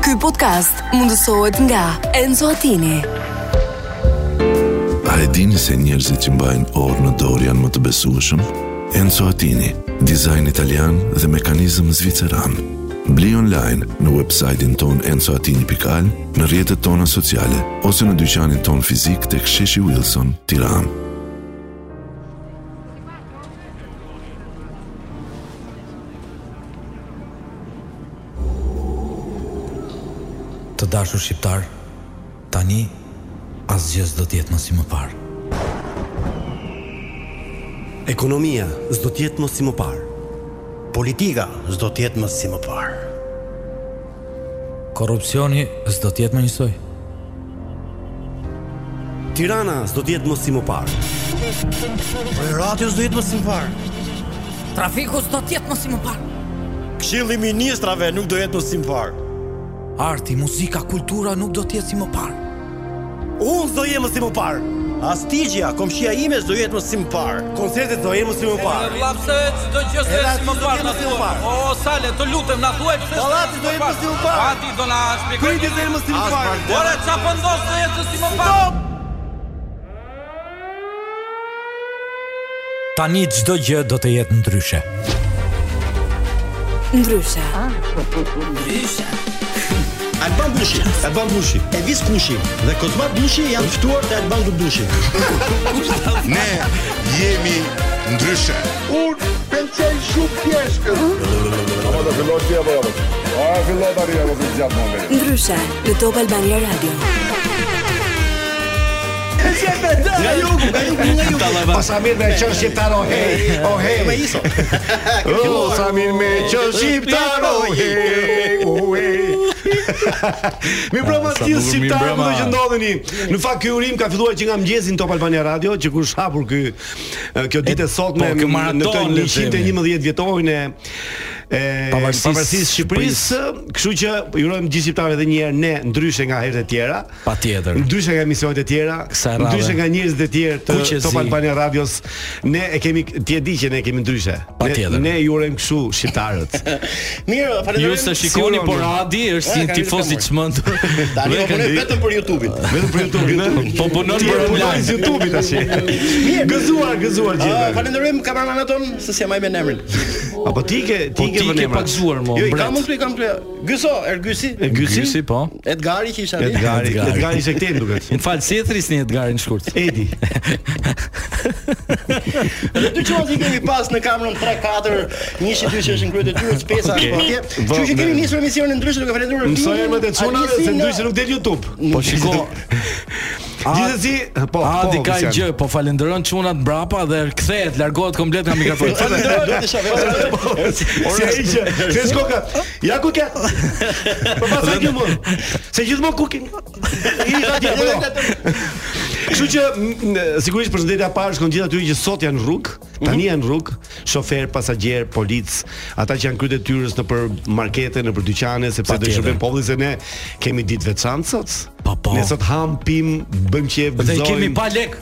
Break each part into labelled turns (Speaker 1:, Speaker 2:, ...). Speaker 1: Ky podcast mundësohet nga Enzo Attini.
Speaker 2: A e dini se njerëzit që mbajnë orë në dorë janë më të besueshëm? Enzo Attini, dizajn italian dhe mekanizëm zviceran. Bli online në website-in ton enzoatini.al, në rjetët tona sociale, ose në dyqanin ton fizik të ksheshi Wilson, tiran.
Speaker 3: Të dashur shqiptar, tani asgjë s'do të jetë më si më parë.
Speaker 4: Ekonomia s'do të jetë më si më parë. Politika s'do të jetë më si më parë.
Speaker 3: Korrupsioni s'do të jetë më njësoj.
Speaker 4: Tirana s'do të jetë më si më parë. Radio s'do jetë më si më parë.
Speaker 5: Trafiku s'do të jetë mos i më parë.
Speaker 4: Këshilli i ministrave nuk do jetë më si më parë.
Speaker 3: Arti, muzika, kultura nuk do të jetë si më parë.
Speaker 4: Unë s'do jem më si më parë. Astigja, komshia ime s'do jetë më si më parë. Koncertet do jenë më si më parë.
Speaker 6: Lapse çdo gjë se
Speaker 4: Edhe
Speaker 6: si më
Speaker 4: aty
Speaker 6: parë
Speaker 4: do
Speaker 6: na
Speaker 4: jemi si më
Speaker 6: thuaj.
Speaker 4: parë.
Speaker 6: O sale, të lutem na thuaj pse.
Speaker 4: Dallati do jemi si më parë.
Speaker 6: Ati do na shpjegoj.
Speaker 4: Priti do jenë më si më parë.
Speaker 6: Ora ç'a po ndos të jetë si më parë?
Speaker 3: Tani çdo gjë do të jetë ndryshe.
Speaker 1: Ndryshe,
Speaker 4: Alban Bushi, Alban Bushi, Elvis Kushi dhe Kozma Bushi janë ftuar te Alban Bushi.
Speaker 7: Ne jemi ndryshe.
Speaker 8: Unë pëlqen shumë pjeshkën. Apo do filloj ti apo apo? A filloj tani apo të gjatë më vjen.
Speaker 1: ndryshe në Top Albania Radio.
Speaker 4: Nga
Speaker 9: jo,
Speaker 4: jugu,
Speaker 9: po,
Speaker 4: nga jugu, nga jugu.
Speaker 8: Sa mirë me qënë shqiptar
Speaker 9: oh,
Speaker 8: o hej, o hej.
Speaker 4: Me iso.
Speaker 8: O, sa mirë me qënë shqiptar
Speaker 9: oh,
Speaker 8: o hej, o hej.
Speaker 9: Mi brama të gjithë shqiptarë më do që ndodheni. Në fakt ky urim ka filluar që nga mëngjesi në Top Albania Radio, që kur shapur ky e, kjo ditë e sotme
Speaker 3: po, kjo maraton,
Speaker 9: në
Speaker 3: le
Speaker 9: këtë
Speaker 3: të themi.
Speaker 9: 111 vjetorin e e
Speaker 3: Pavarësisë
Speaker 9: pavarësisë së Shqipërisë, kështu që ju urojmë gjithë shqiptarëve edhe një herë ne ndryshe nga herët e tjera.
Speaker 3: Patjetër.
Speaker 9: Ndryshe nga emisionet e tjera,
Speaker 3: Kësaj radhe.
Speaker 9: ndryshe nga njerëzit e tjerë të
Speaker 3: Kuqezi.
Speaker 9: Top Albania Radios, ne e kemi ti e di që ne kemi ndryshe.
Speaker 3: Patjetër.
Speaker 9: Ne, ne ju urojmë kështu shqiptarët.
Speaker 4: Mirë,
Speaker 10: Ju
Speaker 4: falenderoj.
Speaker 10: se
Speaker 9: Si
Speaker 10: shikoni por
Speaker 9: uroni.
Speaker 10: Adi është si
Speaker 4: Eh,
Speaker 10: një
Speaker 4: ka
Speaker 10: tifoz i
Speaker 4: mirë,
Speaker 10: çmendur.
Speaker 4: Tani po punoj vetëm për YouTube-in.
Speaker 9: Vetëm për YouTube-in.
Speaker 10: Po punon
Speaker 9: eh? Ti e
Speaker 10: për
Speaker 9: punon
Speaker 10: online.
Speaker 9: si YouTube-i tash. Gëzuar, gëzuar
Speaker 4: Ah,
Speaker 9: gjithë.
Speaker 4: Falenderojmë kameramanin ton se si e majmë emrin.
Speaker 9: Apo ti ke
Speaker 10: Po
Speaker 9: ti ke
Speaker 10: ti ke
Speaker 9: vënë
Speaker 10: pa gëzuar, mo,
Speaker 9: Jo, i
Speaker 4: Ka
Speaker 9: kam
Speaker 4: mund të kam krye. Gyso, Ergysi,
Speaker 9: Gysi,
Speaker 10: Gjysi po.
Speaker 4: Edgari që isha atje.
Speaker 9: Edgari,
Speaker 3: Edgari.
Speaker 9: Edgari ishte këtej duket.
Speaker 10: Më fal, si e thrisni Edgarin shkurt?
Speaker 9: Edi.
Speaker 4: Edhe dy çonë i kemi pas në kamerën 3-4, një shi dy që është në krye të tyrës, pesa është atje. Kështu që kemi nisur emisionin ndryshe duke falentuar
Speaker 9: Mësoj emrat e çunave se ndryshe nuk del YouTube.
Speaker 10: Po shiko,
Speaker 9: Gjithsesi, po,
Speaker 10: Adi
Speaker 9: po.
Speaker 10: ka
Speaker 9: Lucian.
Speaker 10: gjë, po falenderon çunat mbrapa dhe kthehet, largohet komplet nga mikrofoni.
Speaker 4: Falenderoj, do të shoh.
Speaker 9: Si ai që, se shkoka. Ja ku ke? Po pasoj kjo më. Se gjithmonë cooking. I ka ti. po, jo. Kështu që m, n- sigurisht përshëndetja e parë shkon gjithë atyre që sot janë në rrugë, tani
Speaker 10: Mhm.
Speaker 9: janë në rrugë, shofer, pasagjer, polic, ata që janë krye detyrës në për markete, në për dyqane, sepse do i
Speaker 3: Patjetër.
Speaker 9: shërbejmë popullit se ne kemi ditë veçantë sot.
Speaker 3: Po, po.
Speaker 9: Ne sot ham, pim, bëjmë qejf,
Speaker 10: Po, Dhe i
Speaker 9: gëzojmë.
Speaker 10: kemi pa lek.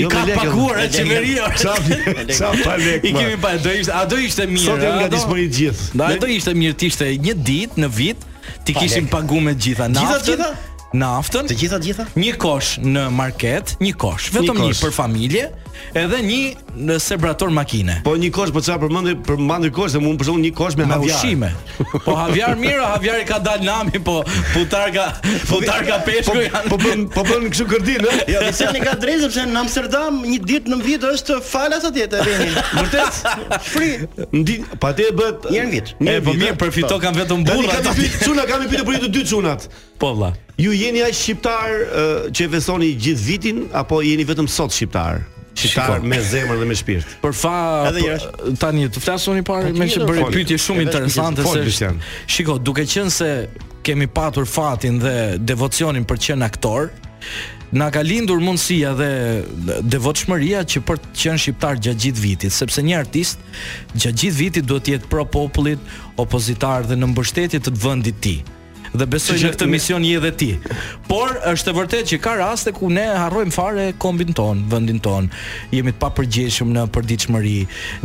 Speaker 10: I
Speaker 9: Jo,
Speaker 10: ka
Speaker 9: me lekë,
Speaker 10: paguar
Speaker 9: me
Speaker 10: e
Speaker 9: lekë.
Speaker 10: qeveria.
Speaker 9: Sa sa pa lek.
Speaker 10: I
Speaker 9: ma.
Speaker 10: kemi pa, do ishte, a do ishte mirë.
Speaker 9: Sot janë
Speaker 10: a
Speaker 9: nga
Speaker 10: do-
Speaker 9: disponit gjithë.
Speaker 10: Da
Speaker 9: Ne-
Speaker 10: do ishte mirë, të ishte një ditë në vit, ti kishim pagu me gjitha
Speaker 4: Gjitha,
Speaker 10: naftën.
Speaker 4: gjitha?
Speaker 10: Naftën.
Speaker 4: Të gjitha, të gjitha?
Speaker 10: Një kosh në market, një kosh, vetëm një,
Speaker 9: kosh.
Speaker 10: për familje, edhe një në sebrator makine.
Speaker 9: Po një kosh, po çfarë përmendë, përmendë kosh, se mund për shembull një kosh me,
Speaker 10: Me
Speaker 9: me
Speaker 10: ushqime. Po Havjar mirë, Havjar i ka dalë nami, po putar ka putar ka
Speaker 9: Po
Speaker 10: peshku janë.
Speaker 9: po bën po bën kështu kërdin, ë?
Speaker 4: Jo, pse ne ka drejtë sepse në Amsterdam një ditë në vit është falas atje të vini. Vërtet? Fri.
Speaker 9: Ndi, pa te bëhet
Speaker 4: Një herë në vit.
Speaker 9: Një
Speaker 10: E
Speaker 9: herë
Speaker 10: po
Speaker 9: në vit,
Speaker 10: mirë,
Speaker 9: ë?
Speaker 10: përfito kanë vetëm
Speaker 9: Tani
Speaker 10: burra.
Speaker 9: kam i pyet çuna, kam i pyetur për të dy çunat.
Speaker 10: Po vlla.
Speaker 9: Ju jeni aq shqiptar ë, që e fesoni gjithë vitin apo jeni vetëm sot shqiptar? Shqiptar
Speaker 10: Shiko.
Speaker 9: me zemër dhe me shpirt.
Speaker 10: Për fa
Speaker 4: Edhe
Speaker 10: për-
Speaker 4: jashtë.
Speaker 10: tani të flasuni parë me që
Speaker 4: mirë,
Speaker 10: bëri
Speaker 9: fol.
Speaker 10: pyetje shumë
Speaker 4: Edhe
Speaker 10: interesante
Speaker 9: fol,
Speaker 10: se
Speaker 9: Lucian.
Speaker 10: është- shiko, duke qenë se kemi patur fatin dhe devocionin për qenë aktor, na ka lindur mundësia dhe devotshmëria që për të qenë shqiptar gjatë gjithë vitit, sepse një artist gjatë gjithë vitit duhet të jetë pro popullit, opozitar dhe në mbështetje të vendit të tij. Dhe besoj në këtë mision je edhe ti. Por është e vërtetë që ka raste ku ne harrojmë fare kombin ton, vendin ton. Jemi të papërgjeshëm në përditshmëri.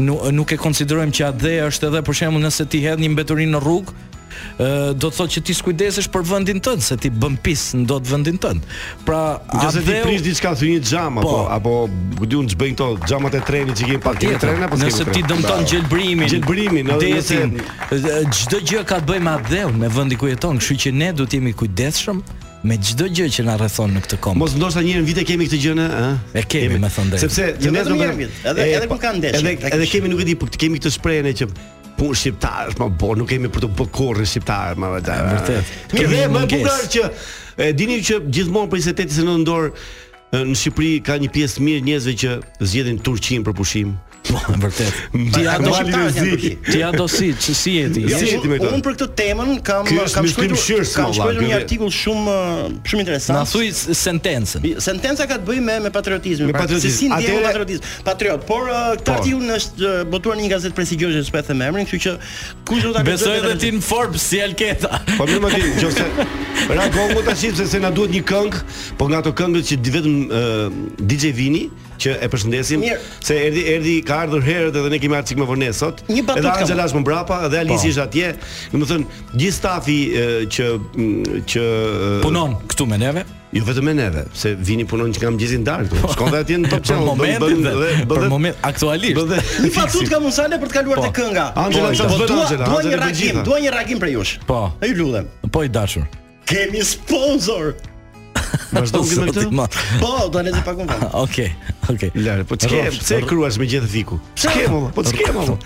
Speaker 10: Nuk, nuk e konsiderojmë që atë dhe është edhe për shembull nëse ti hedh një mbeturin në rrugë, ë, do të thotë që ti skujdesesh për vendin tënd, se ti bën pis në dot vendin tënd. Pra,
Speaker 9: Nëse ti
Speaker 10: Adeu-
Speaker 9: prish diçka thy një xham apo
Speaker 10: Po.
Speaker 9: apo ku diun ç'bëjnë to xhamat e trenit që kemi pak kemi
Speaker 10: Tjetër,
Speaker 9: trena apo s'kemi
Speaker 10: nëse
Speaker 9: trena?
Speaker 10: ti dëmton
Speaker 9: Bravo.
Speaker 10: gjelbrimin,
Speaker 9: Gjelbrimin, edhe nëse
Speaker 10: detin, ë, çdo gjë ka të bëjë me atë me vendi ku jeton, kështu që ne duhet jemi kujdesshëm me çdo gjë që na rrethon në këtë komp.
Speaker 9: mos ndoshta një herë në vit e kemi këtë gjë në, ë?
Speaker 10: E kemi, me thënë drejtën.
Speaker 9: Sepse
Speaker 4: Jo,
Speaker 9: ne
Speaker 4: vetëm
Speaker 9: do
Speaker 4: një
Speaker 9: të-
Speaker 4: vit, edhe-
Speaker 9: e,
Speaker 4: edhe
Speaker 9: po,
Speaker 4: kur kanë ndeshje,
Speaker 9: Edhe
Speaker 4: tek-
Speaker 9: edhe kemi nuk e di, po kemi këtë shprehje që punë shqiptar, ma bo, nuk kemi për të bërë korrin shqiptar, ma vërtet.
Speaker 10: vërtet.
Speaker 9: Mirë,
Speaker 10: Kemi
Speaker 9: dhe më e
Speaker 10: mungesë.
Speaker 9: bukur që e dini që gjithmonë prej 8-8 në dorë në Shqipëri ka një pjesë mirë njerëzve që zgjedhin Turqinë për pushim.
Speaker 10: Po, vërtet. Ti ja do
Speaker 9: Mali
Speaker 4: shqiptarët janë
Speaker 9: Rezi.
Speaker 4: Turqi.
Speaker 10: ti ja do si, që si je ti?
Speaker 9: Jo,
Speaker 10: Si-
Speaker 9: si- jeti me
Speaker 4: Unë
Speaker 9: këto?
Speaker 4: unë për këtë temën kam
Speaker 9: Ky është
Speaker 4: kam
Speaker 9: myslim
Speaker 4: shkruar
Speaker 9: shirë, s'ma
Speaker 4: kam shkruar
Speaker 9: valla,
Speaker 4: një
Speaker 9: ky-
Speaker 4: artikull shumë ë, shumë interesant.
Speaker 10: Na thuj s- sentencën.
Speaker 4: Sentenca ka të bëjë me me patriotizmin,
Speaker 9: Me
Speaker 4: pra,
Speaker 9: patriotizm.
Speaker 4: se si ndjehu
Speaker 9: Atëre-
Speaker 4: patriotizm. Patriot, por ë, këtë
Speaker 9: Po.
Speaker 4: artikull është ë, botuar në një gazetë prestigjioze, s'po e them emrin, kështu që kush do ta
Speaker 10: Besoj edhe ti në Forbes si Alketa.
Speaker 9: Po mirë më ti, nëse Ragongu tash sepse se na duhet një këngë, po nga ato këngët që di vetëm ë, DJ Vini që e përshëndesim
Speaker 4: Mirë.
Speaker 9: se erdhi erdhi ka ardhur herët edhe ne kemi ardhur sik më vonë sot.
Speaker 4: Një batut
Speaker 9: edhe
Speaker 4: kam.
Speaker 9: Angela është më mbrapa dhe Alisi
Speaker 10: Po.
Speaker 9: është atje. Do të thënë gjithë stafi ë, që m, që ë,
Speaker 10: Punon këtu me neve.
Speaker 9: jo vetëm me neve, se Vini punon që nga mëngjesin darkë. këtu. Shkon dhe atje në Top
Speaker 10: Për
Speaker 9: Channel. bën-
Speaker 10: momentin
Speaker 9: bën-
Speaker 10: dhe
Speaker 9: bën-
Speaker 10: për moment aktualisht.
Speaker 9: bën dhe
Speaker 4: Një fatut ka Musale për të kaluar
Speaker 10: Po.
Speaker 4: te kënga.
Speaker 9: Angela,
Speaker 4: Po,
Speaker 9: çfarë
Speaker 4: po,
Speaker 9: bën
Speaker 4: dua-
Speaker 9: Angela?
Speaker 4: Dua
Speaker 9: Angela
Speaker 4: një
Speaker 9: për
Speaker 4: reagim,
Speaker 9: gjitha.
Speaker 4: dua një reagim për jush.
Speaker 10: Po.
Speaker 4: Ai lutem.
Speaker 10: Po i dashur.
Speaker 4: Kemi sponsor.
Speaker 9: Vazhdon me
Speaker 10: Zoti
Speaker 9: këtë.
Speaker 10: ma.
Speaker 4: Po, do lezi pak më vonë.
Speaker 10: Okej, okej.
Speaker 9: Lare, po ç'ke,
Speaker 10: Rrofsh,
Speaker 9: pse e kruash me gjithë fiku? Ç'ke mo? Po ç'ke mo?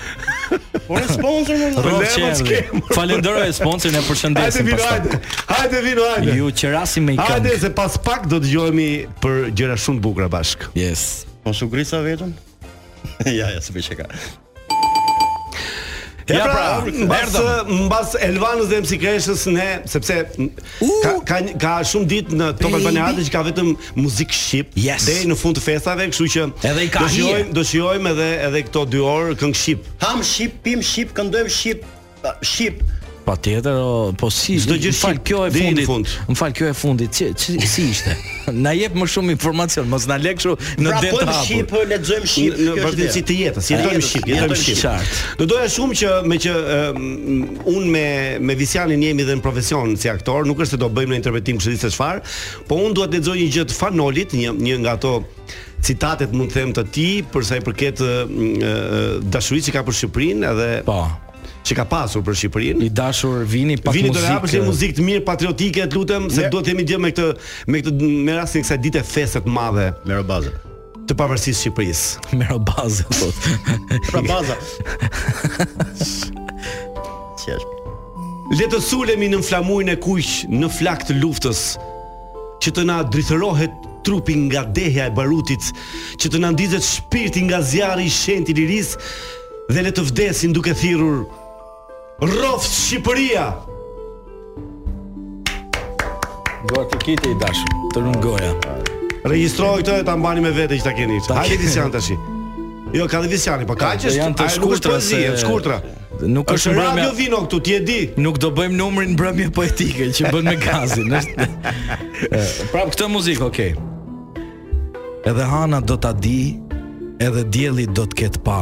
Speaker 4: Por e sponsor më
Speaker 9: Po,
Speaker 10: Rrofsh
Speaker 9: le, mos
Speaker 10: erdhi.
Speaker 9: kemë.
Speaker 10: Falenderoj sponsorin e
Speaker 9: Hajde
Speaker 10: përshëndesim.
Speaker 9: vino,
Speaker 10: pastaj.
Speaker 9: hajde. Hajde vino, hajde.
Speaker 10: Ju qerasim me i
Speaker 9: Hajde
Speaker 10: këngë.
Speaker 9: se pas pak do të gjohemi për gjëra shumë të bukura bashk.
Speaker 10: Yes.
Speaker 4: Mos u grisa Po, vetëm. ja, ja, s'bëj çka.
Speaker 9: Ja, pra, mbas
Speaker 10: erdhëm.
Speaker 9: mbas Elvanës dhe MC Kreshës ne sepse n- ka ka një- ka shumë ditë në Top Albania Radio që ka vetëm muzikë shqip
Speaker 10: Yes.
Speaker 9: deri në fund të festave, kështu që
Speaker 10: Edhe i ka
Speaker 9: do
Speaker 10: hije.
Speaker 9: shijojmë do shijojmë edhe edhe këto 2 orë këngë shqip.
Speaker 4: Ham shqip, pim shqip, këndojmë shqip, a, shqip.
Speaker 10: Patjetër, o, po si
Speaker 9: Çdo gjë
Speaker 10: më fal
Speaker 9: shqip,
Speaker 10: kjo e
Speaker 9: deri në
Speaker 10: fundit.
Speaker 9: fund.
Speaker 10: Më fal kjo e fundit. Si, si, si ishte? na jep më shumë informacion, mos na le kështu në det të
Speaker 4: Vrapojmë pra, shqip, po,
Speaker 10: hapur.
Speaker 4: lexojmë shqip.
Speaker 9: në
Speaker 4: kjo është
Speaker 9: vazhdimsi
Speaker 4: ideja.
Speaker 9: të jetës, jetojmë
Speaker 4: jetës,
Speaker 9: shqip, jetojmë
Speaker 4: jetojmë
Speaker 9: shqip.
Speaker 10: qartë.
Speaker 9: Do doja shumë që me që um, unë me me Visianin jemi dhe në profesion si aktor, nuk është se do bëjmë në interpretim kështu di se çfarë, po unë dua të lexoj një gjë të Fanolit, një një nga ato citatet mund të them të ti për sa i përket uh, uh, dashurisë që ka për Shqipërinë edhe
Speaker 10: Po.
Speaker 9: që ka pasur për Shqipërinë.
Speaker 10: I dashur vini pak
Speaker 9: Vini do të hapësh
Speaker 10: muzikë.
Speaker 9: një muzikë të mirë patriotike, të lutem, se
Speaker 4: Ne-
Speaker 9: duhet të jemi gjë me këtë me këtë me rastin e kësaj dite feste të madhe
Speaker 4: Merë baza.
Speaker 9: të pavarësisë së Shqipërisë.
Speaker 10: Mero bazë thot.
Speaker 4: Pra baza. Si është?
Speaker 9: Le të sulemi në flamurin e kuq, në flak të luftës, që të na drithërohet trupi nga dehja e barutit, që të na ndizet shpirti nga zjarri i shenjtë i lirisë dhe le të vdesin duke thirrur Rroft Shqipëria.
Speaker 10: Gjoa të kiti i dashur. Të run goja.
Speaker 9: Regjistroj këtë e ta mbani me vete që ta keni.
Speaker 10: Ta
Speaker 9: Hajde
Speaker 10: keni.
Speaker 9: Visian tash. Jo, ka dhe Visiani, po ka që
Speaker 10: Po janë të shkurtra
Speaker 9: se...
Speaker 10: se-
Speaker 9: të shkurtra.
Speaker 10: Nuk është
Speaker 9: Është radio
Speaker 10: mbrëmje.
Speaker 9: vino këtu, ti e di.
Speaker 10: Nuk do bëjmë numrin mbrëmje poetike që bën me gazin, është. Prap këtë muzikë, okay. Edhe hana do ta di, edhe dielli do të ketë pa.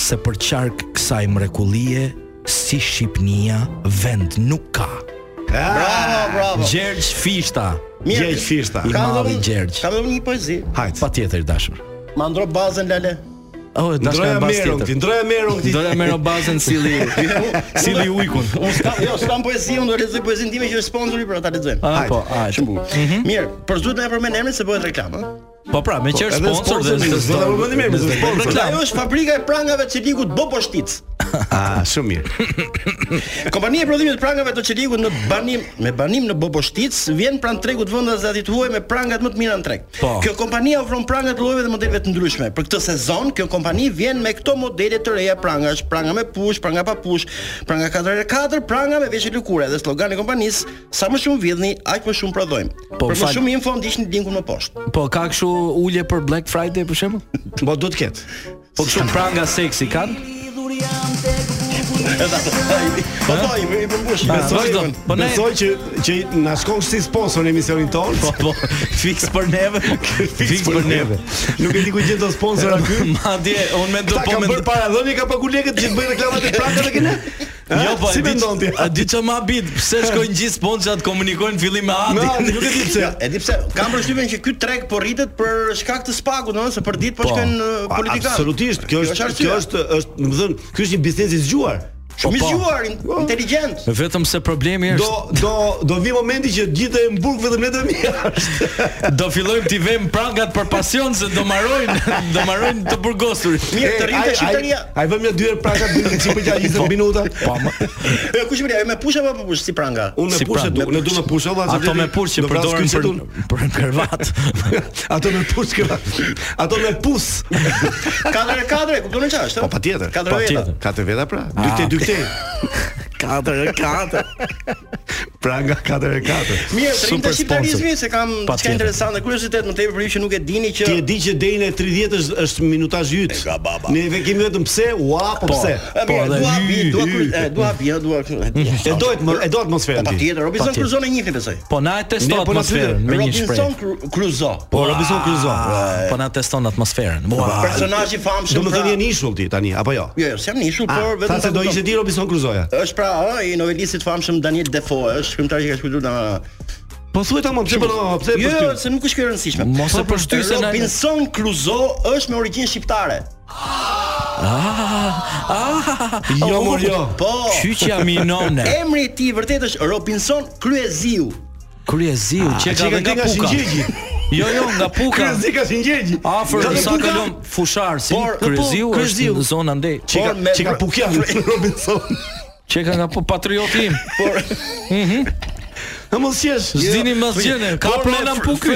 Speaker 10: Se për qark kësaj mrekullie, si Shqipnia vend nuk ka.
Speaker 4: Bravo, bravo.
Speaker 10: Gjergj Fishta,
Speaker 4: Mirë.
Speaker 9: Gjergj Fishta.
Speaker 10: i
Speaker 4: Kam
Speaker 10: madhi
Speaker 4: dhënë-
Speaker 10: Gjergj.
Speaker 4: Kam dhënë një poezi.
Speaker 9: Hajt.
Speaker 10: Patjetër i dashur.
Speaker 4: Ma ndro bazën lale.
Speaker 10: Oh, e dashka
Speaker 9: Ndroja
Speaker 10: e bas
Speaker 9: merën këti,
Speaker 10: tjetër.
Speaker 9: ndroja merën këti.
Speaker 10: Doja merë bazën silli, silli ujkun.
Speaker 4: Unë s'kam, jo, s'kam poezi, unë do lexoj poezinë time që është sponsori, por ta lexojmë.
Speaker 10: Ah, po, ah,
Speaker 4: Shumë bukur. Mirë, por s'duhet më përmend emrin se bëhet reklamë. ëh?
Speaker 10: Po pra, me që është
Speaker 9: edhe
Speaker 10: sponsor
Speaker 9: sponsor,
Speaker 10: dhe
Speaker 9: do ta përmendim emrin, se sponsor.
Speaker 10: Reklam.
Speaker 4: Ajo është fabrika e prangave të Çelikut Boposhtic.
Speaker 9: Ah, shumë mirë.
Speaker 4: Kompania e prodhimit të prangave të Çelikut në banim me banim në Boposhtic vjen pranë tregut vendas dhe atit huaj me prangat më të mira në treg.
Speaker 10: Po.
Speaker 4: Kjo kompani ofron pranga të llojeve dhe modeleve të ndryshme. Për këtë sezon, kjo kompani vjen me këto modele të reja prangash, pranga me push, pranga pa push, pranga 4x4, pranga me veshje lëkure dhe slogani i kompanisë, sa më shumë vidhni, aq më shumë prodhojmë.
Speaker 10: Po,
Speaker 4: për më
Speaker 10: fal-
Speaker 4: shumë info ndiqni linkun më poshtë.
Speaker 10: Po ka kështu ulje për Black Friday për shembull?
Speaker 9: Po do të ketë.
Speaker 10: Po kështu pranga seksi kanë?
Speaker 4: Po po, i i përmbush.
Speaker 9: Besoj,
Speaker 10: vazhdo. Po
Speaker 9: po
Speaker 10: ne-
Speaker 9: besoj që që na shkon si sponsor në emisionin ton.
Speaker 10: Po po, fiks për neve, fiks për neve.
Speaker 9: Nuk e di ku gjen do sponsor aty.
Speaker 10: Madje unë mendo
Speaker 9: Ta
Speaker 10: po
Speaker 9: kanë
Speaker 10: mend
Speaker 9: bërë para dhënë ka pagu lekët që të bëjnë reklamat e prakave këne.
Speaker 10: Jo, po
Speaker 9: si
Speaker 10: e di.
Speaker 9: mendon ti?
Speaker 10: A di ç'ma bit? Pse shkojnë gjithë sponxhat komunikojnë fillim me
Speaker 9: Na,
Speaker 10: Adin?
Speaker 9: nuk e di pse.
Speaker 4: Jo, e di pse kam përshtypjen që ky treg po rritet për shkak të spagut, domethënë se për ditë po shkojnë eh,
Speaker 9: A-
Speaker 4: politikanë.
Speaker 9: Absolutisht, kjo është
Speaker 4: arsyeja.
Speaker 9: kjo është është, do të thënë, ky është një biznes i zgjuar.
Speaker 4: shumë i
Speaker 10: po.
Speaker 4: zgjuar, in- inteligjent.
Speaker 10: Vetëm se problemi
Speaker 9: Do
Speaker 10: është
Speaker 9: do do vi momenti që gjithë e mburg vetëm ne të mia.
Speaker 10: do fillojmë t'i vëmë prangat për pasion se do marrojnë, do marrojnë të burgosurit.
Speaker 4: Mirë, të rritet shqiptaria.
Speaker 9: Ai vëmë dy herë praka dy herë çipë gjatë 20 minuta. Po.
Speaker 4: E Jo, kush më me push apo pa push si pranga?
Speaker 9: Unë me
Speaker 10: Si
Speaker 9: pushë
Speaker 10: pra,
Speaker 9: du,
Speaker 10: me
Speaker 9: ne du me pushë valla.
Speaker 10: Ato me push që përdoren për për në krevat.
Speaker 9: Ato me push këva. Ato me pus.
Speaker 4: 4 e 4, e kupton çfarë është?
Speaker 7: Po patjetër.
Speaker 4: Katër veta.
Speaker 10: patjetër.
Speaker 7: Ka të veta pra.
Speaker 10: Ah,
Speaker 9: Dy këtej, dy këtej.
Speaker 10: Katër katër.
Speaker 9: Pra nga 4 e 4.
Speaker 4: Mirë, të rritet
Speaker 10: Super
Speaker 4: shqiptarizmi se kam
Speaker 10: Patjetër.
Speaker 4: diçka interesante, kuriozitet më tepër për ju që nuk e dini që
Speaker 9: Ti e di që deri në 30 është është minutazh yt.
Speaker 4: ka baba.
Speaker 9: Ne ve kemi vetëm pse, ua, po pse.
Speaker 4: E mirë,
Speaker 10: dhe
Speaker 4: dua bi,
Speaker 10: hy,
Speaker 4: dua
Speaker 10: hy.
Speaker 4: kur- e, dua bi, e, dua Po,
Speaker 9: E dohet më, e do atmosferën ti.
Speaker 4: Patjetër, Robinson
Speaker 10: Patjetër.
Speaker 4: Crusoe në njëfni besoj.
Speaker 10: Po na e
Speaker 9: Ne,
Speaker 10: teston
Speaker 9: po na
Speaker 10: atmosferën
Speaker 9: pyetën,
Speaker 10: me një shprehje.
Speaker 4: Robinson Cru- Crusoe.
Speaker 9: Po Robinson Crusoe.
Speaker 10: Po na teston atmosferën. Ua,
Speaker 4: Personazhi i famshëm.
Speaker 9: Do të
Speaker 4: pra-
Speaker 9: thënë je në ishull ti tani apo jo?
Speaker 4: Jo, jo, s'jam në ishull,
Speaker 10: Ah,
Speaker 4: por
Speaker 9: Sa
Speaker 4: vetëm
Speaker 9: se
Speaker 4: ta
Speaker 9: do
Speaker 4: kupton.
Speaker 9: ishte ti Robinson Crusoe.
Speaker 4: Është pra ë i novelistit famshëm Daniel Defoe, është shkrimtar që ka shkruar na.
Speaker 9: Po thuaj ta më pse po pse po
Speaker 4: Jo,
Speaker 9: ty.
Speaker 4: jo, se nuk është kjo e rëndësishme.
Speaker 10: Mos e përshtyj se na-
Speaker 4: Robinson Crusoe është me origjinë shqiptare.
Speaker 9: Jo mor jo.
Speaker 4: Po.
Speaker 10: Qyçja minone.
Speaker 4: Emri i tij vërtet është Robinson Kryeziu.
Speaker 10: Kryeziu që
Speaker 9: Çe
Speaker 10: ka
Speaker 9: ka
Speaker 10: dhe
Speaker 9: ti
Speaker 10: nga
Speaker 9: nga
Speaker 10: puka.
Speaker 9: Singjegji.
Speaker 10: Jo, jo, nga puka.
Speaker 9: Krezi ka Singjegji.
Speaker 10: Afër
Speaker 9: Nga
Speaker 10: në
Speaker 9: puka?
Speaker 10: sa kalon fushar si
Speaker 4: Por-
Speaker 10: kryeziu
Speaker 9: po,
Speaker 10: është
Speaker 9: kryeziu.
Speaker 10: në zona ndej.
Speaker 9: Çe ka
Speaker 4: Por me-
Speaker 9: çe ka pukjan pra- Robinson.
Speaker 10: Çe ka nga po patrioti im.
Speaker 4: Por
Speaker 9: Ha mos jo. qesh.
Speaker 10: Zdini më asgjëne. Ka
Speaker 4: por me
Speaker 10: prona në
Speaker 4: fr-
Speaker 10: pukë.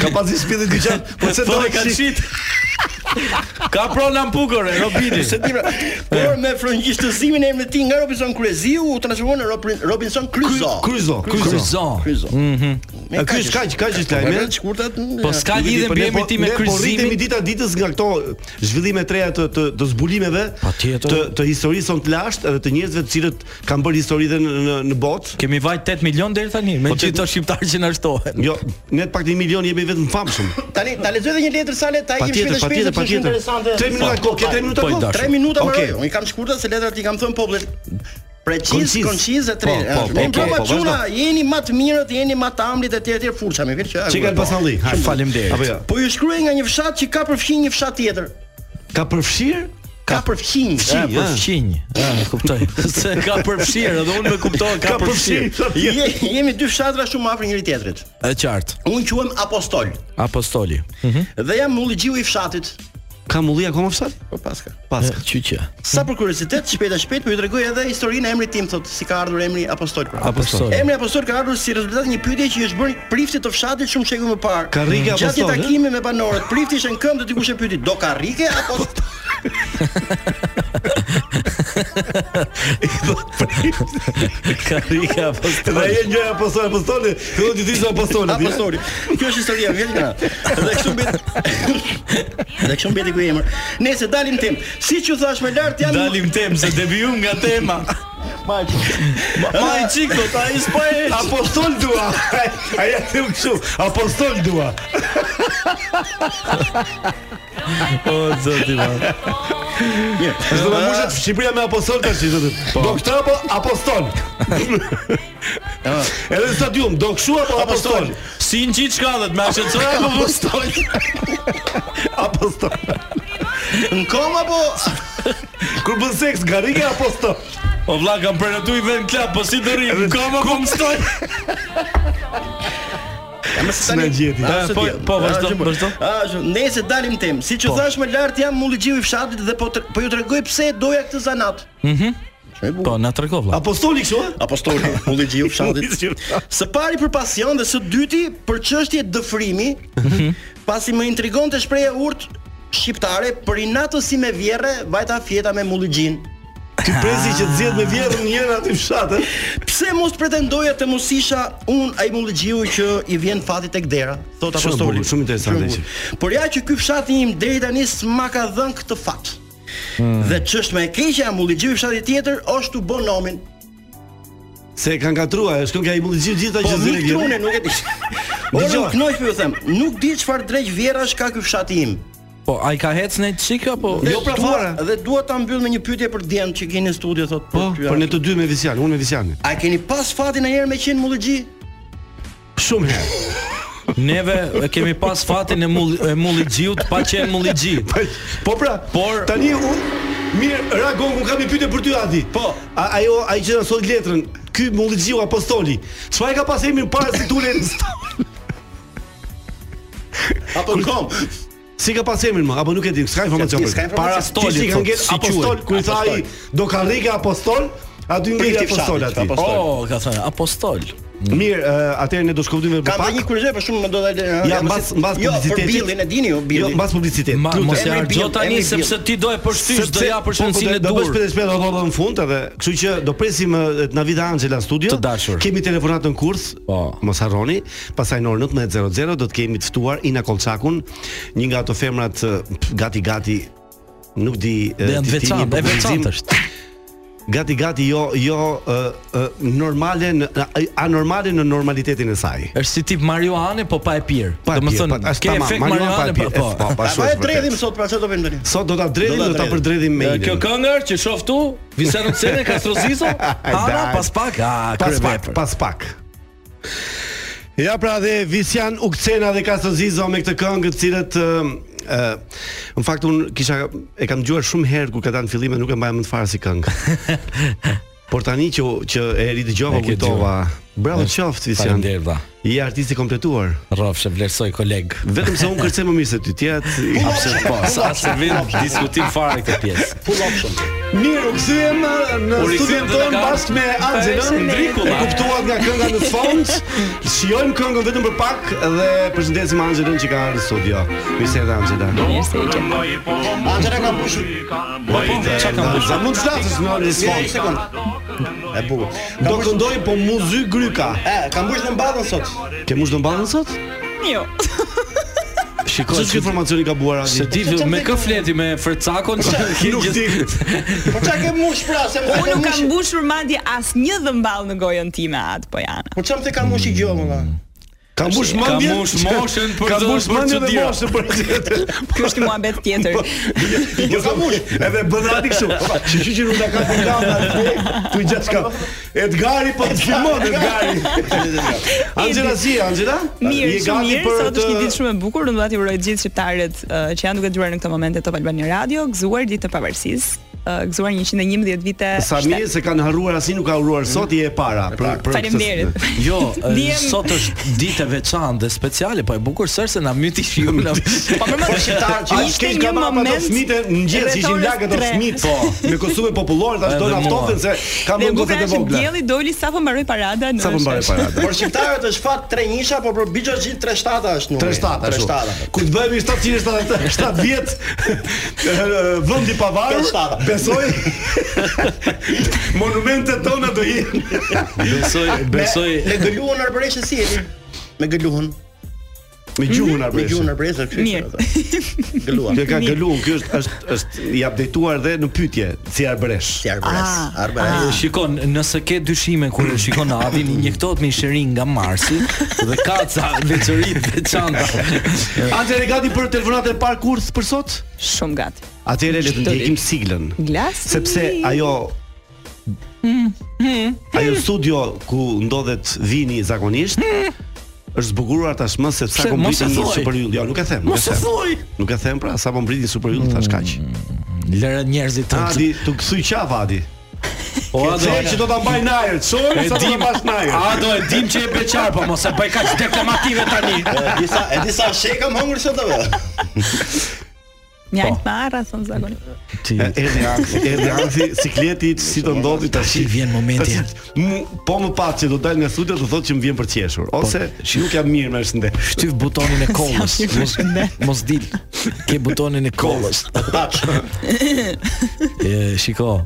Speaker 9: Ka pasi shpirtin dyqan. Po se do
Speaker 10: Po e
Speaker 9: ka
Speaker 10: ka shit. Ka prona në pukore, Robini.
Speaker 4: se ti pra, por me frëngjishtëzimin e emrit të tij nga Robinson Kryeziu u transformon në Robin- Robinson Crusoe.
Speaker 9: Kryzo, kryzo.
Speaker 10: Kryzon.
Speaker 4: Kryeziu.
Speaker 9: A ky është kaq, kaq është lajmi.
Speaker 4: Merë të shkurtat.
Speaker 10: Po s'ka lidhje
Speaker 9: Po,
Speaker 10: mbi
Speaker 9: ne po-
Speaker 10: emrin tim me
Speaker 9: ne Po rritemi
Speaker 10: kryzimin.
Speaker 9: dita ditës nga këto zhvillime të reja të të, të zbulimeve
Speaker 10: Patjetër.
Speaker 9: të të historisë son të lashtë edhe të njerëzve të cilët kanë bërë histori dhe në në, në botë.
Speaker 10: Kemi vajt 8 milion deri tani, me
Speaker 9: Po, tet-
Speaker 10: gjithë ato shqiptarë që na shtohen.
Speaker 9: Jo, ne të pak të një milion jemi vetëm famshëm.
Speaker 4: Tani ta lexoj edhe një letër sa le ta ikim
Speaker 9: Patjetër,
Speaker 4: shpejt shpejt
Speaker 9: patjetër,
Speaker 4: sepse është interesante.
Speaker 9: patjetër. 3 minuta kohë, ke 3 minuta
Speaker 10: Po, i
Speaker 9: kohë.
Speaker 10: dashur.
Speaker 4: 3 minuta më
Speaker 9: Okej.
Speaker 4: rojë. Unë i kam shkurtat se letrat i kam thënë popullit. Preciz,
Speaker 9: Konciz.
Speaker 4: konciz dhe tre.
Speaker 9: Po, po, po,
Speaker 4: Ne
Speaker 9: po,
Speaker 4: brapa
Speaker 9: po,
Speaker 4: çuna, jeni më të mirët, jeni më të amlit etj etj furça më vjen që. e,
Speaker 9: Çikal
Speaker 4: po.
Speaker 9: Pasalli. hajde.
Speaker 10: Faleminderit.
Speaker 9: Apo jo.
Speaker 4: Po ju shkruaj nga një fshat që ka përfshin një fshat tjetër.
Speaker 9: Ka përfshir?
Speaker 4: Ka përfshin.
Speaker 10: Ka përfshinj. Ah, e kuptoj. Se ka përfshirë, edhe unë më kuptoj ka përfshirë.
Speaker 4: Je, jemi dy fshatra shumë afër njëri tjetrit.
Speaker 10: E qartë.
Speaker 4: Unë quhem apostol
Speaker 10: Apostoli.
Speaker 4: dhe jam mullixhiu i fshatit.
Speaker 9: Ka mulli akoma fshat?
Speaker 4: Po paska.
Speaker 9: Pas.
Speaker 10: Qyçja.
Speaker 4: Sa për kuriozitet, shpejt e shpejt po ju tregoj edhe historinë e emrit tim thot, si ka ardhur emri apostol pra.
Speaker 10: Apostoli.
Speaker 4: Emri Apostol ka ardhur si rezultat i një pyetje që i është bërë priftit të fshatit shumë shekuj më parë.
Speaker 9: Ka rrike
Speaker 4: Gjatë
Speaker 9: Apostol,
Speaker 4: një takimi me banorët, prifti ishte në këmbë dhe dikush e pyeti, "Do ka rrike apo
Speaker 10: Karika
Speaker 9: Dhe
Speaker 10: apostoli.
Speaker 9: e një apostol apostoli, fillon ti thua apostoli. ti.
Speaker 4: apostoli?" Kjo është historia vjen nga. Dhe kështu mbet. Dhe kështu mbeti ky emër. Nëse dalim tim, siç ju thash më lart janë
Speaker 10: Dalim tem se devijum nga tema. Ma i çiko, ta i s'po e.
Speaker 9: Apostol dua. Ai ja them kështu, apostol dua.
Speaker 10: O zoti
Speaker 9: Është do
Speaker 10: ma.
Speaker 9: të
Speaker 10: Eh?
Speaker 9: mushet Shqipëria me apostol tash, thotë.
Speaker 10: Po.
Speaker 9: Do këtë apo apostol. Edhe në stadium, do kshu apo apostol?
Speaker 10: Si në qitë shkallët, me ashe cëra apo apostol?
Speaker 9: Apostol.
Speaker 4: në kom apo
Speaker 9: Kur bën seks, garike apostol.
Speaker 10: O vla, kam prenotu i vend klap, po si të rrim, kam apo më stoj?
Speaker 9: S'na gjeti.
Speaker 10: Ah, po, po, vazhdo, vazhdo.
Speaker 4: Ah, shumë. nëse dalim tim, siç ju thash më lart janë mullixhiu i fshatit dhe po tr- po ju tregoj pse doja këtë zanat. Mhm. Shumë e bukur.
Speaker 10: Po, na të rego, vla.
Speaker 9: Apostoli kështu? ë?
Speaker 4: Apostoli, mullixhiu i fshatit.
Speaker 9: Apostoli.
Speaker 4: Së pari për pasion dhe së dyti për çështje dëfrimi, pasi më intrigon të shpreja urt shqiptare për inatë si me vjerre, vajta fjeta me mulligjin.
Speaker 9: Ti presi që të zgjedh me vjetën një herë aty fshat, ë?
Speaker 4: Pse mos pretendoja të mos isha unë ai mulligjiu që i vjen fati tek dera, thot
Speaker 9: Shumë
Speaker 4: apostoli.
Speaker 9: bukur, shumë interesante
Speaker 4: bukur. Por ja që ky fshati im deri tani s'ma ka dhënë këtë fat.
Speaker 9: Hmm.
Speaker 4: Dhe ç'është më e keqja e mulligjiu i fshatit tjetër është u bë nomin.
Speaker 9: Se kanë katruar, shkon ka i mulli gjithë gjitha
Speaker 4: Po
Speaker 9: që
Speaker 4: mik
Speaker 9: zëri
Speaker 4: trune
Speaker 9: vjetën.
Speaker 4: nuk e di. Ora
Speaker 9: Dëgjoj.
Speaker 4: nuk knoj ju them, nuk di çfarë drejt vjerrash ka ky fshati im.
Speaker 10: Po, ai ka hecë në çik apo?
Speaker 4: Dhe
Speaker 9: Jo, pra,
Speaker 4: dua-
Speaker 9: fare.
Speaker 4: Dhe dua ta mbyll me një pyetje për djemt që keni në studio thotë.
Speaker 9: Po,
Speaker 4: ty,
Speaker 9: por
Speaker 4: a-
Speaker 9: ne të dy me Visian, unë me Visianin.
Speaker 4: A keni pas fatin e herë me qenë mullëgji?
Speaker 9: Shumë herë.
Speaker 10: Neve e kemi pas fatin e mulli e mulli gjiut pa qenë mulli gji.
Speaker 9: Po pra,
Speaker 10: Por-
Speaker 9: tani unë mirë, Ragon, unë kam një pyetje për ty Adi.
Speaker 4: Po.
Speaker 9: A, ajo ai që na sot letrën, ky Mullixhiu apostoli. Çfarë ka pas emrin para se tulen?
Speaker 4: Apo në kom?
Speaker 9: Si ka pas emrin më? Apo nuk e di, s'ka informacion
Speaker 4: S'ka-
Speaker 9: për.
Speaker 4: s'ka
Speaker 9: këtë.
Speaker 4: informacion.
Speaker 10: Parastoli,
Speaker 9: Ti si
Speaker 10: thotë,
Speaker 9: kanë gjetë
Speaker 10: si
Speaker 9: apostol,
Speaker 10: quhet.
Speaker 9: ku i tha ai, do ka rrike apostol, aty ngeli
Speaker 4: Prifti
Speaker 9: apostol
Speaker 4: fshatit,
Speaker 9: aty.
Speaker 4: apostol.
Speaker 10: Oh, ka thënë apostol.
Speaker 9: Mirë, ë, atëherë ne do shkojmë më
Speaker 4: Kam dhe një
Speaker 9: pak.
Speaker 4: kurioze për shumë më do ta
Speaker 9: Ja, mbas mbas
Speaker 4: Jo, për
Speaker 9: publicitetit.
Speaker 4: billin e dini ju
Speaker 9: Jo,
Speaker 4: billin.
Speaker 9: mbas publicitet.
Speaker 10: Ma,
Speaker 9: Lutem.
Speaker 10: mos e
Speaker 4: emri
Speaker 10: harxho
Speaker 4: Bill,
Speaker 10: tani
Speaker 4: emri
Speaker 10: sepse
Speaker 4: Bill.
Speaker 10: ti do e përshtysh, do japësh
Speaker 9: po, po,
Speaker 10: rëndësinë e
Speaker 9: Do bësh
Speaker 10: dur.
Speaker 9: 55 do do në fund edhe, kështu që do presim eh, të na vita Angela në studio.
Speaker 10: Të dashur.
Speaker 9: Kemi telefonatën kurs.
Speaker 10: Po.
Speaker 9: Mos harroni, pastaj në orën 19:00 do të kemi të ftuar Ina Kolçakun, një nga ato femrat eh, pf, gati gati nuk di eh,
Speaker 10: Dhe janë
Speaker 9: ti- ti një
Speaker 10: veçantë, e
Speaker 9: populizim,
Speaker 10: veçantë është.
Speaker 9: Gati gati jo jo eh, eh, normale në, anormale në normalitetin e saj.
Speaker 10: Është si tip marijuane, po pa e pirë.
Speaker 9: Pa e pirë,
Speaker 10: Domethënë,
Speaker 9: pa- është
Speaker 10: ke
Speaker 9: tamam,
Speaker 10: efekt
Speaker 9: marijuana pa e
Speaker 10: marijuane,
Speaker 9: pirë,
Speaker 10: po.
Speaker 9: e, po,
Speaker 4: A
Speaker 9: pa shumë
Speaker 4: pa e
Speaker 9: është
Speaker 4: dredhim
Speaker 9: vërtet.
Speaker 4: sot pra çfarë do bëjmë tani?
Speaker 9: Sot do ta dredhim,
Speaker 4: Do ta
Speaker 9: do ta
Speaker 4: dredhim.
Speaker 9: përdredhim me
Speaker 10: Dhe
Speaker 9: Inën.
Speaker 10: Kjo këngër që shoh tu, Vicente Cene Kastrozizo, ana
Speaker 3: po,
Speaker 9: Daj.
Speaker 10: pas pak, a
Speaker 9: pas pak,
Speaker 10: kryevepër.
Speaker 9: pas pak. Ja pra dhe Visian Ukcena dhe Kastozizo me këtë këngë të cilët ë ë, në fakt un kisha e kam dëgjuar shumë herë kur ka dalë në fillim e nuk e mbaja më të fare si këngë. Por tani që që e ridëgjova
Speaker 10: E ke
Speaker 9: kujtova. Bravo
Speaker 10: Është-
Speaker 9: qoftë Visian.
Speaker 10: Faleminderit vlla.
Speaker 9: Je artist i kompletuar.
Speaker 10: Rrofsh e vlerësoj koleg.
Speaker 9: Vetëm se un kërcej më mirë se ty. Ti je
Speaker 10: Absolut po, sa se vin diskutim fare këtë pjesë.
Speaker 9: Mirë, u kthyem në
Speaker 10: U
Speaker 9: studion
Speaker 10: rikthyem dhe
Speaker 9: tonë
Speaker 10: na ka-
Speaker 9: bashkë me Anxhelën Driku. E
Speaker 10: Faleminderit.
Speaker 9: kuptuat nga kënga në fond. Shijojmë këngën vetëm për pak dhe përshëndesim Anxhelën që ka ardhur në studio. Mirë se erdhe Anxhela.
Speaker 4: Angela ka mbushur.
Speaker 9: Çka ka bërë? Mund të flasësh në orën e
Speaker 4: Një
Speaker 9: sfond.
Speaker 4: sekond. E bukur. Ka
Speaker 9: Do
Speaker 4: mbushur.
Speaker 9: këndoj po muzy gryka.
Speaker 4: E, ka mbushur në mbathën sot.
Speaker 9: Ke mush do mbanë sot?
Speaker 5: Jo.
Speaker 10: Shikoj
Speaker 9: Çfarë që informacioni ka buar
Speaker 10: se
Speaker 9: Adi?
Speaker 10: ti me kë fleti me Fercakon
Speaker 9: Nuk di.
Speaker 4: Po çka ke mush pra, se më
Speaker 5: Unë nuk kam mbushur madje asnjë dhëmball në gojën time atë po janë.
Speaker 4: Po çam the ka mush i gjolla nga.
Speaker 9: Ka mbush mendjen.
Speaker 10: Ka mbush moshën për
Speaker 9: Ka
Speaker 10: të-
Speaker 9: mbush
Speaker 10: për
Speaker 9: mendjen dhe
Speaker 10: çuditëra.
Speaker 9: moshën për çuditëra.
Speaker 5: Ky është një muhabet tjetër.
Speaker 10: Po.
Speaker 9: Jo ka mush. Edhe bën ati kështu. Kështu që nuk ta ka të kamë tu gjatë ka. Edgari po të filmon Edgari. Angela si, je, Angela?
Speaker 5: Mirë,
Speaker 9: Je
Speaker 5: shumë
Speaker 9: gati
Speaker 5: mirë,
Speaker 9: për
Speaker 5: sot është
Speaker 9: të-
Speaker 5: një ditë shumë e bukur, unë dua t'i uroj gjithë shqiptarët ë, që janë duke dëgjuar në këtë moment e Top Albani Radio, gëzuar ditë të pavarësisë, ë, gëzuar 111 vite.
Speaker 9: Sa mirë se kanë harruar asnjë nuk ka harruar sot je e para. Për, për
Speaker 5: Faleminderit.
Speaker 10: Jo, e,
Speaker 5: Ndiem-
Speaker 10: sot është ditë e veçantë dhe speciale, po e bukur sërse na myti shiu na.
Speaker 5: Po më
Speaker 9: Po shqiptar që
Speaker 5: Ishte
Speaker 9: ishte
Speaker 5: një
Speaker 9: një moment ato
Speaker 5: moment
Speaker 9: fëmijë ngjesh ishin
Speaker 5: rreth
Speaker 9: lagë ato
Speaker 5: orës tre.
Speaker 9: fëmijë po me kostume popullore tash do
Speaker 10: Edhe
Speaker 9: na
Speaker 10: mua.
Speaker 9: ftohten se kam
Speaker 5: Dhe
Speaker 9: vënë
Speaker 5: bukur
Speaker 9: gocet e
Speaker 5: është
Speaker 9: vogla.
Speaker 5: dielli doli sapo mbaroi parada në.
Speaker 9: Sa po mbare
Speaker 5: sheshin.
Speaker 9: parada.
Speaker 4: Por shqiptarët është fat 3 nisha, por për Bixhoxhin 37 është numri.
Speaker 9: 37 ashtu.
Speaker 4: 37.
Speaker 9: Kur të bëhemi 777 vjet ë, vendi pavarur,
Speaker 4: 37.
Speaker 9: besoj monumentet tona do jenë.
Speaker 10: Besoj, besoj.
Speaker 4: Me gëluhun arbëreshë si jeni? Me gëluhun,
Speaker 9: Me gjuhën
Speaker 4: me gjuhën
Speaker 9: arbresh.
Speaker 4: arbëreshë kështu.
Speaker 5: Mirë.
Speaker 4: që- Gëluar.
Speaker 9: Kjo ka gëluar, kjo është është është i updateuar dhe në pyetje si arbresh.
Speaker 4: Si arbëresh.
Speaker 5: Ah,
Speaker 4: Arbëresh.
Speaker 10: Shikon, nëse ke dyshime kur e shikon Adin, injektohet me shirin nga Marsi dhe ka ca veçori të veçanta.
Speaker 9: Atëherë gati për telefonatën e parë kurs për sot?
Speaker 5: Shumë gati.
Speaker 9: Atëherë le të ndjekim siglën.
Speaker 5: Glas.
Speaker 9: sepse ajo ajo studio ku ndodhet vini zakonisht është zbukuruar tashmë sepse sa
Speaker 10: Pse,
Speaker 9: po
Speaker 10: mos
Speaker 9: mbriti
Speaker 10: e
Speaker 9: një
Speaker 10: thuaj.
Speaker 9: superyll. Jo, nuk e them, nuk e
Speaker 10: Mos e
Speaker 9: them.
Speaker 10: thuaj.
Speaker 9: Nuk e them pra, sa po mbriti një superyll tash kaq.
Speaker 10: Lëre Mm, njerëzit të
Speaker 9: Adi, tu kthy qaf Adi.
Speaker 10: O
Speaker 9: Po
Speaker 10: Ado.
Speaker 9: që do ta mbaj në ajër, çon
Speaker 10: E
Speaker 9: sa do ta
Speaker 10: dim,
Speaker 9: mbash në ajër.
Speaker 10: Ado, e dim që e beqar, po mos e bëj kaq deklamative tani.
Speaker 4: E disa e disa sheka më hungër sot apo?
Speaker 5: Mjalt marra thon zakon.
Speaker 10: Ti
Speaker 9: E- Erdhi ankthi, erdhi ankthi, sikleti si të ndodhi tash.
Speaker 10: Si vjen momenti.
Speaker 9: Tash, mu- Po më pas që do dal nga studio do thotë që më vjen për të qeshur
Speaker 10: Po.
Speaker 9: ose nuk jam mirë me shëndet.
Speaker 10: shtyp butonin e kollës. Mos mos dil. Ke butonin e kollës.
Speaker 4: Taç.
Speaker 10: E shiko.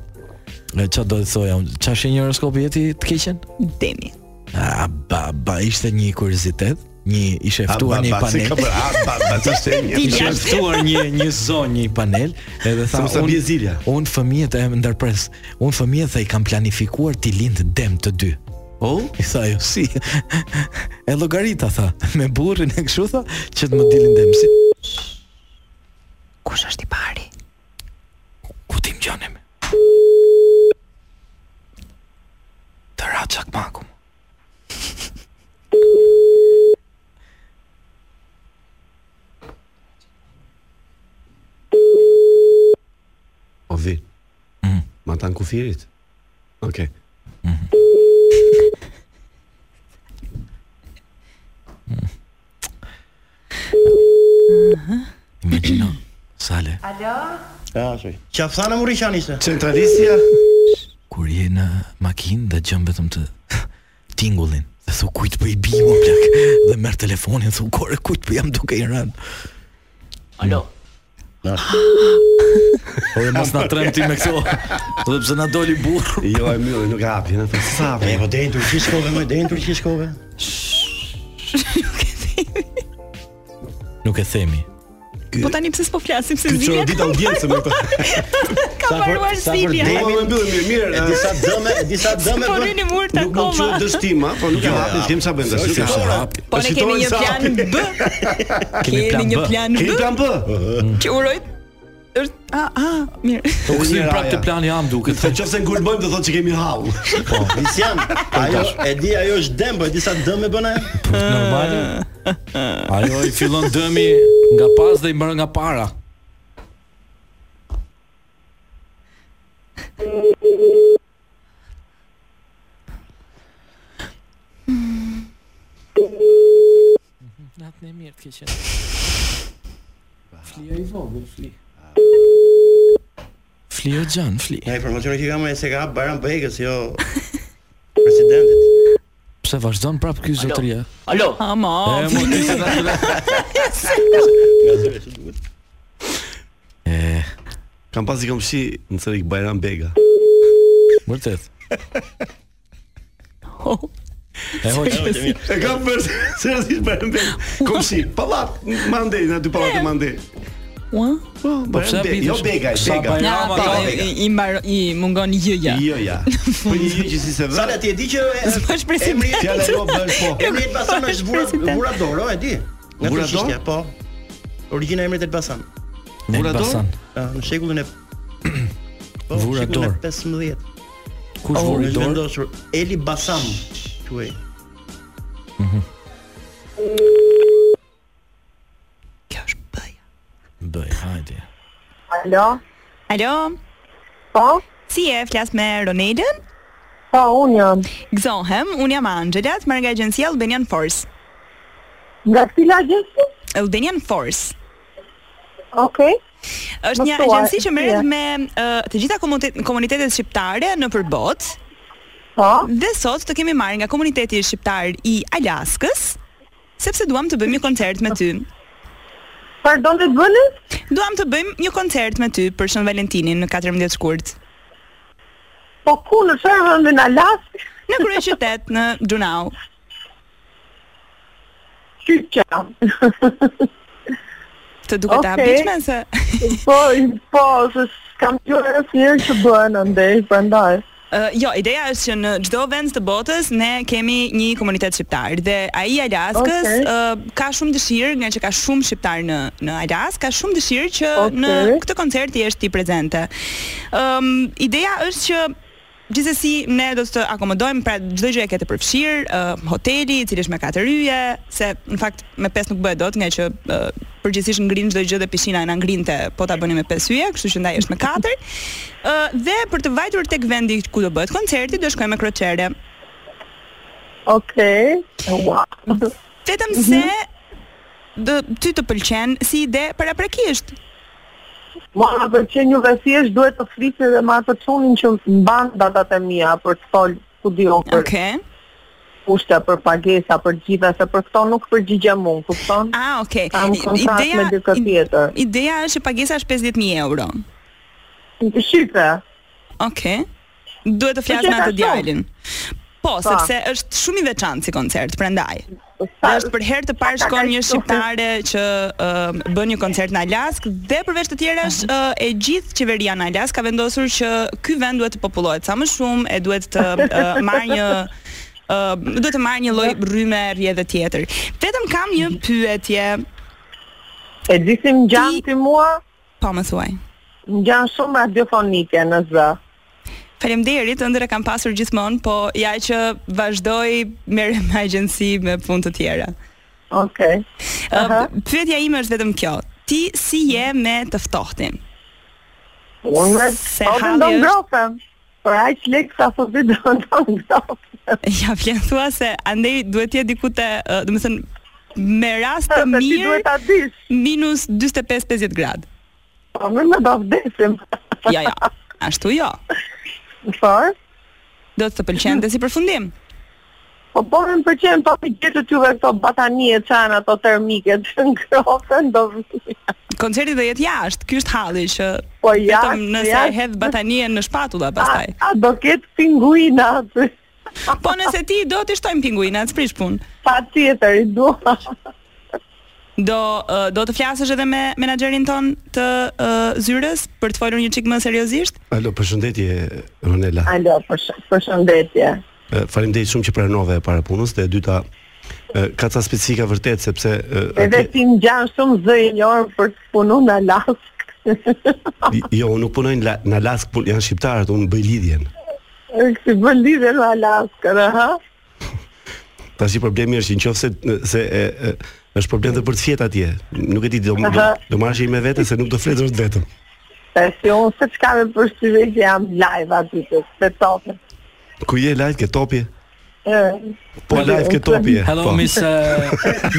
Speaker 10: E çfarë do të thoja unë? Çfarë shenjë horoskopi jeti të keqen?
Speaker 5: Demi.
Speaker 10: A ba ba ishte një kuriozitet, një ishe
Speaker 9: A,
Speaker 10: ftuar
Speaker 9: ba,
Speaker 10: në një
Speaker 9: ba, si ka
Speaker 10: panel.
Speaker 9: bërë? A, ba, ba, sa shenjë.
Speaker 10: Ishe ftuar një një zonë, një panel, edhe tha
Speaker 9: Se mos ta bie zilja."
Speaker 10: Un fëmijët e ndërpres. Un fëmijët tha i kam planifikuar ti lind dem të dy.
Speaker 9: Oh?
Speaker 10: I tha jo si E logarita tha Me burrin e kështu tha Që të më dilin demësit çakmaku.
Speaker 9: O vi. Ma tan kufirit. Okej.
Speaker 10: Imagjino. Sale,
Speaker 4: Ja, shoj. Qafthana Murishan ishte.
Speaker 9: Centralistja
Speaker 10: kur je në makinë dhe gjën vetëm të tingullin, dhe thu kujt po i bi më plak, dhe merr telefonin, thu kore kujt po jam duke i rënë. Alo. Po mos na trem ti me këto. Edhe pse na doli burr.
Speaker 9: jo e mylli, nuk e hapi, na thon sa.
Speaker 4: E, po deri në Turqi shkove, më deri në Turqi shkove.
Speaker 10: Nuk e themi.
Speaker 5: Po tani pse s'po flasim se
Speaker 9: Ky
Speaker 5: Zilia
Speaker 9: çon ditë audiencë me këtë.
Speaker 5: ka marruar Zilia.
Speaker 9: Po më mbyllë mirë, mirë. e,
Speaker 4: Disa dëme, disa dëme
Speaker 5: Po
Speaker 4: bën.
Speaker 5: rrini mur
Speaker 9: Nuk më
Speaker 5: takoma.
Speaker 9: quhet dështim, ha, po nuk e
Speaker 4: Jo,
Speaker 9: hapi, s'kem sa bën tash. nuk jo. e
Speaker 10: Kjo
Speaker 9: hapi.
Speaker 10: është hap.
Speaker 5: Po ne kemi një plan B. Kemi
Speaker 10: plan
Speaker 5: një
Speaker 10: B.
Speaker 5: plan
Speaker 9: Keni
Speaker 5: B
Speaker 9: plan B?
Speaker 5: që uroj është a a mirë.
Speaker 10: Po kthim
Speaker 9: Njëra,
Speaker 10: prapë te
Speaker 9: ja.
Speaker 10: plani jam duket.
Speaker 9: Se qofse ngulmojmë do thotë që kemi Po, hall.
Speaker 4: Visian, Po, ajo e di ajo është dëm, po e disa dëme bën ajo.
Speaker 10: Normale. Ajo i fillon dëmi nga pas dhe i mërë nga para. Natë në mirë të keqen. Flio i vogël, fli. Flio gjanë, fli.
Speaker 4: Ja, informacioni që kam e se ka hap Bajram Bekës, jo presidentit.
Speaker 10: Pse vazhdon prapë ky zotëria?
Speaker 5: Ama.
Speaker 10: E, mo, ky se ta- E,
Speaker 9: Kam pasi kam shi në Cerik Bajram Bega.
Speaker 10: vërtet. E hoqë.
Speaker 9: E kam për seriozisht Bajram Bega. Kam shi pallat mandej, na dy pallate mandej.
Speaker 5: Ua?
Speaker 9: Po,
Speaker 10: pse
Speaker 9: Bajram Bega, jo
Speaker 10: habitesh?
Speaker 9: Bega,
Speaker 10: Sa
Speaker 9: Bega.
Speaker 10: Bajram-
Speaker 5: Ja,
Speaker 10: Ama
Speaker 5: po,
Speaker 10: ka-
Speaker 5: i, i, mbar, i mungon jëja.
Speaker 9: Jo, ja. Po një gjë që si se vë.
Speaker 4: Sala ti e di që e-
Speaker 5: S'po është president.
Speaker 4: emri-
Speaker 9: Fjala jo bën po.
Speaker 4: Emri i Elbasan është Vurat
Speaker 5: President.
Speaker 4: Vurador, o, e di. Nga
Speaker 9: Vurador?
Speaker 4: Turqishtia, po. Origjina e emrit Elbasan.
Speaker 9: Vurador?
Speaker 10: Elbasan.
Speaker 4: Ah, Në shekullin e Po,
Speaker 10: Vurador.
Speaker 4: shekullin e 15.
Speaker 10: Kush
Speaker 4: Oh,
Speaker 10: vuri
Speaker 4: është
Speaker 10: dorë?
Speaker 4: vendosur Eli Basam, quhej.
Speaker 5: Kjo është bëja.
Speaker 10: Bëj, hajde.
Speaker 11: Alo,
Speaker 5: Alo,
Speaker 11: po,
Speaker 5: si e flas me Ronelën?
Speaker 11: po, unë jam.
Speaker 5: Gëzohem, unë jam Angela, të marrë nga agjencia Albanian Force.
Speaker 11: Nga cila gjësi?
Speaker 5: Albanian Force
Speaker 11: Okej,
Speaker 5: është një
Speaker 11: Më thuaj,
Speaker 5: agjenci që merret
Speaker 11: si e?
Speaker 5: me uh, të gjitha komunite- komunitetet shqiptare në përbot
Speaker 11: po,
Speaker 5: dhe sot të kemi marrë nga komuniteti shqiptar i Alaskës sepse duam të bëjmë një koncert me ty.
Speaker 11: Po. pardon të të bëni?
Speaker 5: Duam të bëjmë një koncert me ty për Shën Valentinin në 14 shkurt.
Speaker 11: Po ku në qërë vëndë në Alaskë?
Speaker 5: Në kryeqytet në Gjunau.
Speaker 11: Qyqa.
Speaker 5: Të duket okay.
Speaker 11: Okej.
Speaker 5: e habitshme se
Speaker 11: po, po, se kam gjurë e fjerë që bënë, ndej, përndaj.
Speaker 5: Ë, jo, ideja është që në çdo vend të botës ne kemi një komunitet shqiptar dhe ai i Alaskës
Speaker 11: Okej.
Speaker 5: ë, ka shumë dëshirë, nga që ka shumë shqiptar në në Alaskë, ka shumë dëshirë që
Speaker 11: Okej.
Speaker 5: në këtë koncert i është ti prezente. Ëm ideja është që Gjithsesi ne do të akomodojmë pra çdo gjë e ke të përfshirë, ë, hoteli i cili është me katër yje, se në fakt me pesë nuk bëhet dot, nga që ë, përgjithsisht ngrin çdo gjë dhe pishina na ngrinte, po ta bëni me pesë yje, kështu që ndaj është me katër. Ë dhe për të vajtur tek vendi ku do bëhet koncerti, do shkojmë me kroçere.
Speaker 11: Okej, ua.
Speaker 5: Vetëm
Speaker 11: Mhm.
Speaker 5: se do ty të pëlqen si ide paraprakisht.
Speaker 11: Ma për që një vesjesh duhet të flisë dhe ma të qunin që mban datat e mija për të folë studio për
Speaker 5: Okej.
Speaker 11: kushte, për pagesa, për gjitha, se për këto nuk përgjigja mund, kupton?
Speaker 5: Ah, okay.
Speaker 11: Kam
Speaker 5: I-
Speaker 11: kontakt me dikë
Speaker 5: i-
Speaker 11: tjetër.
Speaker 5: Ideja është që pagesa është 50000 euro.
Speaker 11: Shqype,
Speaker 5: Okej. Duhet të flas
Speaker 11: që
Speaker 5: me
Speaker 11: ka
Speaker 5: atë
Speaker 11: shumë.
Speaker 5: djalin. Po,
Speaker 11: Pa.
Speaker 5: sepse është shumë i veçantë si koncert, prandaj. Dhe
Speaker 11: sa-
Speaker 5: është për herë të parë
Speaker 11: sa ka
Speaker 5: shkon një
Speaker 11: kaq shumë?
Speaker 5: shqiptare që uh, bën një koncert në Alaskë dhe përveç të tjerash uh, e gjithë qeveria në Alaskë ka vendosur që ky vend duhet të popullohet sa më shumë e duhet të uh, marrë një uh, duhet të marrë një lloj rryme rrjedhe tjetër. Vetëm kam një pyetje,
Speaker 11: E disim gjanë
Speaker 5: Ti-
Speaker 11: ti mua,
Speaker 5: pa më po thuaj.
Speaker 11: gjanë shumë radiofonike në zë.
Speaker 5: Faleminderit, ëndër e kam pasur gjithmonë, po ja që vazhdoj merrem me agjenci me punë të tjera.
Speaker 11: Okej.
Speaker 12: Po.
Speaker 5: Okay. Pyetja ime është vetëm kjo. Ti si je me të ftohtin?
Speaker 11: Unë
Speaker 5: Se
Speaker 11: po
Speaker 5: halli
Speaker 11: do
Speaker 5: është-
Speaker 11: ngrohem. Për aq lek sa po vi do do ngrohem.
Speaker 5: Ja vjen thua se andej duhet të jetë diku te, ë, do të thënë me rast të
Speaker 11: Se ti
Speaker 5: mirë.
Speaker 11: duhet ta
Speaker 5: dish. Minus 45-50 gradë.
Speaker 11: Po më më do vdesim.
Speaker 5: Ja, ja. Ashtu jo.
Speaker 11: Çfarë?
Speaker 5: Do të të pëlqente si përfundim.
Speaker 11: Po po më pëlqen pa i gjetë të juve këto batanie çan ato termike të ngrohten do vi.
Speaker 5: Koncerti do jetë jashtë. Ky është halli që
Speaker 11: Po
Speaker 5: vetëm
Speaker 11: jashtë,
Speaker 5: nëse
Speaker 11: jashtë. Ah,
Speaker 5: e hedh batanien në shpatulla pastaj.
Speaker 11: A, a do ketë pinguina aty. ah,
Speaker 5: Po nëse ti do t'i shtojmë pinguinat, s'prish punë.
Speaker 11: Patjetër, i dua.
Speaker 5: Do ë, do të flasësh edhe me menaxherin ton të ë, zyrës për të folur një çik më seriozisht?
Speaker 9: Alo, përshëndetje Ronela.
Speaker 11: Alo, përshëndetje.
Speaker 9: Faleminderit shumë që pranove para punës dhe e dyta e, ka ca specifika vërtet sepse e,
Speaker 11: Edhe
Speaker 9: atje-
Speaker 11: ti më gjan shumë zë e njërë për të punu në Alaskë.
Speaker 9: jo, unë nuk punoj në La- në Alaskë, pun- janë shqiptarët, unë bëj lidhjen.
Speaker 11: Si bën lidhe në Alaskë, dhe ha?
Speaker 9: Tash i problemi është që nëse se e, e, është problem edhe për të fjetë atje. Nuk e di do do,
Speaker 11: Aha.
Speaker 9: do marrësh me veten se nuk do flet është vetëm.
Speaker 11: Se si unë se qka me përshtyve që jam live aty të se tope.
Speaker 9: Ku je live ke topi?
Speaker 11: E,
Speaker 9: Po live ke topi. je,
Speaker 10: Hello
Speaker 9: po.
Speaker 10: Miss uh,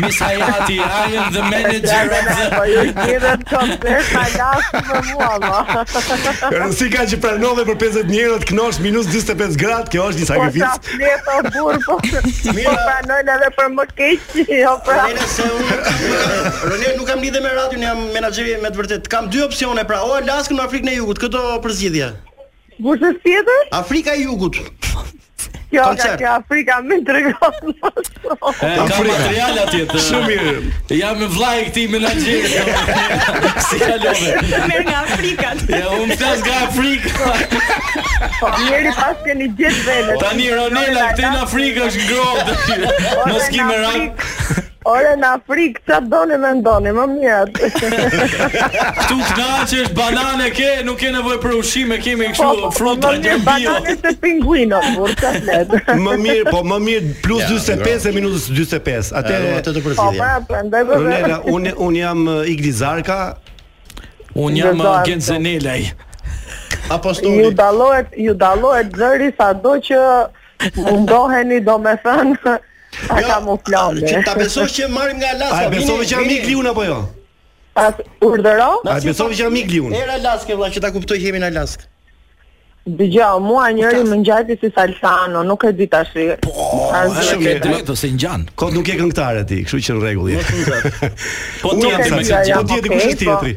Speaker 10: Miss Hayati, I am the manager of
Speaker 11: Po ju gjithë të koncert në Alaskë për mua, po. ma.
Speaker 9: Si ka që pranove për 50 njerët, knosh minus 45 gradë, kjo është
Speaker 11: Po
Speaker 9: një
Speaker 11: sa
Speaker 9: sakrificë.
Speaker 11: fletë o burë, po po
Speaker 4: Mira.
Speaker 11: pranojnë edhe për më keqë, jo pra.
Speaker 4: Ronela se unë Ronel nuk kam lidhje me radion, jam menaxheri me të vërtet. Kam dy opsione pra, o Alaskën o Afrikën e Jugut, këto përzgjidhja.
Speaker 11: Bushës tjetër?
Speaker 4: Afrika e Jugut.
Speaker 11: Kjo ka
Speaker 4: Koncert.
Speaker 11: kjo Afrika më të regonë.
Speaker 10: E, ka material atje të.
Speaker 9: Shumë mirë.
Speaker 10: Jam me vllai i këtij menaxheri. jo. si kalove?
Speaker 5: Merr nga Afrika.
Speaker 10: Ja, unë flas nga Afrika.
Speaker 11: Po njeri pas keni gjithë vendet.
Speaker 10: Tani Ronela këtej në Afrikë është ngrohtë aty.
Speaker 11: Ore,
Speaker 10: Mos ki
Speaker 11: në
Speaker 10: me rak.
Speaker 11: Afrikë- Ore në Afrikë, që doni me ndoni, më mirë
Speaker 10: Ktu knaqesh banane ke, nuk ke nevojë për ushqime, kemi kështu
Speaker 11: Po, më
Speaker 10: fruta të
Speaker 11: mirë
Speaker 10: bio.
Speaker 11: banane se pinguino, burë, që fletë.
Speaker 9: Më mirë, po më mirë plus
Speaker 4: Ja,
Speaker 9: 45 e minus 45. Atë
Speaker 4: Atë atë të
Speaker 11: Po,
Speaker 4: përzgjidhja.
Speaker 11: pra, prandaj po.
Speaker 9: Ronela, unë un jam eh, Igli Zarka,
Speaker 10: Unë jam
Speaker 11: Ndërtohem,
Speaker 10: Gent Zenelaj.
Speaker 11: Ju
Speaker 4: Apostoli.
Speaker 11: dallohet, ju dallohet zëri sado që mundoheni, domethënë, ta kamufloni.
Speaker 4: që ta besosh që marrim nga Alaska.
Speaker 9: a e besove
Speaker 4: vini-
Speaker 9: që jam
Speaker 4: vini-
Speaker 9: Igli unë apo jo?
Speaker 11: Pas urdhëro,
Speaker 9: A e besove që jam Igli unë?
Speaker 4: Era Alaskë vëlla që ta kuptoj që jemi në Alaskë.
Speaker 11: dëgjoj, mua njëri më ngjati si Salsano, nuk e di tash. Po,
Speaker 9: shumë
Speaker 10: Ke
Speaker 9: mirë.
Speaker 10: drejt ose ngjan.
Speaker 9: Kot nuk je këngëtare ti, kështu që në rregull je.
Speaker 10: Po
Speaker 9: Unë
Speaker 10: ti
Speaker 9: jam
Speaker 10: jam me
Speaker 9: Salsano.
Speaker 10: këtë
Speaker 9: Po
Speaker 11: jam
Speaker 10: gjë.
Speaker 9: ti e di
Speaker 11: okay,
Speaker 9: kush është
Speaker 11: po.
Speaker 9: tjetri.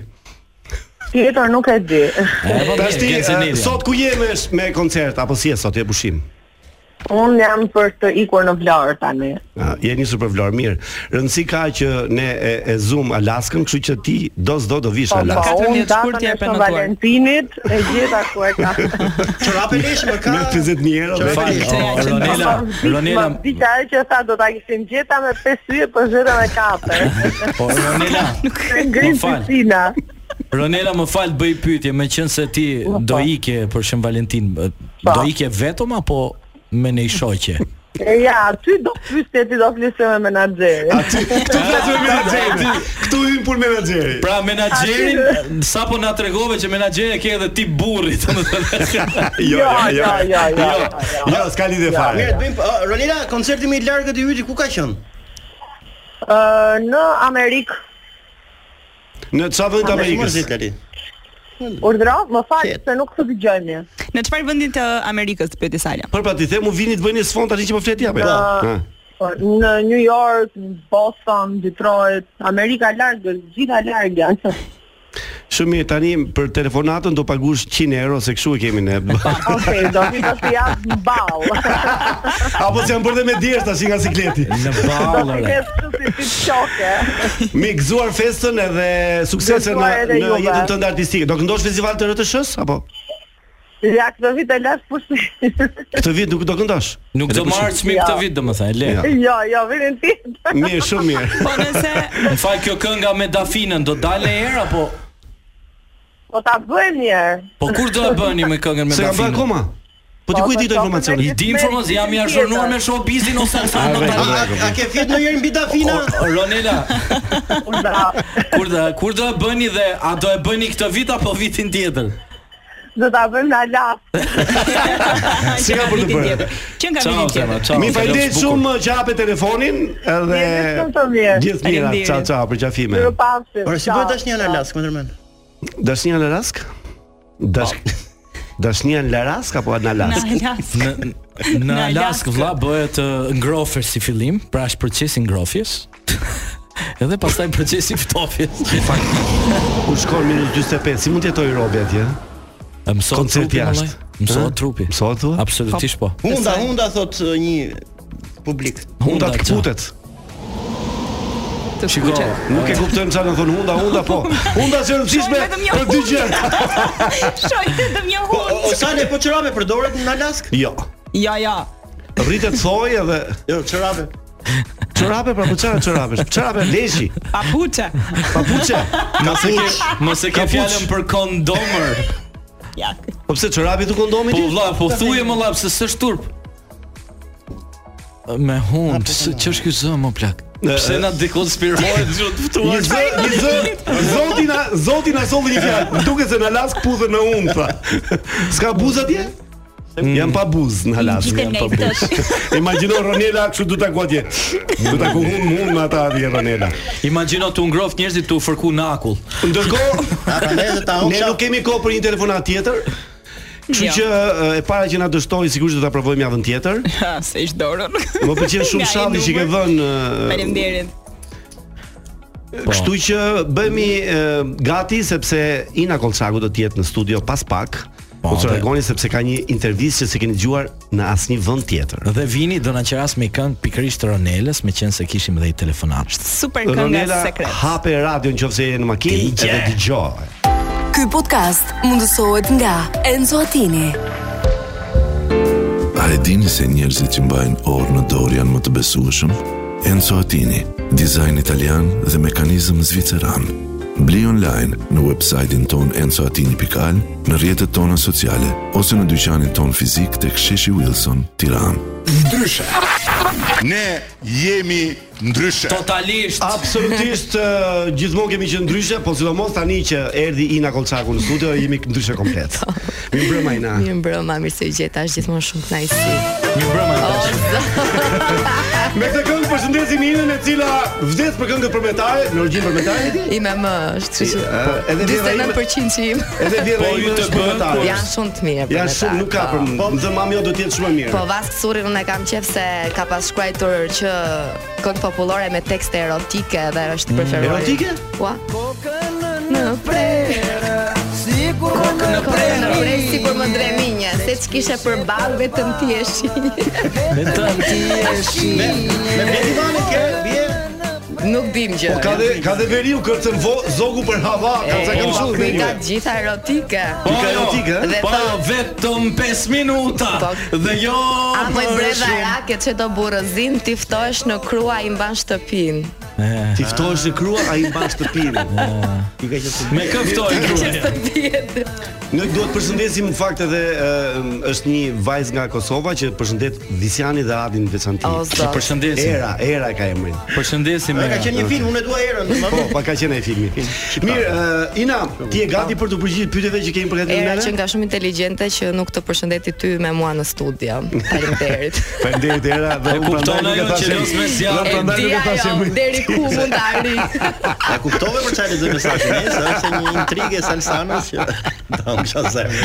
Speaker 11: Tjetër nuk e di.
Speaker 9: Tash ti
Speaker 10: Gent
Speaker 9: eh,
Speaker 10: Zenelaj.
Speaker 9: sot ku je me sh- me koncert apo si je sot je pushim?
Speaker 11: Unë jam për të ikur në Vlorë tani.
Speaker 9: Ah, je nisur për Vlorë, mirë. Rëndësi ka që ne e, e zoom Alaskën, kështu që ti do s'do do vish
Speaker 11: Po,
Speaker 9: në
Speaker 11: po,
Speaker 9: Alaskë.
Speaker 5: 14
Speaker 11: unë datën
Speaker 5: shkurtje
Speaker 11: e
Speaker 5: e
Speaker 11: Shën
Speaker 5: prenotuar.
Speaker 11: Valentinit e gjitha ku e ka.
Speaker 4: Çorape lesh më ka.
Speaker 9: Me 50 mijë euro.
Speaker 4: Çorapë
Speaker 9: Fal,
Speaker 4: lesh.
Speaker 10: o,
Speaker 5: Ronela,
Speaker 10: Ronela,
Speaker 11: Po,
Speaker 10: Ronela,
Speaker 11: Dita ajo që tha do ta kishim gjeta me 5 yje, po zëra me 4.
Speaker 10: o, Po, Ronela.
Speaker 11: Ngrin
Speaker 10: Po, fal.
Speaker 11: piscina.
Speaker 10: Ronela më fal bëj pyetje, me qenë se ti do ike për Shën Valentin, do ike vetëm apo me një shoqe?
Speaker 11: E ja, aty do pyetje ti do flisë me menaxherin.
Speaker 9: Aty këtu flas me menaxherin. Këtu hyn pun menaxheri.
Speaker 10: Pra menaxherin, sapo po na tregove që menaxheri e ke edhe ti burri, domethënë.
Speaker 9: Jo,
Speaker 11: Jo,
Speaker 9: jo, jo.
Speaker 11: jo, jo,
Speaker 9: Jo,
Speaker 11: jo,
Speaker 9: jo, s'ka lidhje fare.
Speaker 4: Mirë, të bëjmë o, Ronela, koncerti më i largët i yti ku ka qenë?
Speaker 11: Ë, në Amerikë
Speaker 9: Në çfarë vend të Amerikës?
Speaker 4: Mos e lari.
Speaker 11: urdhro, më fal
Speaker 4: Shit.
Speaker 11: se nuk të dëgjoj mirë.
Speaker 5: Në çfarë vendi të Amerikës të pyeti Sala?
Speaker 9: Por pra ti them u vini të bëni sfond tani që po flet japë.
Speaker 11: Po. Po, Në New York, Boston, Detroit, Amerika largë, gjitha largë janë.
Speaker 9: Shumë mirë, tani për telefonatën do pagush 100 euro se kështu e kemi ne.
Speaker 11: Okej, do ti do të jap në ball.
Speaker 9: Apo se janë bërë dhe me djerë tash nga sikleti.
Speaker 10: Në
Speaker 11: Do të
Speaker 10: ballë.
Speaker 11: kesh kështu si tip qoke.
Speaker 9: Mi gëzuar festën edhe suksese në,
Speaker 11: Gëzuar edhe
Speaker 9: në
Speaker 11: juve.
Speaker 9: jetën tënde artistike. Do këndosh festival të RTS-s apo?
Speaker 11: Ja këtë vit e lash pushim.
Speaker 9: Këtë vit nuk do këndosh.
Speaker 10: Nuk do
Speaker 9: Edhe kush-
Speaker 10: marr çmim këtë vit domethënë, le.
Speaker 9: Ja.
Speaker 11: jo, jo, vitin tjetër.
Speaker 9: Mirë, shumë mirë.
Speaker 5: Po nëse
Speaker 10: Më fal kjo kënga me Dafinën do dalë herë apo
Speaker 11: Po ta bëjmë një herë.
Speaker 10: po kur do e bëni me këngën me
Speaker 9: Se ka bërë
Speaker 10: Dafinën?
Speaker 9: akoma? Po ti ku e di këto informacione?
Speaker 10: I di informacion, jam i ashornuar me showbizin ose sa
Speaker 11: po,
Speaker 10: do ta.
Speaker 4: A ke fjetë në njërë mbi dafina?
Speaker 10: Ronela. Kur do kur do e bëni dhe a do e bëni këtë vit apo vitin tjetër?
Speaker 11: Do ta bëjmë në Alas.
Speaker 9: Si ka për të bërë?
Speaker 11: po,
Speaker 5: Që nga vitin tjetër.
Speaker 9: Mi falënderit shumë që hapet telefonin edhe
Speaker 11: Jeni shumë të po, mirë.
Speaker 9: Gjithë mira.
Speaker 5: Faleminderit.
Speaker 9: Ciao ciao për qafime.
Speaker 11: Ju pafshim.
Speaker 4: Por si bëhet dashnia në Alaskë, më tërmen?
Speaker 9: Dashnia në Larask? Dash Dashnia në Larask apo në
Speaker 5: Në
Speaker 9: Alask?
Speaker 5: Alaskë.
Speaker 10: Në në
Speaker 5: Në
Speaker 10: Alaskë
Speaker 5: Alaskë.
Speaker 10: vlla bëhet ë, ngrofer si fillim, pra është procesi ngrofjes. Edhe pastaj procesi ftofjes.
Speaker 9: Ku shkon minus 45? Si mund të jetoj robi atje?
Speaker 10: E Mësohet
Speaker 9: Koncert
Speaker 10: trupi
Speaker 9: jashtë.
Speaker 10: mallaj. Mësohet
Speaker 9: Ë?
Speaker 10: trupi.
Speaker 9: Mësohet, thua?
Speaker 10: Absolutisht po.
Speaker 4: Hunda, hunda, thot eh, një publik.
Speaker 9: Hunda të
Speaker 10: qa.
Speaker 9: kputet.
Speaker 5: Të
Speaker 9: Shiko,
Speaker 5: kuqet.
Speaker 9: nuk e kuptojmë sa në thonë hunda, hunda po. Hunda është e rëndësishme
Speaker 5: Vetëm një
Speaker 9: për dy gjë.
Speaker 5: Shoj vetëm një
Speaker 4: Po, o-
Speaker 5: hund.
Speaker 4: o sale po çorave përdoret në Alaskë?
Speaker 9: Jo.
Speaker 5: Ja, ja.
Speaker 9: Rritet thoj edhe
Speaker 4: Jo, çorave.
Speaker 9: çorape pra po çfarë çorape? Çorape leshi,
Speaker 5: Papuçe.
Speaker 9: papuçe, kapuç.
Speaker 10: Mos e ke
Speaker 9: Kapuç.
Speaker 10: fjalën për kondomer.
Speaker 5: Ja.
Speaker 9: Po pse çorapi tu kondomi
Speaker 10: Po
Speaker 9: ti?
Speaker 10: vlla, po thuje më llap se s'është turp. Me hund, pse ç'është ky zë më plak? Pse na dekonspirohet çu të
Speaker 5: Po,
Speaker 9: Një
Speaker 10: ftuar?
Speaker 9: zë, një zë, zoti na zoti na solli një fjalë. Më Duket se në Alask puthen në unë tha. S'ka buzë atje?
Speaker 5: Mm.
Speaker 9: Jam pa buzë në Alask.
Speaker 5: Gjithë
Speaker 9: jam pa
Speaker 5: lejtë.
Speaker 9: buzë. Imagjino Ronela kështu du ta ku atje. Du ta ku hun hun me ata atje Ronela.
Speaker 10: Imagjino tu ngroft njerëzit tu fërku në akull.
Speaker 9: Ndërkohë,
Speaker 4: A prandaj ta
Speaker 9: ne nuk
Speaker 4: humb.
Speaker 9: kemi kohë për një telefonat tjetër. Kështu
Speaker 5: Jo.
Speaker 9: që e para që na dështoi sigurisht do ta provojmë javën tjetër.
Speaker 5: Ha, se ish dorën.
Speaker 9: Më pëlqen shumë
Speaker 5: Nga ai
Speaker 9: shalli që ke
Speaker 5: numër.
Speaker 9: vënë. e,
Speaker 5: Faleminderit.
Speaker 9: Kështu që bëhemi e, gati sepse Ina Kolçaku do të jetë në studio pas pak. Po
Speaker 10: Po,
Speaker 9: të
Speaker 10: dhe-
Speaker 9: regoni sepse ka një intervistë që s'e keni dëgjuar në asnjë vend tjetër.
Speaker 10: Dhe vini do na qeras me këngë pikërisht të Ronelës, meqense se kishim edhe i telefonat.
Speaker 5: Super kënga
Speaker 9: Ronela
Speaker 5: sekret.
Speaker 9: hape radio nëse je në makinë
Speaker 10: Digje.
Speaker 9: edhe dëgjoj.
Speaker 1: Ky podcast mundësohet nga Enzo Attini.
Speaker 2: A e dini se njerëzit që mbajnë orë në dorë janë më të besueshëm? Enzo Attini, dizajn italian dhe mekanizëm zviceran. Bli online në website-in ton enzoatini.al, në rjetët tona sociale, ose në dyqanin ton fizik të ksheshi Wilson, tiran.
Speaker 7: Ne jemi ndryshe.
Speaker 10: Totalisht.
Speaker 9: Absolutisht e, gjithmonë kemi qenë ndryshe, po sidomos tani që erdhi Ina Kolçaku në studio jemi ndryshe komplet. Mirëmbrëma Ina.
Speaker 12: Mirë mbrëma, mirë se u gjeta, është gjithmonë shumë kënaqësi. Oh,
Speaker 9: Me këtë këngë përshëndesim Inën e cila vdes për këngët përmetare, në origjinë përmetare. e di?
Speaker 12: Ime më është, kështu që
Speaker 9: Po, edhe vjedha ime-
Speaker 12: 49% që im
Speaker 9: Edhe vjedha
Speaker 10: Po, ju
Speaker 9: ime
Speaker 10: të
Speaker 9: është
Speaker 10: bën,
Speaker 9: përmetare.
Speaker 10: po,
Speaker 12: janë shumë të mirë
Speaker 9: Ja
Speaker 12: për
Speaker 9: shumë nuk ka për më. Dhe mami jo do të jetë shumë e mirë.
Speaker 12: Po Vask Surrin unë e kam qef se ka pas shkruajtur që këngë popullore me tekste erotike dhe është preferuar.
Speaker 9: Erotike?
Speaker 12: Ua. Në prerë, sikur në prerë, Pra, në prerë sikur më dreminje, se ç'kishe për ballë vetëm ti e shi.
Speaker 10: Vetëm ti
Speaker 4: Me bleti vani ke, bie.
Speaker 12: Nuk dim gjë.
Speaker 9: Ka dhe ka dhe veriu kërcën vo- zogu për hava, ka
Speaker 12: E, po,
Speaker 9: ca kam shumë.
Speaker 12: me ka gjitha erotike.
Speaker 9: Po erotike, ë?
Speaker 12: Dhe
Speaker 10: Po
Speaker 12: thon-
Speaker 10: vetëm 5 minuta.
Speaker 12: Po.
Speaker 10: Dhe jo
Speaker 12: A më
Speaker 10: për
Speaker 12: breza
Speaker 10: shumë.
Speaker 12: rake që do burrëzin ti ftohesh në krua i mban shtëpin.
Speaker 9: Ti ftohesh në krua, ai mban shtëpinë.
Speaker 10: Me kë ftoj gruaja?
Speaker 9: Ne duhet përshëndesim në fakt edhe ë, është një vajzë nga Kosova që përshëndet Visianin dhe Adin Veçanti.
Speaker 12: O
Speaker 10: Ju
Speaker 12: zot.
Speaker 10: përshëndesim.
Speaker 9: Era, era ka emrin.
Speaker 10: Përshëndesim.
Speaker 4: Ka
Speaker 10: Era.
Speaker 4: qenë një film, unë e dua erën. ma-
Speaker 9: Po, pa ka qenë ai filmi. Mirë, ë, Ina, ti je gati për të përgjigjur pyetjeve që kemi përgatitur
Speaker 12: Era
Speaker 9: neve?
Speaker 12: që nga shumë inteligjente që nuk të përshëndeti ty me mua në studio. Faleminderit.
Speaker 9: Faleminderit Era dhe
Speaker 10: E
Speaker 9: unë
Speaker 10: kupton
Speaker 9: prandaj nuk
Speaker 10: ajo
Speaker 9: e
Speaker 10: që
Speaker 9: thashë.
Speaker 10: los me zjarr.
Speaker 9: Dhe
Speaker 12: E
Speaker 9: prandaj
Speaker 12: di
Speaker 9: nuk e
Speaker 12: ajo
Speaker 9: thashë.
Speaker 12: deri ku mund të arri.
Speaker 4: A kuptove për çfarë lexoj mesazhin? e? Se është një intrigë e Salsanës që ta humsha zemrën.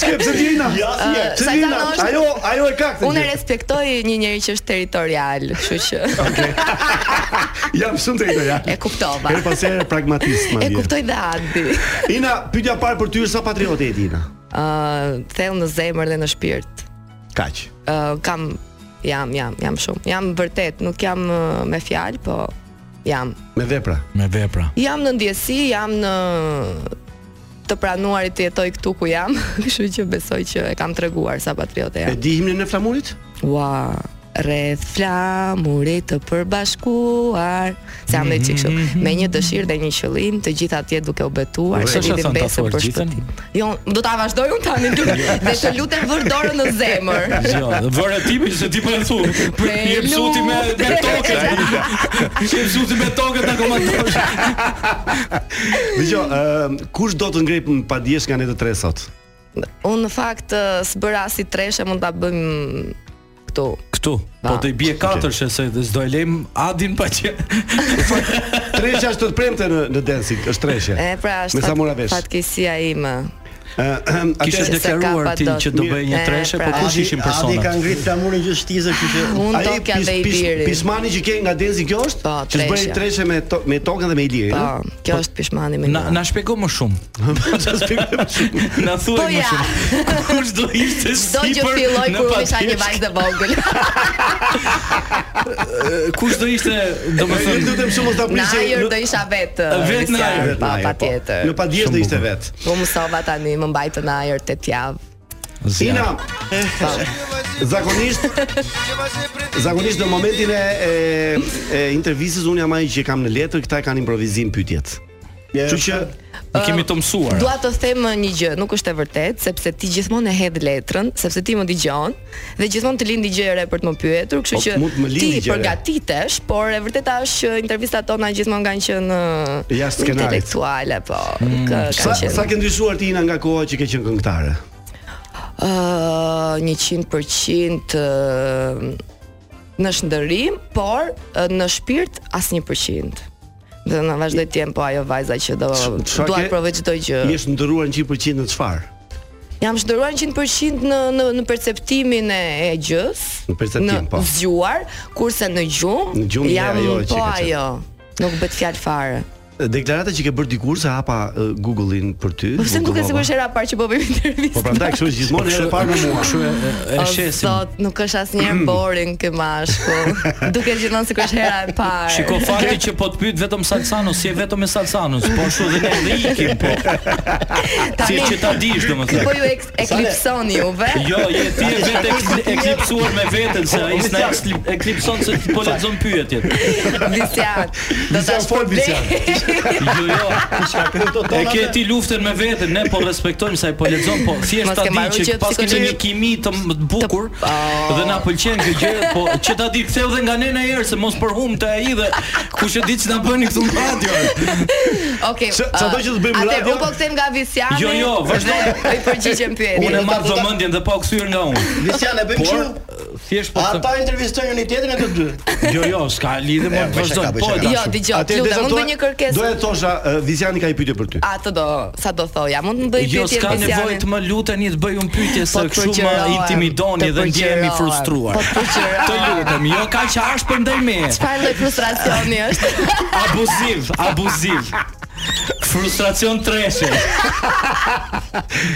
Speaker 9: Çka pse ti Ina? Ja, si je. Pse ti Ina?
Speaker 12: Sajtana është-
Speaker 9: Ajo, ajo e ka këtë.
Speaker 12: Unë e
Speaker 9: gjë.
Speaker 12: respektoj një njeri që është territorial, kështu që
Speaker 9: Jam shumë të ja.
Speaker 12: e kuptova.
Speaker 9: Her pas here pragmatist
Speaker 12: E
Speaker 9: madje.
Speaker 12: kuptoj dhe Adi.
Speaker 9: Ina, pyetja parë për ty është sa patriote je ti Ina?
Speaker 12: Ë, thellë në zemër dhe në shpirt.
Speaker 9: Kaq.
Speaker 12: Ë, kam jam jam jam shumë. Jam vërtet, nuk jam ë, me fjalë, po jam.
Speaker 9: Me vepra.
Speaker 10: Me vepra.
Speaker 12: Jam në ndjesi, jam në të pranuarit të jetoj këtu ku jam, kështu që besoj që e kam treguar sa patriote
Speaker 9: E
Speaker 12: jam.
Speaker 9: di himnin e flamurit?
Speaker 12: Ua, rreth flamurit të përbashkuar se jam dhe çik kështu
Speaker 10: Mhm.
Speaker 12: me një dëshirë dhe një qëllim të gjitha atje duke u betuar
Speaker 10: Ure,
Speaker 12: se
Speaker 10: çfarë
Speaker 12: lidhim
Speaker 10: thon ta
Speaker 12: besën
Speaker 10: thuar
Speaker 12: për
Speaker 10: gjithën?
Speaker 12: shtëpi jo do ta vazhdoj unë tani dy dhe të lutem vër dorën në zemër
Speaker 10: Jo, vëre tipi që ti po e thu. Për jep suti me me tokën. Jep suti me tokën ta komandosh.
Speaker 9: Dgjoj, ë Jo, ehm, kush do të ngrip në padjes nga ne të tre sot?
Speaker 12: unë në fakt ë, s'bëra si treshe mund ta bëjmë këtu
Speaker 10: Ktu, po të i bie katërsh se s'do e lejm Adin pa që.
Speaker 9: Tresha është të premte në në dancing, është treshe.
Speaker 12: e pra është
Speaker 9: me sa
Speaker 12: fat-
Speaker 9: mora vesh. Ehm,
Speaker 12: fatkeqësia ime
Speaker 9: Ë,
Speaker 12: Se
Speaker 10: Kishe
Speaker 12: ka pa
Speaker 10: deklaruar ti
Speaker 12: dot.
Speaker 10: që do bëj një
Speaker 12: E,
Speaker 10: treshe, po
Speaker 12: pra.
Speaker 10: kush ishin
Speaker 4: Adi ka
Speaker 10: personat?
Speaker 4: ngrit flamurin gjithë shtizë, kështu që
Speaker 12: unë
Speaker 9: Ai
Speaker 12: tokja
Speaker 9: pis-
Speaker 12: dhe i
Speaker 9: pis-
Speaker 12: birit
Speaker 9: Pismani që ke nga dancing kjo është?
Speaker 12: Po,
Speaker 9: Që bëj
Speaker 12: tresha.
Speaker 9: treshe me to, me tokën dhe me ilirin.
Speaker 12: Po,
Speaker 9: ëh?
Speaker 12: kjo është pishmani më.
Speaker 10: Na na shpjego më shumë.
Speaker 9: Çfarë shpjegoj më shumë?
Speaker 10: Na thuaj
Speaker 12: Po
Speaker 10: më
Speaker 12: ja.
Speaker 10: shumë. Kush do ishte
Speaker 12: Do gjë
Speaker 10: sipër?
Speaker 12: filloj
Speaker 10: në
Speaker 12: kur u isha një
Speaker 10: patjetër?
Speaker 12: vajzë e vogël.
Speaker 10: Kush do ishte,
Speaker 9: Ju
Speaker 10: domethënë,
Speaker 9: lutem shumë mos ta
Speaker 12: Në
Speaker 9: prisni.
Speaker 12: ajër
Speaker 9: nuk-
Speaker 12: do isha vetë.
Speaker 10: Vetë në ajër.
Speaker 12: Po,
Speaker 9: Në ajër, po.
Speaker 12: patjetër.
Speaker 9: Në padjes do ishte vet.
Speaker 12: Po mësova tani, më mbajtë në ajër tet javë.
Speaker 9: Ina, zakonisht Zakonisht në momentin e, e, e intervistës unë jam ai që kam në letër, këta e kanë improvizim pyetjet. Kështu që
Speaker 10: i kemi të mësuar.
Speaker 12: Dua të them një gjë, nuk është e vërtetë, sepse ti gjithmonë e hedh letrën, sepse ti më dëgjon dhe gjithmonë të lindi gjë e re për të më pyetur, kështu
Speaker 9: Po,
Speaker 12: që
Speaker 9: mund të më lindi
Speaker 12: ti
Speaker 9: gjë e re.
Speaker 12: përgatitesh, por e vërteta është që intervistat tona gjithmonë kanë qenë
Speaker 9: Jashtë skenarit. Hmm.
Speaker 12: intelektuale, po. Ka
Speaker 9: sa
Speaker 12: kanë qenë.
Speaker 9: sa ke ndryshuar ti Ina nga koha që ke qenë këngëtare?
Speaker 12: Ë, 100% ë, në shndërim, por ë, në shpirt asnjë Dhe në vazhdoj të jem po ajo vajza që do
Speaker 9: Çfarë
Speaker 12: dua
Speaker 9: ke-
Speaker 12: të provoj çdo gjë.
Speaker 9: Je ndëruar në 100% në çfarë?
Speaker 12: Jam shndëruar 100% në në në perceptimin e, e gjës.
Speaker 9: Në perceptim, po.
Speaker 12: zgjuar, kurse në gjumë
Speaker 9: Në gjumë je
Speaker 12: jam
Speaker 9: ajo që
Speaker 12: po
Speaker 9: ka qenë.
Speaker 12: ajo. Nuk bëhet fjalë fare.
Speaker 9: Deklarata që ke bërë dikur se hapa ë, Google-in për ty.
Speaker 12: Po pse më duket
Speaker 9: Google-ova.
Speaker 12: sigurisht era parë që po bëjmë intervistë.
Speaker 9: Po prandaj kështu është gjithmonë herë e parë me mua.
Speaker 10: Kështu e
Speaker 9: Po,
Speaker 10: e- e
Speaker 12: O,
Speaker 10: shesim.
Speaker 12: Zot, nuk është asnjëherë boring ky mashkull. Duket gjithmonë sikur është hera e parë.
Speaker 10: Shiko fakti që po të pyet vetëm Salsano, si e vetëm me Salsanos, po ashtu dhe ne dhe ikim po. Si që ta dish
Speaker 12: Ky po
Speaker 10: domethënë.
Speaker 12: ju eks- eklipsoni juve.
Speaker 10: Jo, je ti e vetë ek- eklipsuar me veten se ai s'na ekli- eklipson se po lexon pyetjet.
Speaker 12: Visian. Do ta
Speaker 9: Visian, fol, Visian.
Speaker 12: shpërbej.
Speaker 10: Jo, jo. E ke ti luftën me veten, ne po respektojmë se ai po lexon, po thjesht
Speaker 12: Mos
Speaker 10: ta
Speaker 12: ke marrë
Speaker 10: di
Speaker 12: që
Speaker 10: që pas kemi
Speaker 12: psikologjia-
Speaker 10: një kimi të m- të bukur
Speaker 12: Ah.
Speaker 10: dhe na pëlqen kjo gjë, po që ta di ktheu dhe nga nena herë se mos përhumte ai dhe kush e di ç'na bëni këtu në radio.
Speaker 12: Okej.
Speaker 9: Sa- sa do që të bëjmë
Speaker 12: atëherë,
Speaker 9: radio?
Speaker 12: Unë po kthem nga Visiani.
Speaker 10: Jo, jo, vazhdo.
Speaker 12: dhe I përgjigjem
Speaker 10: Unë e
Speaker 12: pyetjes.
Speaker 10: marr vëmendjen dhe po kthyer nga unë.
Speaker 4: Visian e bëjmë
Speaker 10: Por
Speaker 4: kështu.
Speaker 10: thjesht po
Speaker 4: Ata
Speaker 10: të
Speaker 4: intervistojnë një tjetrin e të dy.
Speaker 10: Jo, jo, s'ka lidhje më
Speaker 4: bëj
Speaker 10: vazhdo.
Speaker 4: shaka, bëj
Speaker 10: Po e
Speaker 4: shaka.
Speaker 10: dashur.
Speaker 12: Jo, dëgjoj,
Speaker 9: Atëherë,
Speaker 12: lutem,
Speaker 9: Deza,
Speaker 12: mund bëj
Speaker 9: doja-
Speaker 12: një kërkesë.
Speaker 9: Doja të thosha ë, Viziani ka një pyetje për ty.
Speaker 12: A të do, sa do thoja, mund të më bëj
Speaker 10: Jo,
Speaker 12: pyetje Po,
Speaker 10: s'ka nevojë të më luteni të bëj un pyetje se
Speaker 12: të
Speaker 10: kështu më
Speaker 12: përgjërohem,
Speaker 10: intimidoni
Speaker 12: të
Speaker 10: dhe ndjehemi
Speaker 12: përgjërohem,
Speaker 10: frustruar.
Speaker 12: po të përgjërohem.
Speaker 10: Të lutem, jo kaq arsh prandaj me.
Speaker 12: Çfarë lloj frustracioni është?
Speaker 10: Abuziv, abuziv. Frustracion treshe.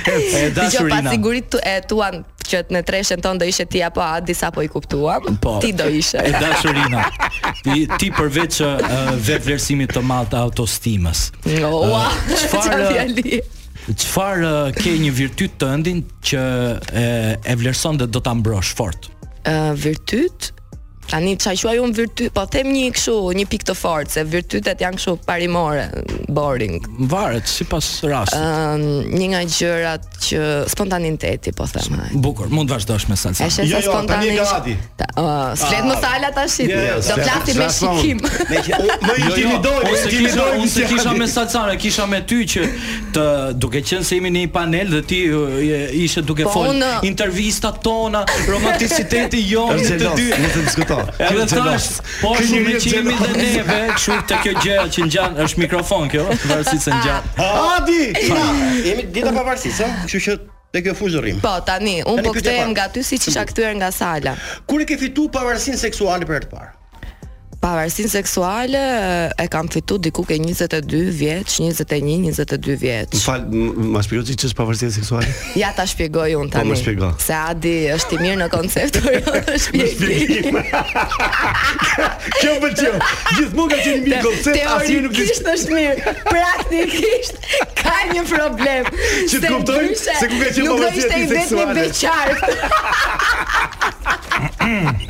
Speaker 10: e
Speaker 12: Dëgjoj pa
Speaker 10: dashurina.
Speaker 12: sigurit tu, e tuan që në treshen ton do ishe ti apo Adi sapo i kuptuam.
Speaker 10: Po.
Speaker 12: Ti do ishe.
Speaker 10: E dashurina. Ti, ti përveç uh, dhe vlerësimit të madh të autostimës.
Speaker 12: Ua,
Speaker 10: çfarë-
Speaker 12: çfarë fjali?
Speaker 10: Çfarë uh, ke një virtyt të ndin që e, e vlerëson dhe do ta mbrosh fort?
Speaker 12: Ë, virtyt Tani qa quaj unë virtyt, po them një kështu, një pikë të fortë, se virtytet janë kështu parimore, boring.
Speaker 10: Varet sipas rastit.
Speaker 12: Ëm, një nga gjërat që spontaniteti, po them. hajde.
Speaker 10: Bukur, mund vazhdosh me salsa.
Speaker 12: E shesa
Speaker 9: Jo, jo, tani e
Speaker 12: spontanisht.
Speaker 9: ka Adi.
Speaker 12: Ta, uh, s'flet më sala tash.
Speaker 9: jo,
Speaker 12: Do
Speaker 9: s'flet,
Speaker 12: flasim me
Speaker 9: s'flas më unë.
Speaker 12: shikim.
Speaker 4: Me që u-
Speaker 9: Më intimidoj,
Speaker 10: unë se Jo, kisha,
Speaker 9: intimidoj
Speaker 10: unë se
Speaker 9: Viziani.
Speaker 10: kisha me Salsana, kisha me ty që të duke qenë se jemi në një panel dhe ti uh, je- ishe duke
Speaker 12: Po,
Speaker 10: fol
Speaker 12: unë-
Speaker 10: intervistat tona, romanticiteti jonë
Speaker 9: Është
Speaker 10: të
Speaker 9: xhelos,
Speaker 10: dy.
Speaker 9: mos e diskuto.
Speaker 10: Edhe
Speaker 9: Është
Speaker 10: tash,
Speaker 9: xhelos.
Speaker 10: po
Speaker 9: Ky
Speaker 10: shumë
Speaker 9: njeri
Speaker 10: që jemi
Speaker 9: xhelos.
Speaker 10: dhe neve, kështu te kjo gjë që ngjan është mikrofon kjo, varësisht se ngjan.
Speaker 9: Adi,
Speaker 4: Ina, jemi dita pavarësisë, ha? Kështu që te kjo fushë rrim.
Speaker 12: Po tani, unë
Speaker 4: Tani
Speaker 12: po
Speaker 4: pyetje
Speaker 12: kthehem
Speaker 4: parë.
Speaker 12: nga ty siç isha kthyer nga sala.
Speaker 4: Kur e ke fituar pavarësinë seksuale për herë të parë?
Speaker 12: Pavarësinë seksuale e kam fitu diku ke 22 vjeç, 21, 22
Speaker 9: Më
Speaker 12: vjeç.
Speaker 9: fal, m- ma shpjegoj ç'është pavarësia seksuale?
Speaker 12: Ja ta shpjegoj unë
Speaker 9: Po,
Speaker 12: tani.
Speaker 9: më shpjego.
Speaker 12: Se Adi është i mirë në koncept por jo në shpjegim.
Speaker 9: Kjo më pëlqeu. Gjithmonë ka qenë një koncept, asnjë nuk di.
Speaker 12: Teorikisht është mirë, praktikisht ka një problem.
Speaker 9: Që të kuptoj
Speaker 12: ndryshe
Speaker 9: se ku ka qenë
Speaker 12: nuk do
Speaker 9: pavarësia
Speaker 12: ishte
Speaker 9: ti
Speaker 12: i vetmi
Speaker 9: seksuale.
Speaker 12: beqar.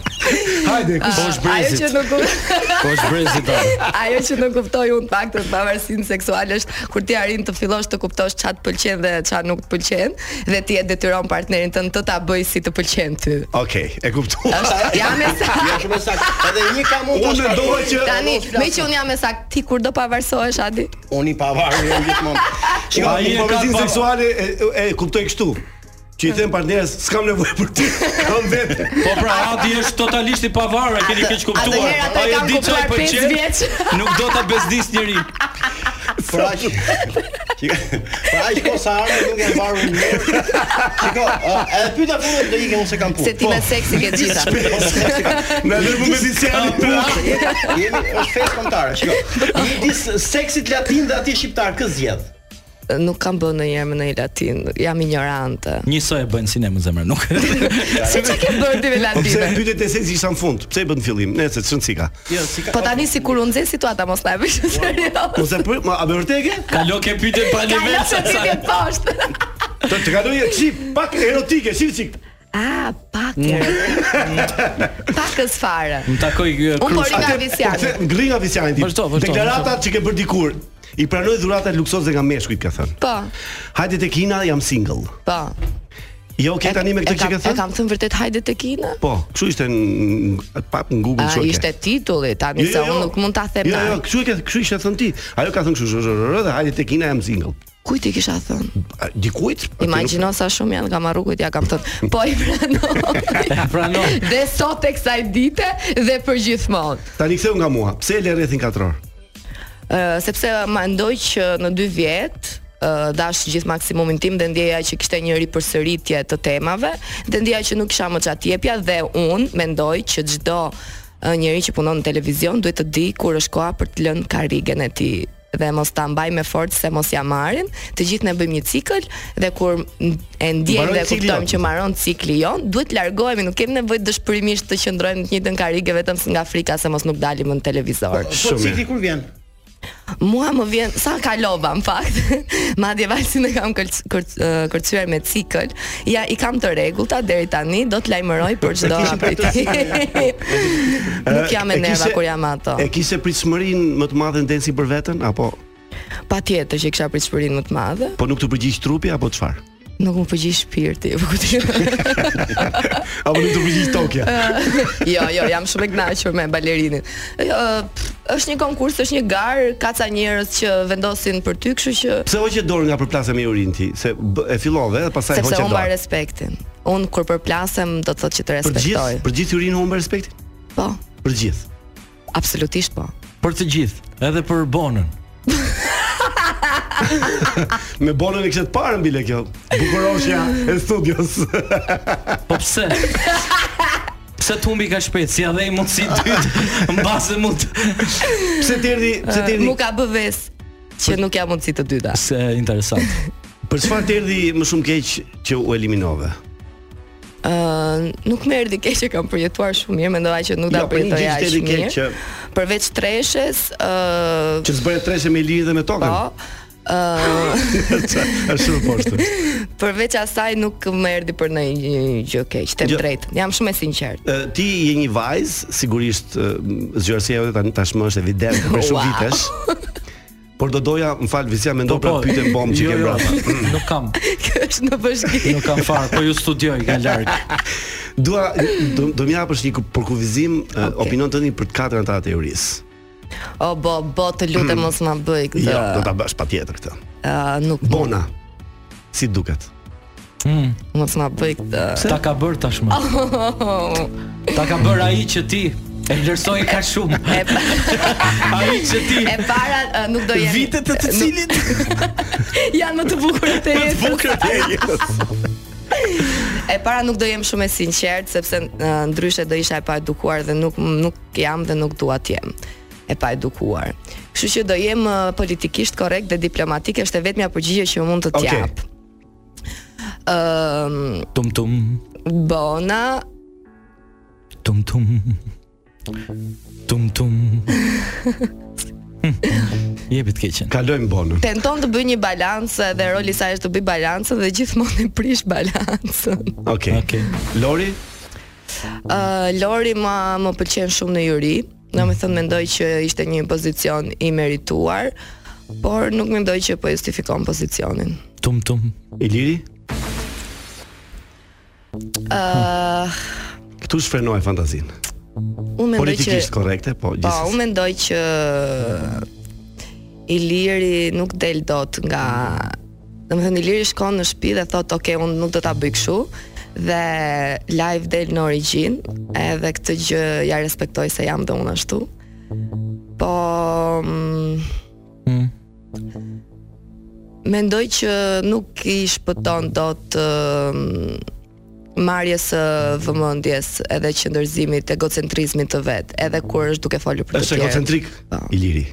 Speaker 9: Hajde, kush
Speaker 12: Ah, Ajo që nuk
Speaker 10: Po është brezi ta.
Speaker 12: Ajo që nuk kuptoj unë pak të pavarësinë seksuale është kur ti arrin të fillosh të kuptosh ç'a të pëlqen dhe ç'a nuk të pëlqen dhe ti e detyron partnerin tënd të ta bëj si të pëlqen ty.
Speaker 9: Okej, e kuptova.
Speaker 12: Është jam e saktë.
Speaker 4: Ja Jo, shumë e saktë. Edhe një kam unë.
Speaker 9: Unë mendova që
Speaker 12: Tani, me që unë jam e saktë, ti kur do pavarësohesh Adi?
Speaker 4: Unë i pavarur jam gjithmonë.
Speaker 9: Shiko,
Speaker 4: Ai e ka
Speaker 9: pavarësinë
Speaker 4: pa-
Speaker 9: seksuale e, e kuptoj kështu. Që i them partnerës, s'kam nevojë për ty. Kam vetë.
Speaker 10: Po pra Adi është totalisht i pavarur, e keni keq kuptuar.
Speaker 12: Atëherë atë e
Speaker 10: Ai e
Speaker 12: kam
Speaker 10: di
Speaker 12: kuptuar
Speaker 10: çfarë i
Speaker 12: 5
Speaker 10: pëlqen.
Speaker 12: vjeç.
Speaker 10: Nuk do ta bezdis njëri.
Speaker 4: Por aq. pra- Shiko, Por aq kosare nuk e mbaru mirë. Shiko, ë, edhe pyeta fundit do ikim unë se kam punë. Po,
Speaker 12: Se ti me seksi ke gjitha.
Speaker 9: Na dhe me medicinë
Speaker 4: Po, jemi- Jemi është festë kombëtare, shiko. Një disë seksit latin dhe aty shqiptar kë zgjedh.
Speaker 12: Nuk kam bën ndonjëherë me në latin, jam ignorante.
Speaker 10: Njësoj e bëjnë sinem në zemër, nuk.
Speaker 12: Si çka ke bërë ti me
Speaker 9: Po pse
Speaker 12: latinën?
Speaker 9: pyetet e seksi isha në fund? Pse e bën në fillim? Nëse çon sika.
Speaker 4: Jo, si ka.
Speaker 12: Po tani sikur u nxes situata mos na e bësh serioz.
Speaker 9: Mos e pyet, ma a vërtet ke?
Speaker 10: Kalo ke pyetje pa
Speaker 12: Ka
Speaker 10: nivel
Speaker 12: lësë
Speaker 10: sa
Speaker 12: ti
Speaker 10: sa.
Speaker 12: vjet poshtë.
Speaker 9: Të të kaloj si pak erotike, si sik.
Speaker 12: Ah, pak. Pakës fare.
Speaker 10: Më takoj ky
Speaker 12: Unë po
Speaker 10: krush.
Speaker 12: ri nga Visiani.
Speaker 9: Ngri nga visiani ti.
Speaker 10: Vazhdo, vazhdo,
Speaker 9: Deklaratat që ke bërë dikur. I pranoj dhuratat luksoze nga meshkujt ka thënë.
Speaker 12: Po,
Speaker 9: Hajde tek Kina, jam single.
Speaker 12: po.
Speaker 9: Jo, ke tani me këtë që ke
Speaker 12: E
Speaker 9: thënë?
Speaker 12: kam thënë vërtet hajde te Kina?
Speaker 9: Po, kështu ishte në pa në Google
Speaker 12: A,
Speaker 9: kështu e ke.
Speaker 12: ishte titulli tani se unë nuk mund ta them
Speaker 9: Jo, jo,
Speaker 12: tani.
Speaker 9: kështu e ke, kështu ishte thënë ti. Ajo ka thënë kështu, zhë, zhë, zhë, dhe hajde tek Kina jam single.
Speaker 12: Kujt i kisha thënë?
Speaker 9: A, Dikujt? A, ti nuk-
Speaker 12: Imagjino sa shumë janë nga Marrukut, ja kam thënë. Po i pranoj.
Speaker 10: Pranon.
Speaker 12: Dhe sot e kësaj dite dhe për gjithmonë.
Speaker 9: Tani ktheu nga mua. Pse e le rrethin katror?
Speaker 12: Ë, sepse mendoj që në 2 vjet ë, dash gjithë maksimumin tim dhe ndjeja që kishte një ripërsëritje të temave dhe ndjeja që nuk kisha më çat jepja dhe unë mendoj që çdo ë, njeri që punon në televizion duhet të di kur është koha për të lënë karigen e tij dhe mos ta mbaj me forcë se mos ja marrin. Të gjithë ne bëjmë një cikël dhe kur n- e ndjejmë
Speaker 9: Mbaron
Speaker 12: dhe
Speaker 9: cikli
Speaker 12: kuptojmë
Speaker 9: jon.
Speaker 12: që mbaron cikli jon, duhet largohemi, nuk kemi nevojë dëshpërimisht të qëndrojmë në të njëjtën karige vetëm nga frika se mos nuk dalim në televizor.
Speaker 4: Po
Speaker 9: Shumë
Speaker 4: cikli
Speaker 9: mirë.
Speaker 4: kur vjen?
Speaker 12: Mua më vjen sa kalova në fakt. Madje valsin e kam kërc- kërc- ë, kërcyer me cikël. Ja i kam të rregullta deri tani, do të lajmëroj për çdo apeti. Nuk jam e
Speaker 9: E- e
Speaker 12: nerva
Speaker 9: kishe-
Speaker 12: kur jam ato.
Speaker 9: E kishe pritshmërinë më të madhe ndensi për veten apo
Speaker 12: Patjetër që kisha pritshmërinë më të madhe.
Speaker 9: po nuk të përgjigj trupi apo çfarë?
Speaker 12: Nuk më përgjigj shpirti, po ku ti.
Speaker 9: Apo nuk të përgjigj tokja?
Speaker 12: jo, jo, jam shumë e kënaqur me balerinin. Jo, ë, pff, është një konkurs, është një garë, ka ca njerëz që vendosin për ty, kështu që
Speaker 9: Pse hoqe dorë nga përplasja me urin ti? Se b- e fillove dhe pastaj
Speaker 12: sepse
Speaker 9: hoqe
Speaker 12: unë mba
Speaker 9: dorë.
Speaker 12: respektin. Unë kur përplasem do të thotë që të
Speaker 9: Për
Speaker 12: respektoj.
Speaker 9: gjithë, për gjithë urin humbe respektin?
Speaker 12: Po,
Speaker 9: Për gjithë.
Speaker 12: absolutisht po.
Speaker 10: Për të gjithë, edhe për Bonën.
Speaker 9: Me bonën e kishte të parën bile kjo. Bukuroshja e studios.
Speaker 10: Po pse? Pse të humbi ka shpejt, si adhe i mundësi dytë, mbase mund të...
Speaker 9: Pse ti erdhi, pse ti
Speaker 12: Mu
Speaker 9: erdhi?
Speaker 12: ka bë ves që nuk jam mundësi të dyta.
Speaker 10: Se interesant.
Speaker 9: Për çfarë të erdhi më shumë keq që u eliminove?
Speaker 12: Ë, nuk më erdhi keq që kam përjetuar shumë mirë, mendova që nuk ta
Speaker 9: Jo, po një
Speaker 12: përjetoj
Speaker 9: gjë që
Speaker 12: aq
Speaker 9: t'erdhi keq
Speaker 12: mirë.
Speaker 9: që-
Speaker 12: Përveç treshes, ë,
Speaker 9: Që zbëre treshe me lirin dhe me tokën.
Speaker 12: po, ë,
Speaker 9: Është shumë poshtë.
Speaker 12: përveç asaj nuk më erdhi për ndonjë gjë keq, të
Speaker 9: Jo.
Speaker 12: drejt. Jam shumë e sinqert.
Speaker 9: Ë, Ti je një vajzë, sigurisht ë, zgjuarësia jote tani tashmë është evidente për shumë
Speaker 12: Wow.
Speaker 9: vitesh. Por do doja, më fal, Visia mendon për atë pyetjen bomb që
Speaker 10: jo,
Speaker 9: ke
Speaker 10: jo,
Speaker 9: brapa.
Speaker 10: Nuk kam,
Speaker 12: Kjo është në bashki.
Speaker 10: nuk kam farë, po ju studioj nga larg.
Speaker 9: Dua do, do më japësh një ku- përkufizim okay.
Speaker 12: Okej.
Speaker 9: opinion tënd për të katërën të teorisë.
Speaker 12: O bo, bo, të lutem mos ma bëj këtë.
Speaker 9: Mm. Jo, do ta bësh patjetër këtë.
Speaker 12: Ë, nuk
Speaker 9: Bona. Si duket?
Speaker 12: mos ma bëj këtë.
Speaker 10: Ta ka bërë tashmë.
Speaker 12: Oh.
Speaker 10: Ta ka bërë ai që ti e vlerësoj ka shumë.
Speaker 12: E, pa-
Speaker 10: Ai që ti
Speaker 12: e para ë, nuk do jemi.
Speaker 10: vitet të të cilit
Speaker 12: janë më të bukura të jetës.
Speaker 9: Duket e jetës.
Speaker 12: E para nuk do jem shumë e sinqert sepse ë, ndryshe do isha e pa edukuar dhe nuk nuk jam dhe nuk dua të jem e pa edukuar. Kështu që do jem ë, politikisht korrekt dhe diplomatik, është e vetmja përgjigje që mund të
Speaker 9: Okej.
Speaker 12: t'jap. Ëm
Speaker 10: tum tum
Speaker 12: Bona
Speaker 10: tum tum tum tum. Jepi të keqen.
Speaker 9: Kalojm bonën.
Speaker 12: tenton të bëj një balancë dhe roli sa është të bëj balancën dhe gjithmonë e prish balancën.
Speaker 9: Okej.
Speaker 10: Okej.
Speaker 9: Lori,
Speaker 12: Uh, Lori ma më pëlqen shumë në juri. Do të thënë mendoj që ishte një pozicion i merituar, por nuk mendoj që po justifikon pozicionin.
Speaker 10: Tum tum.
Speaker 9: Iliri?
Speaker 12: Uh,
Speaker 9: Këtu shfrenoj fantazinë.
Speaker 12: unë mendoj që
Speaker 9: Politikisht korrekte,
Speaker 12: Po,
Speaker 9: po gjithsesi.
Speaker 12: unë mendoj që Iliri nuk del dot nga domethënë Iliri shkon në shtëpi dhe thot, "Ok, unë nuk do ta bëj kështu." dhe live del në origjinë, edhe këtë gjë ja respektoj se jam dhe unë ashtu. Po mm, mendoj që nuk i shpëton dot ëm, marrjes së vëmendjes edhe qëndërzimit egocentrizmit të vet, edhe kur është duke folur për të
Speaker 9: Është
Speaker 12: tjerët.
Speaker 9: egocentrik
Speaker 12: po.
Speaker 9: Iliri.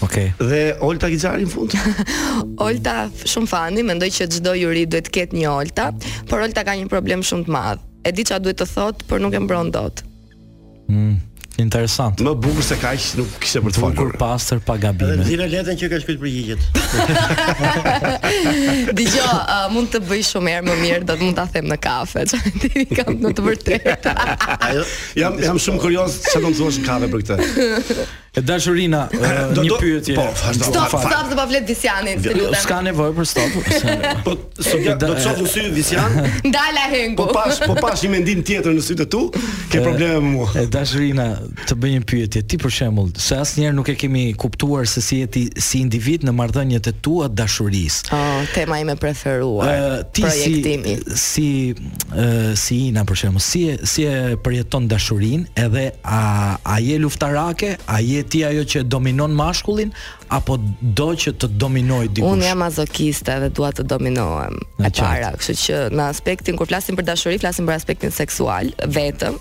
Speaker 10: Okej.
Speaker 9: Dhe Olta Gixhari në fund.
Speaker 12: Olta shumë fani, mendoj që çdo juri duhet të ketë një Olta, por Olta ka një problem shumë të madh. E di çfarë duhet të thotë, por nuk e mbron dot.
Speaker 10: Mm, interesant.
Speaker 9: Më bukur se kaq nuk kishte për të
Speaker 10: folur. Bukur pastër pa gabime.
Speaker 4: Zile letën që ka shkruajtur përgjigjet.
Speaker 12: Dgjoj, uh, mund të bëj shumë herë më mirë, do të mund ta them në kafe. Çfarë ti kam në të vërtetë.
Speaker 9: Ajo jam jam shumë kurioz çfarë do të thuash në kafe për këtë.
Speaker 10: E dashurina, ë,
Speaker 9: Do-
Speaker 10: një
Speaker 9: do-
Speaker 10: pyetje.
Speaker 9: po, vazhdo.
Speaker 12: Stop,
Speaker 10: Fal.
Speaker 12: stop, do pa flet Visianin, të lutem.
Speaker 10: S'ka nevojë për stop.
Speaker 9: Po, Sofia, do të shoh në sy Visian,
Speaker 12: Ndala hengu.
Speaker 9: po pash, po pash një mendim tjetër në sytë tu, ke probleme me mua.
Speaker 10: E dashurina, të bëj një pyetje. Ti për shembull, se asnjëherë nuk e kemi kuptuar se si je ti si individ në marrëdhëniet e tua dashurisë.
Speaker 12: Oh, tema ime preferuar.
Speaker 10: Ë, Pra, ti
Speaker 12: projektimi.
Speaker 10: si si ë, si Ina për shembull, si e, si e përjeton dashurinë edhe a a je luftarake, a je ti ajo që dominon mashkullin apo do që të dominoj dikush?
Speaker 12: Unë jam mazokiste dhe dua të dominohem e
Speaker 10: Në qartë.
Speaker 12: para, kështu që në aspektin kur flasim për dashuri, flasim për aspektin seksual vetëm,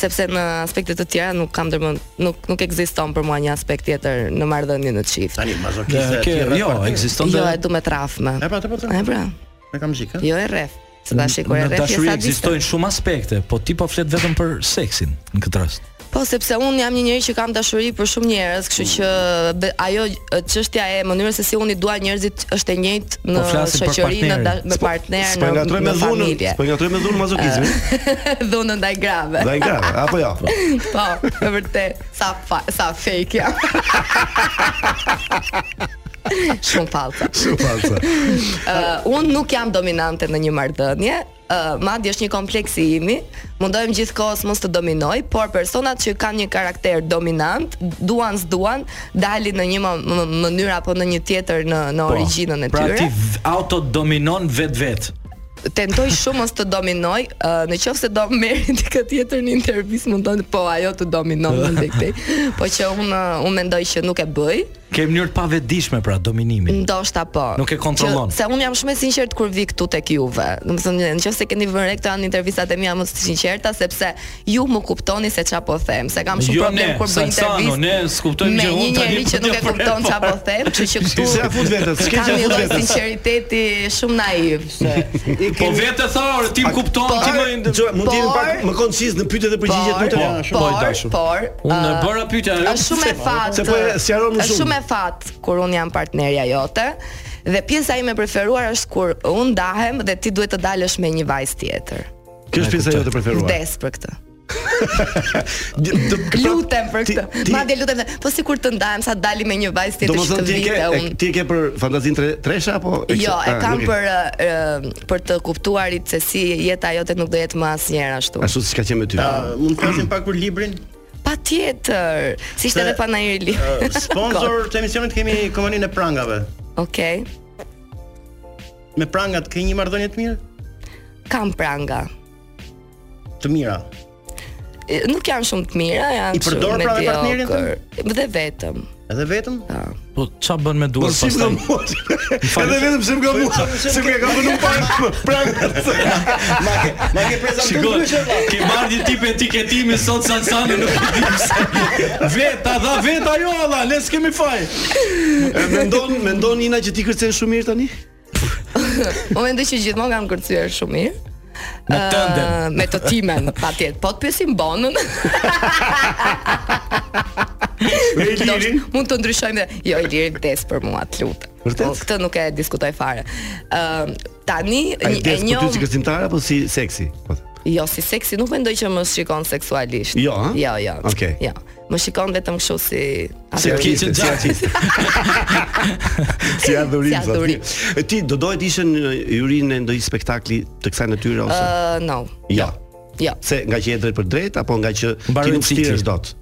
Speaker 12: sepse në aspektet të tjera nuk kam dërmend, nuk nuk ekziston për mua një aspekt tjetër në marrëdhënien në çift.
Speaker 4: Tani mazokiste.
Speaker 10: Dhe, ke,
Speaker 4: tjera
Speaker 10: jo,
Speaker 4: parti.
Speaker 10: ekziston
Speaker 12: Jo,
Speaker 10: dhe
Speaker 12: e du me trafme.
Speaker 4: E pra, të po të.
Speaker 12: E pra,
Speaker 4: E kam shikë.
Speaker 12: jo e rref. Se tash kur e
Speaker 10: Në
Speaker 12: rref je
Speaker 10: dashuri
Speaker 12: sadiste.
Speaker 10: ekzistojnë shumë aspekte, po ti po flet vetëm për seksin në këtë rast.
Speaker 12: Po sepse unë jam një njeri që kam dashuri për shumë njerëz, kështu që be- ajo e, çështja e mënyrës se si unë i dua njerëzit është e njëjtë në
Speaker 10: Po flasim për
Speaker 12: shoqëri, në
Speaker 10: partnerin.
Speaker 12: da- me
Speaker 9: Po,
Speaker 12: partner,
Speaker 9: s'po e
Speaker 12: në,
Speaker 9: ngatroj me
Speaker 12: në
Speaker 9: dhunën,
Speaker 12: familje.
Speaker 9: po e ngatroj me dhunën mazokizmin.
Speaker 12: dhunën ndaj grave.
Speaker 9: Dhe nga, apo jo.
Speaker 12: Po, e vërtet, sa fa, sa fake jam. Shumë falca.
Speaker 9: Shumë falca.
Speaker 12: Uh, unë nuk jam dominante në një marrëdhënie. Uh, madje është një kompleks i imi. Mundohem gjithkohës mos të dominoj, por personat që kanë një karakter dominant, duan s'duan, dalin në një më- më- mënyrë apo në një tjetër në në origjinën e tyre
Speaker 10: Pra ti v- autodominon vetvete.
Speaker 12: tentoj shumë mos të dominoj, uh, në qoftë se do merrin dikë tjetër në intervistë mund të thonë po ajo të dominon mund të këtej. Po që unë uh, unë mendoj që nuk e bëj,
Speaker 10: Ke mënyrë të pavetdijshme pra dominimin.
Speaker 12: ndoshta po.
Speaker 10: Nuk e kontrollon.
Speaker 12: Që- Se unë jam shumë e sinqert kur vi këtu tek juve. Do të thonë nëse keni vënë re këto janë intervistat e mia më të sinqerta sepse ju më kuptoni se çfarë po them, se kam shumë
Speaker 10: Jo,
Speaker 12: problem
Speaker 10: ne,
Speaker 12: kur bëj
Speaker 10: Saksano,
Speaker 12: intervistë.
Speaker 10: ne s'kuptojmë
Speaker 12: me
Speaker 10: gjë,
Speaker 12: një
Speaker 10: unë tani
Speaker 12: njeri që
Speaker 10: po
Speaker 12: nuk
Speaker 10: t'ja
Speaker 12: e kupton
Speaker 10: premtoj.
Speaker 12: çfarë po them, kështu që këtu.
Speaker 9: Se ja fut vetët, s'ke
Speaker 12: Kam një
Speaker 9: që fut
Speaker 12: lloj
Speaker 9: vetët.
Speaker 12: sinqeriteti shumë naiv. Se
Speaker 10: Po vetë thore, ti më kupton,
Speaker 12: po,
Speaker 10: ti më
Speaker 9: Ço, mund të jeni pak më konciz në pyetjet dhe përgjigjet
Speaker 12: Por,
Speaker 9: tuaja.
Speaker 12: por, por,
Speaker 10: Unë
Speaker 12: uh,
Speaker 10: e bëra pyetja, ajo
Speaker 12: është shumë e fat.
Speaker 9: Se po e sqaron më
Speaker 12: Është
Speaker 9: shumë.
Speaker 12: shumë e fat kur un jam partnerja jote dhe pjesa ime e preferuar është kur un ndahem dhe ti duhet të dalësh me një vajzë tjetër.
Speaker 9: Kjo është pjesa jote e preferuar.
Speaker 12: Vdes për këtë.
Speaker 9: Dë- dë- pra-
Speaker 12: Lutem për
Speaker 9: ti-
Speaker 12: këtë.
Speaker 9: ti-
Speaker 12: Madje lutem, dhe- po sikur të ndahem sa dali me një vajzë
Speaker 9: Do
Speaker 12: tjetër
Speaker 9: më
Speaker 12: që
Speaker 9: thënë
Speaker 12: të
Speaker 9: ti e ke,
Speaker 12: vinte
Speaker 9: e-
Speaker 12: un.
Speaker 9: ti e ke për fantazinë tre, tresha apo? e
Speaker 12: Jo,
Speaker 9: kishe-
Speaker 12: e
Speaker 9: Ah,
Speaker 12: kam
Speaker 9: nuk
Speaker 12: për e, e, për të kuptuarit se si jeta jote nuk do jetë më asnjëherë ashtu.
Speaker 9: Ashtu siç ka qenë me ty.
Speaker 4: A, Mund të flasim pak për librin?
Speaker 12: Patjetër, si ishte
Speaker 4: Se-
Speaker 12: edhe panajeri li.
Speaker 4: Ë, Sponsor të emisionit kemi kompaninë e prangave.
Speaker 12: Okej.
Speaker 4: Me prangat ke një marrëdhënie të mirë?
Speaker 12: Kam pranga.
Speaker 4: Të mira.
Speaker 12: E, nuk janë shumë të mira, janë
Speaker 4: I përdor pra me partnerin
Speaker 12: tënd? Dhe vetëm.
Speaker 4: Edhe vetëm?
Speaker 10: Po ça bën me
Speaker 9: Po
Speaker 10: duart
Speaker 9: si më
Speaker 10: pastaj?
Speaker 9: mua. Edhe vetëm se më ka mua. Se më ka vënë pak prangat.
Speaker 4: Ma ke, ma ke prezantuar
Speaker 10: Shikoj,
Speaker 4: ndryshe valla.
Speaker 10: ke marrë një tip etiketimi sot Sansani nuk e di pse. Veta dha veta jo alla, le s'kemi faj.
Speaker 9: E, Mendon, mendon Nina që ti kërcen shumë mirë tani?
Speaker 12: Unë mendoj që gjithmonë kam kërcyer shumë mirë.
Speaker 10: Me tënden.
Speaker 12: Ë, me të timen, patjetër. Po të pyesim Bonën.
Speaker 9: Me Ilirin?
Speaker 12: ndoshta Mund të ndryshojmë dhe jo Iliri vdes për mua, të lutem.
Speaker 9: Vërtet?
Speaker 12: Po, Këtë nuk e diskutoj fare. Ë, tani
Speaker 9: Ai
Speaker 12: një- e
Speaker 9: des po ty si
Speaker 12: njoh
Speaker 9: kërcimtar apo si seksi? Po.
Speaker 12: Jo, si seksi nuk mendoj që më shikon seksualisht.
Speaker 9: Jo, ha?
Speaker 12: Jo, jo.
Speaker 9: Okej.
Speaker 12: Jo. Më shikon vetëm kështu si
Speaker 9: Si
Speaker 12: aferiste,
Speaker 9: artiste, si artiste. Si adhurim.
Speaker 12: Si
Speaker 9: thotë.
Speaker 12: adhurim.
Speaker 9: E Ti do dohet ishe në jurinë e ndonjë spektakli të kësaj natyre ose?
Speaker 12: Ë, no.
Speaker 9: jo.
Speaker 12: Jo.
Speaker 9: Se nga që je drejt për drejt apo nga që ti
Speaker 10: Mbaroj
Speaker 9: nuk
Speaker 10: cikli.
Speaker 9: shtiresh dot.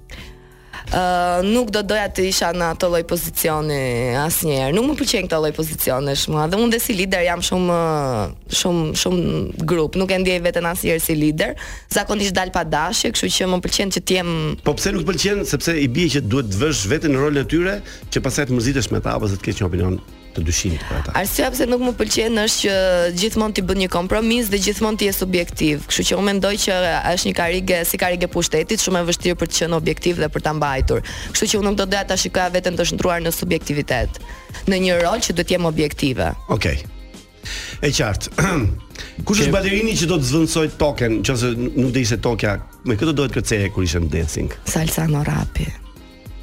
Speaker 12: Ë, nuk do doja të isha në atë lloj pozicioni asnjëherë. Nuk më pëlqen këto lloj pozicionesh mua. Dhe unë dhe si lider jam shumë ë, shumë shumë grup. Nuk e ndjej veten asnjëherë si lider. Zakonisht dal pa dashje, kështu që më pëlqen që të jem
Speaker 9: Po pse nuk pëlqen sepse i bie që duhet të vësh veten në rolin e tyre që pastaj të mërzitesh me ta ose të kesh një opinion të dyshimit për ata.
Speaker 12: Arsyeja pse nuk më pëlqen është që gjithmonë ti bën një kompromis dhe gjithmonë ti je subjektiv. Kështu që unë mendoj që është një karige, si karige pushtetit, shumë e vështirë për të qenë objektiv dhe për ta mbajtur. Kështu që unë nuk do doja ta shikoja veten të shndruar në subjektivitet, në një rol që duhet jem objektive.
Speaker 9: Okej. E qartë. Kush është balerini që do të zvendësoj token, nëse nuk do ishte tokja, me këtë dohet kërceje kur ishte në dancing.
Speaker 12: Salsano Rapi.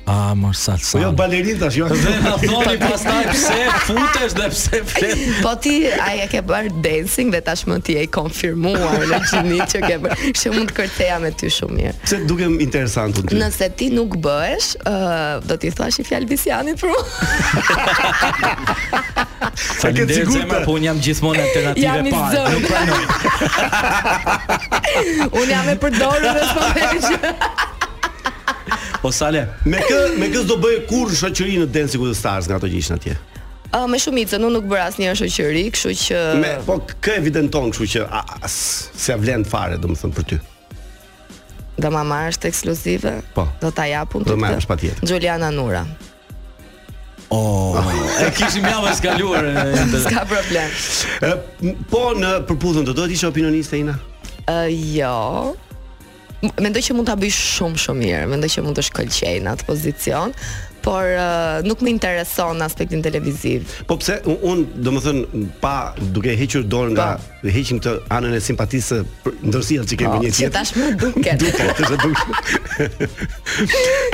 Speaker 10: A mor salsa.
Speaker 9: Po jo balerin tash, jo.
Speaker 10: Dhe na thoni pastaj pse futesh dhe pse flet.
Speaker 12: Po ti ai e ke bërë dancing dhe tashmë ti e i konfirmuar në gjini që ke bërë. Kështu mund të kërceja me ty shumë mirë.
Speaker 9: Se dukem interesant unë. ty.
Speaker 12: Nëse ti nuk bëhesh, ë, do t'i thash i fjalë Bisianit për mua.
Speaker 10: Faleminderit
Speaker 9: sigurt,
Speaker 10: zemra,
Speaker 9: e.
Speaker 10: po un jam gjithmonë
Speaker 12: Jam
Speaker 10: alternative
Speaker 12: i
Speaker 10: e parë.
Speaker 12: zënë.
Speaker 10: Nuk pranoj.
Speaker 12: Unë jam e përdorur dhe s'po vjen gjë.
Speaker 10: Po sale.
Speaker 9: Me kë me kë s'do bëj kur shoqëri në Dancing with the Stars nga ato që ishin atje.
Speaker 12: Ë, me shumicën unë nuk bëra asnjëherë shoqëri, kështu që
Speaker 9: Me po kë evidenton kështu që a, a, s- se vlen fare domethënë për ty.
Speaker 12: do ma marrësh të ekskluzive.
Speaker 9: Po.
Speaker 12: Do ta jap unë.
Speaker 9: Do
Speaker 12: të-
Speaker 9: marrësh patjetër.
Speaker 12: Juliana Nura.
Speaker 10: Oh, e kishim javën e kaluar.
Speaker 12: S'ka problem.
Speaker 9: E, m- Po në përputhjen do dohet isha opinioniste Ina.
Speaker 12: Ë, jo. M- Mendoj që mund ta bëj shumë shumë mirë, mendoj që mund të shkëlqej në atë pozicion, por ë, nuk më intereson në aspektin televiziv.
Speaker 9: Po pse un, un domethënë pa duke hequr dorë nga heqim këtë anën e simpatisë për ndërsia që kemi
Speaker 12: Po,
Speaker 9: një
Speaker 12: që
Speaker 9: tjetër.
Speaker 12: tashmë duket.
Speaker 9: Duket, është duket.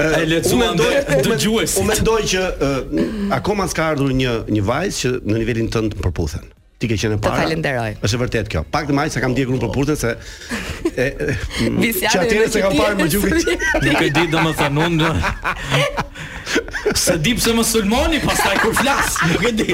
Speaker 10: E lexuam dhe dëgjuesit.
Speaker 9: Unë mendoj që ë, akoma s'ka ardhur një një vajzë që në nivelin tënd përputhen. Ti ke qenë e
Speaker 12: Të
Speaker 9: para.
Speaker 12: falenderoj.
Speaker 9: Është vërtet kjo. Pak të më aq sa kam ndjekur unë përputhen se e, e, m-
Speaker 12: Visiane
Speaker 9: që atëherë
Speaker 12: në
Speaker 9: se kam
Speaker 12: qytet.
Speaker 9: parë më gjukit.
Speaker 10: Nuk e di domethënë unë Se di pse më sulmoni pastaj kur flas, nuk e di.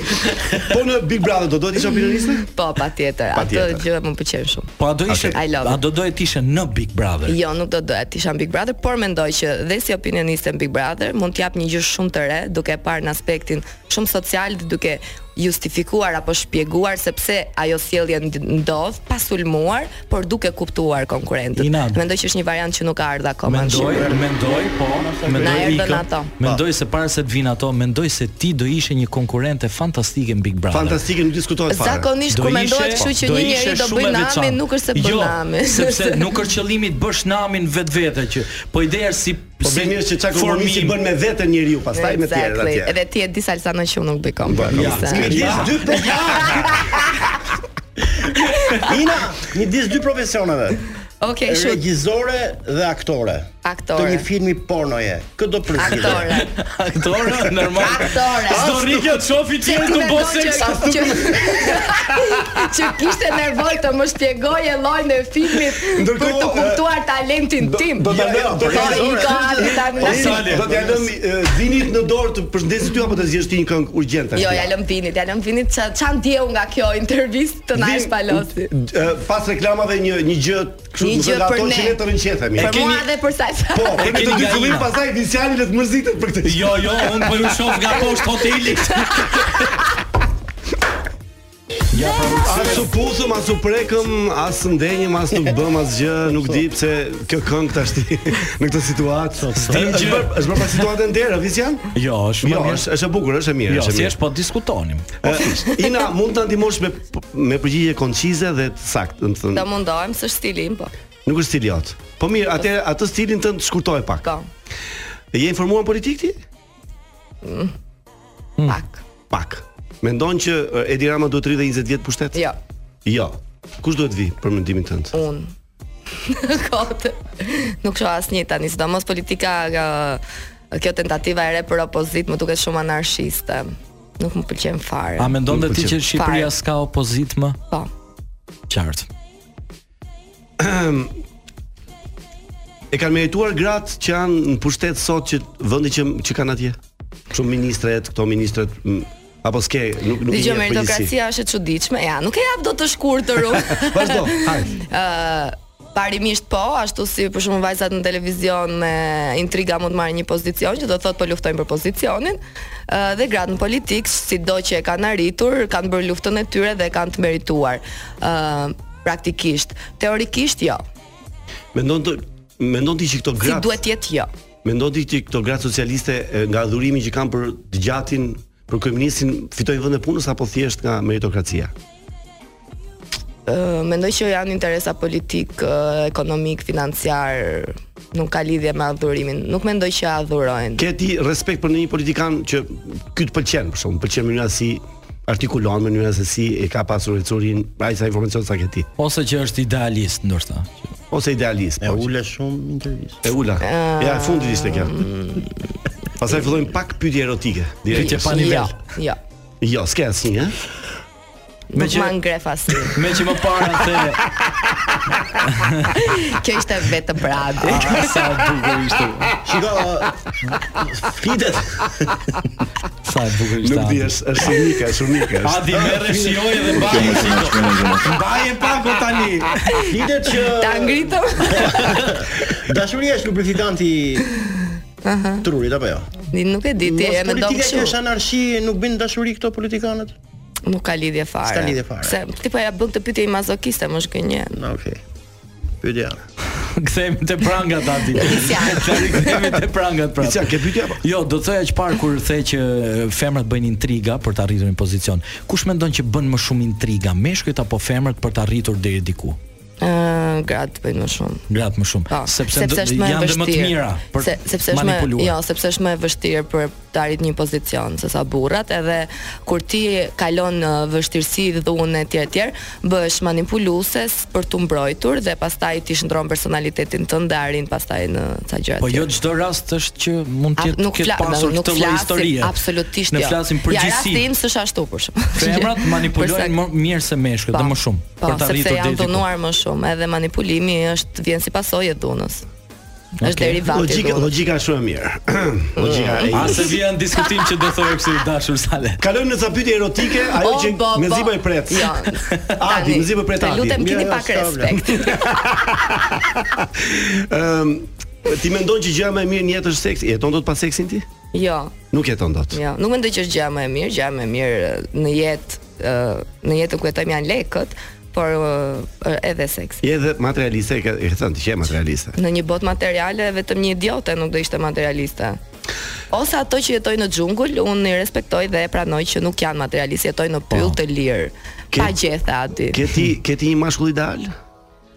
Speaker 9: Po në Big Brother do do të isha opinioniste?
Speaker 12: Po, patjetër,
Speaker 9: Patjetër.
Speaker 12: atë gjë më pëlqen shumë.
Speaker 10: Po a do ishe
Speaker 12: Okay. I love
Speaker 10: a
Speaker 12: it.
Speaker 10: do doje të ishe në Big Brother?
Speaker 12: Jo, nuk do doja të isha në Big Brother, por mendoj që dhe si opinioniste në Big Brother mund t'jap një gjë shumë të re, duke e parë në aspektin shumë social, dhe duke justifikuar apo shpjeguar sepse ajo sjellje nd- ndodh pa sulmuar, por duke kuptuar konkurrentët.
Speaker 10: Ina.
Speaker 12: Mendoj që është një variant që nuk ka ardhur akoma. në
Speaker 10: Mendoj,
Speaker 12: Shqipëri.
Speaker 10: mendoj, po,
Speaker 12: Na
Speaker 10: mendoj
Speaker 12: erdhën
Speaker 10: ikën.
Speaker 12: ato.
Speaker 10: Mendoj se para se të vinë ato, mendoj se ti do ishe një konkurrente fantastike në Big Brother.
Speaker 9: Fantastike, nuk diskutohet fare.
Speaker 12: Zakonisht
Speaker 10: Do
Speaker 12: kur
Speaker 10: ishe-
Speaker 12: Po mendohet kështu që
Speaker 10: do
Speaker 12: një
Speaker 10: ishe
Speaker 12: njeri do
Speaker 10: shumë
Speaker 12: bëj
Speaker 10: e
Speaker 12: namin,
Speaker 10: veçantë.
Speaker 12: nuk është se bën
Speaker 10: jo,
Speaker 12: namin.
Speaker 10: sepse nuk është qëllimi të bësh namin vetvete që, po ideja është si
Speaker 9: Po bëni është që çka kompromisi bën me veten njeriu, pastaj me tjerët
Speaker 12: Exactly.
Speaker 9: atje.
Speaker 12: Edhe ti e di salsa në që unë Po, nuk bëj
Speaker 9: Ja,
Speaker 12: kompromise.
Speaker 9: një disë dy
Speaker 4: po
Speaker 9: profesioneve.
Speaker 4: Ina, një disë dy profesioneve.
Speaker 12: Okej, shoot.
Speaker 4: Regjizore dhe aktore.
Speaker 12: Aktore.
Speaker 4: Të një filmi pornoje. Kë do përzihesh?
Speaker 12: Aktore.
Speaker 10: aktorë normal.
Speaker 12: Aktore.
Speaker 10: S'do rrikë të shofi
Speaker 12: Që
Speaker 10: tjerë
Speaker 12: ti
Speaker 10: të
Speaker 12: mendon
Speaker 10: bëj seks.
Speaker 12: që- që, që kishte nervoj të më shpjegoje llojin e filmit për të
Speaker 9: Ndërkohë,
Speaker 12: kuptuar talentin tim.
Speaker 9: Do ta lëm,
Speaker 12: Po,
Speaker 9: do ta
Speaker 12: i ka ardhur tani.
Speaker 9: lëm. Do t'ja lëm eh, dinit në dorë të përshëndesë ty apo të zgjesh ti një këngë urgjente.
Speaker 12: Jo, ja lëm vinit, ja lëm vinit ça ça ndjeu nga kjo intervistë të na e shpalosi.
Speaker 9: Pas reklamave një një gjë kështu
Speaker 12: Një
Speaker 9: do
Speaker 12: gjë
Speaker 9: të
Speaker 12: për
Speaker 9: ato
Speaker 12: ne.
Speaker 9: që ne të rënqethemi.
Speaker 12: Për mua dhe për sa.
Speaker 9: Po,
Speaker 10: E
Speaker 9: kemi të
Speaker 10: keni
Speaker 9: dy
Speaker 10: nga
Speaker 9: fillim
Speaker 10: Ina.
Speaker 9: pastaj Visiani le të mërzitet për këtë.
Speaker 10: Jo, jo, unë po ju shoh nga poshtë hotelit.
Speaker 9: As u puthëm, as u prekëm, as ndenjëm, as nuk bëm asgjë, nuk di pse kjo këngë tash ti në këtë situatë.
Speaker 10: S'di gjë.
Speaker 9: Është bërë- është bërë pas situatën ndera, Visian?
Speaker 10: Jo, shumë
Speaker 9: Jo,
Speaker 10: mirë.
Speaker 9: është është e bukur, është e mirë,
Speaker 10: Jo,
Speaker 9: është e
Speaker 10: si
Speaker 9: mirë.
Speaker 10: është po diskutonim.
Speaker 9: E, Ina mund ta ndihmosh me me përgjigje koncize dhe të saktë, do të
Speaker 12: Do
Speaker 9: thënë.
Speaker 12: mundohem së stilim, po.
Speaker 9: Nuk është stili jot. Po mirë, atë atë stilin tënd shkurtoj pak.
Speaker 12: Po.
Speaker 9: Je informuar politik ti? Hmm.
Speaker 12: Pak.
Speaker 9: Pak. Mendon që e, Edi Rama duhet të rri dhe 20 vjet pushtet?
Speaker 12: Jo,
Speaker 9: Jo. Kush duhet vi për mendimin tënd?
Speaker 12: unë. Kote. Nuk shoh asnjë tani, sidomos politika ë, kjo tentativa e re për opozit më duket shumë anarshiste. Nuk më pëlqen fare. Po.
Speaker 10: A mendon dhe ti
Speaker 9: pëlqen.
Speaker 10: që Shqipëria
Speaker 12: Fare.
Speaker 10: s'ka opozit më?
Speaker 12: Po.
Speaker 10: Qartë.
Speaker 9: e kanë merituar gratë që janë në pushtet sot që vendi që që kanë atje. Shumë ministret, këto ministret m, apo s'ke nuk nuk i
Speaker 12: Dëgjoj
Speaker 9: jep përgjegjësi.
Speaker 12: meritokracia është e çuditshme. Ja, nuk e jap dot të shkurtër unë.
Speaker 9: Vazhdo, hajde.
Speaker 12: Ë parimisht po, ashtu si për shembull vajzat në televizion me intriga mund marrin një pozicion që do thotë po luftojnë për pozicionin, ë dhe gratë në politikë, sido që e kanë arritur, kanë bërë luftën e tyre dhe e kanë të merituar. ë praktikisht, teorikisht jo.
Speaker 9: Mendon të mendon ti që këto
Speaker 12: Si
Speaker 9: gratë
Speaker 12: duhet të jetë jo.
Speaker 9: mendon ti që këto gratë socialiste e, nga adhurimi që kanë për të gjatin për kryeministin fitojnë vende punës apo thjesht nga meritokracia?
Speaker 12: Ë, mendoj që janë interesa politik, ë, ekonomik, financiar, nuk ka lidhje me adhurimin. Nuk mendoj që adhurojnë.
Speaker 9: Ke ti respekt për ndonjë politikan që ky të pëlqen për shkakun, pëlqen mënyra si artikulon, mënyra se si e ka pasur veçurin, ai sa informacion sa ke ti.
Speaker 10: Ose që është idealist ndoshta.
Speaker 9: Ose idealist. po.
Speaker 4: E ula shumë intervistë.
Speaker 9: E ula.
Speaker 12: Ë,
Speaker 9: Ja, e fundit ishte kjo. Pastaj fillojnë pak pyetje erotike. direkt.
Speaker 12: Jo, jo.
Speaker 9: Jo, s'ke asnjë, ëh?
Speaker 12: Me nuk ma ngref asnjë.
Speaker 10: Me që më para the
Speaker 12: Kjo ishte vetë bradi.
Speaker 10: sa bukur ishte.
Speaker 4: Shiko, fitet.
Speaker 10: Sa e bukur ishte.
Speaker 9: Nuk di, është është unike, është unike. është.
Speaker 10: Adi merre shioj dhe baje shiko. Baje pako tani.
Speaker 4: Fitet që
Speaker 12: Ta ngritëm.
Speaker 4: dashuria është lubrifikanti
Speaker 12: Aha.
Speaker 4: trurit apo jo?
Speaker 12: Ni nuk e di ti
Speaker 4: Mos
Speaker 12: e mendon
Speaker 4: politika që
Speaker 12: kështu.
Speaker 4: është anarshi, nuk bën dashuri këto politikanët.
Speaker 12: Nuk ka lidhje fare.
Speaker 4: S'ka lidhje fare.
Speaker 12: Se ti po ja bën këtë pyetje i mazokiste, më shkënjen.
Speaker 4: Na okay. Pyetja.
Speaker 10: Kthehemi te prangat Adi. Kthehemi te prangat pra.
Speaker 9: Pica, ke pyetje apo?
Speaker 10: Jo, do të thoja që parë kur the që femrat bëjnë intriga për të arritur një pozicion. Kush mendon që bën më shumë intriga, meshkujt apo femrat për të arritur deri diku?
Speaker 12: Ë, gratë bëjnë më shumë.
Speaker 10: Gratë më shumë,
Speaker 12: Po,
Speaker 10: sepse, ndo-
Speaker 12: është më e
Speaker 10: janë dhe më të
Speaker 12: vështirë.
Speaker 10: mira për
Speaker 12: se, sepse është më
Speaker 10: manipuluar.
Speaker 12: jo, sepse është më e vështirë për të arrit një pozicion se sa burrat, edhe kur ti kalon në vështirësi dhunë etj etj, bëhesh manipuluese s- për tu mbrojtur dhe pastaj ti shndron personalitetin tënd dhe arrin pastaj në ca gjëra.
Speaker 10: Po jo
Speaker 12: tjera.
Speaker 10: çdo rast është që mund të
Speaker 12: A-
Speaker 10: jetë ketë pasur këtë lloj historie.
Speaker 12: absolutisht
Speaker 10: ne
Speaker 12: jo.
Speaker 10: flasim përgjithësi.
Speaker 12: Ja, rasti im s'është ashtu për shkak.
Speaker 10: Femrat
Speaker 12: Përsa-
Speaker 10: manipulojnë më mirë se meshkët dhe
Speaker 12: Po,
Speaker 10: më shumë
Speaker 12: Po,
Speaker 10: për të
Speaker 12: sepse
Speaker 10: arritur
Speaker 12: janë
Speaker 10: deri diku.
Speaker 12: dhunuar më shumë, edhe manipulimi është vjen si pasojë e dhunës. Është derivati. i
Speaker 9: Logjika,
Speaker 12: dhunës.
Speaker 9: logjika është shumë e mirë. Logjika e
Speaker 10: A se vjen diskutim që do thojë pse i dashur sale.
Speaker 9: Kalojmë në ca pyetje erotike, ajo
Speaker 12: O,
Speaker 9: që
Speaker 12: bo,
Speaker 9: me
Speaker 12: bo.
Speaker 9: zipa i pret.
Speaker 12: Jo.
Speaker 9: Adi, me zipa i pret
Speaker 12: Të
Speaker 9: Adi.
Speaker 12: lutem keni
Speaker 4: Mirë,
Speaker 12: pak
Speaker 4: s'ka
Speaker 12: respekt.
Speaker 9: Ëm, ti mendon që gjëja më e mirë në jetë është seksi? Jeton dot pa seksin ti?
Speaker 12: Jo,
Speaker 9: Nuk jeton dot.
Speaker 12: jo. Nuk mendoj që është gjëja më e mirë, gjëja më e mirë e, në jetë, e, në jetën ku jetojmë janë lekët, por e, edhe seksi.
Speaker 9: Je edhe materialiste, e ke e ke thënë ti që je materialiste.
Speaker 12: Në një botë materiale vetëm një idiote nuk do ishte materialiste. Ose ato që jetojnë në xhungull, unë i respektoj dhe e pranoj që nuk janë materialistë, jetojnë në pyll të lirë,
Speaker 9: Po. Ke-
Speaker 12: pa gjetha aty.
Speaker 9: Ke ti ke ti një mashkull ideal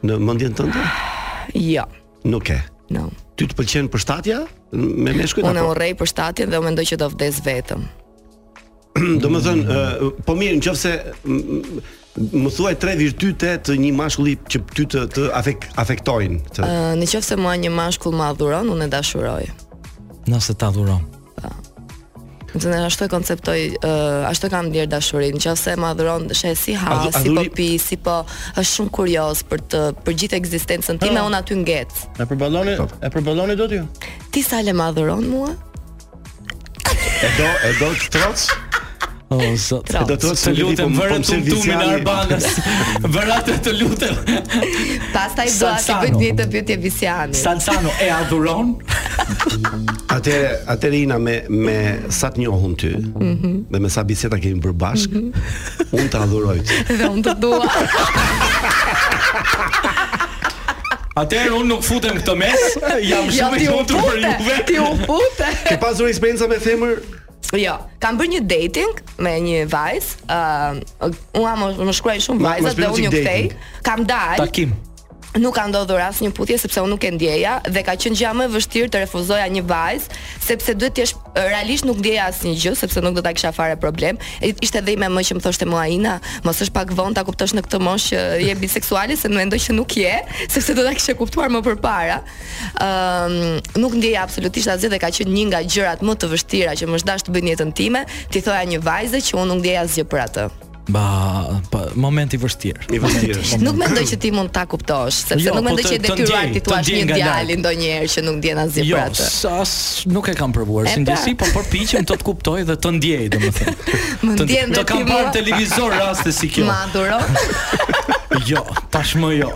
Speaker 9: në mendjen tënde?
Speaker 12: Jo.
Speaker 9: Nuk ke.
Speaker 12: No.
Speaker 9: Ty të pëlqen përshtatja me meshkujt
Speaker 12: Unë e
Speaker 9: apo?
Speaker 12: urrej për shtatin dhe u mendoj që do vdes vetëm.
Speaker 9: Domethënë, ë, po mirë, nëse më thuaj tre virtyte të një mashkulli që ty të të afek, afektojnë. Të.
Speaker 12: Ë, në qoftë se mua një mashkull më adhuron, unë e dashuroj.
Speaker 10: Nëse ta dhuron.
Speaker 12: Në të thënë, ashtu e konceptoj, uh, ashtu e kam ndier dashurinë, nëse më adhuron sheh si ha,
Speaker 9: Adhu-
Speaker 12: si po
Speaker 9: adhuri-
Speaker 12: pi, si po është shumë kurioz për të për gjithë ekzistencën time,
Speaker 9: Ah.
Speaker 12: unë aty ngec.
Speaker 4: E përballoni, e përballoni dot ju?
Speaker 12: Ti sa le më adhuron mua?
Speaker 9: E do, e do të troc?
Speaker 10: O zot.
Speaker 12: Tro.
Speaker 9: Do të po thotë
Speaker 10: Të lutem po, vërë tumtumin e Arbanës. Vëra të të lutem.
Speaker 12: Pastaj do atë
Speaker 10: Salsano.
Speaker 12: bëj një të pyetje Visiani.
Speaker 10: Salsano e adhuron?
Speaker 9: Atëre, atëre Ina me me sa të njohun ty dhe me sa biseda kemi bërë bashk, unë ta adhuroj ty.
Speaker 12: Dhe unë të dua.
Speaker 10: Atëherë unë nuk futem këtë mes, jam
Speaker 12: ja Jo,
Speaker 10: shumë
Speaker 12: ti
Speaker 10: i
Speaker 12: u
Speaker 10: lumtur për
Speaker 12: pute, ti
Speaker 10: juve.
Speaker 12: u pute.
Speaker 9: Ke pasur eksperjenca me femër?
Speaker 12: Jo, kam bërë një dating me një vajzë, ë unë më, më shkruaj shumë
Speaker 9: Ma-
Speaker 12: vajzat
Speaker 9: mos
Speaker 12: dhe
Speaker 9: bëni
Speaker 12: unë ju
Speaker 9: dating.
Speaker 12: kthej. Kam dalë,
Speaker 10: Takim.
Speaker 12: nuk ka ndodhur asnjë putje sepse unë nuk e ndjeja dhe ka qenë gjë më e vështirë të refuzoja një vajzë sepse duhet të jesh realisht nuk ndjeja asnjë gjë sepse nuk do ta kisha fare problem. I- Ishte dhe ime më që më thoshte mua Ina, mos është pak vonë ta kuptosh në këtë moshë që je biseksuale se mendoj që nuk je, sepse do ta kishe kuptuar më përpara. Ëm nuk ndjeja absolutisht asgjë dhe ka qenë një nga gjërat më të vështira që më është dashur të bëj në jetën time, ti thoja një vajze që unë nuk ndjeja asgjë për atë.
Speaker 10: Ba, pa, momenti vështirë. I
Speaker 12: vështirë. nuk mendoj që ti mund ta kuptosh, sepse
Speaker 10: Jo,
Speaker 12: nuk
Speaker 10: po
Speaker 12: mendoj
Speaker 10: të-
Speaker 12: që e
Speaker 10: të
Speaker 12: detyruar
Speaker 10: ndjej,
Speaker 12: ti
Speaker 10: të
Speaker 12: thua
Speaker 10: ndjej
Speaker 12: një
Speaker 10: nga
Speaker 12: djalë
Speaker 10: larg.
Speaker 12: ndonjëherë që nuk ndjen asgjë
Speaker 10: Jo,
Speaker 12: për Pra atë.
Speaker 10: sas nuk e kam provuar
Speaker 12: E
Speaker 10: si ndjesi,
Speaker 12: pra.
Speaker 10: po përpiqem të të kuptoj dhe të ndjej, domethënë.
Speaker 12: Më
Speaker 10: Të-
Speaker 12: ndjen dhe
Speaker 10: të
Speaker 12: ti.
Speaker 10: kam
Speaker 12: mua.
Speaker 10: parë televizor raste si kjo.
Speaker 12: Ma adhuro.
Speaker 10: Jo, tashmë jo.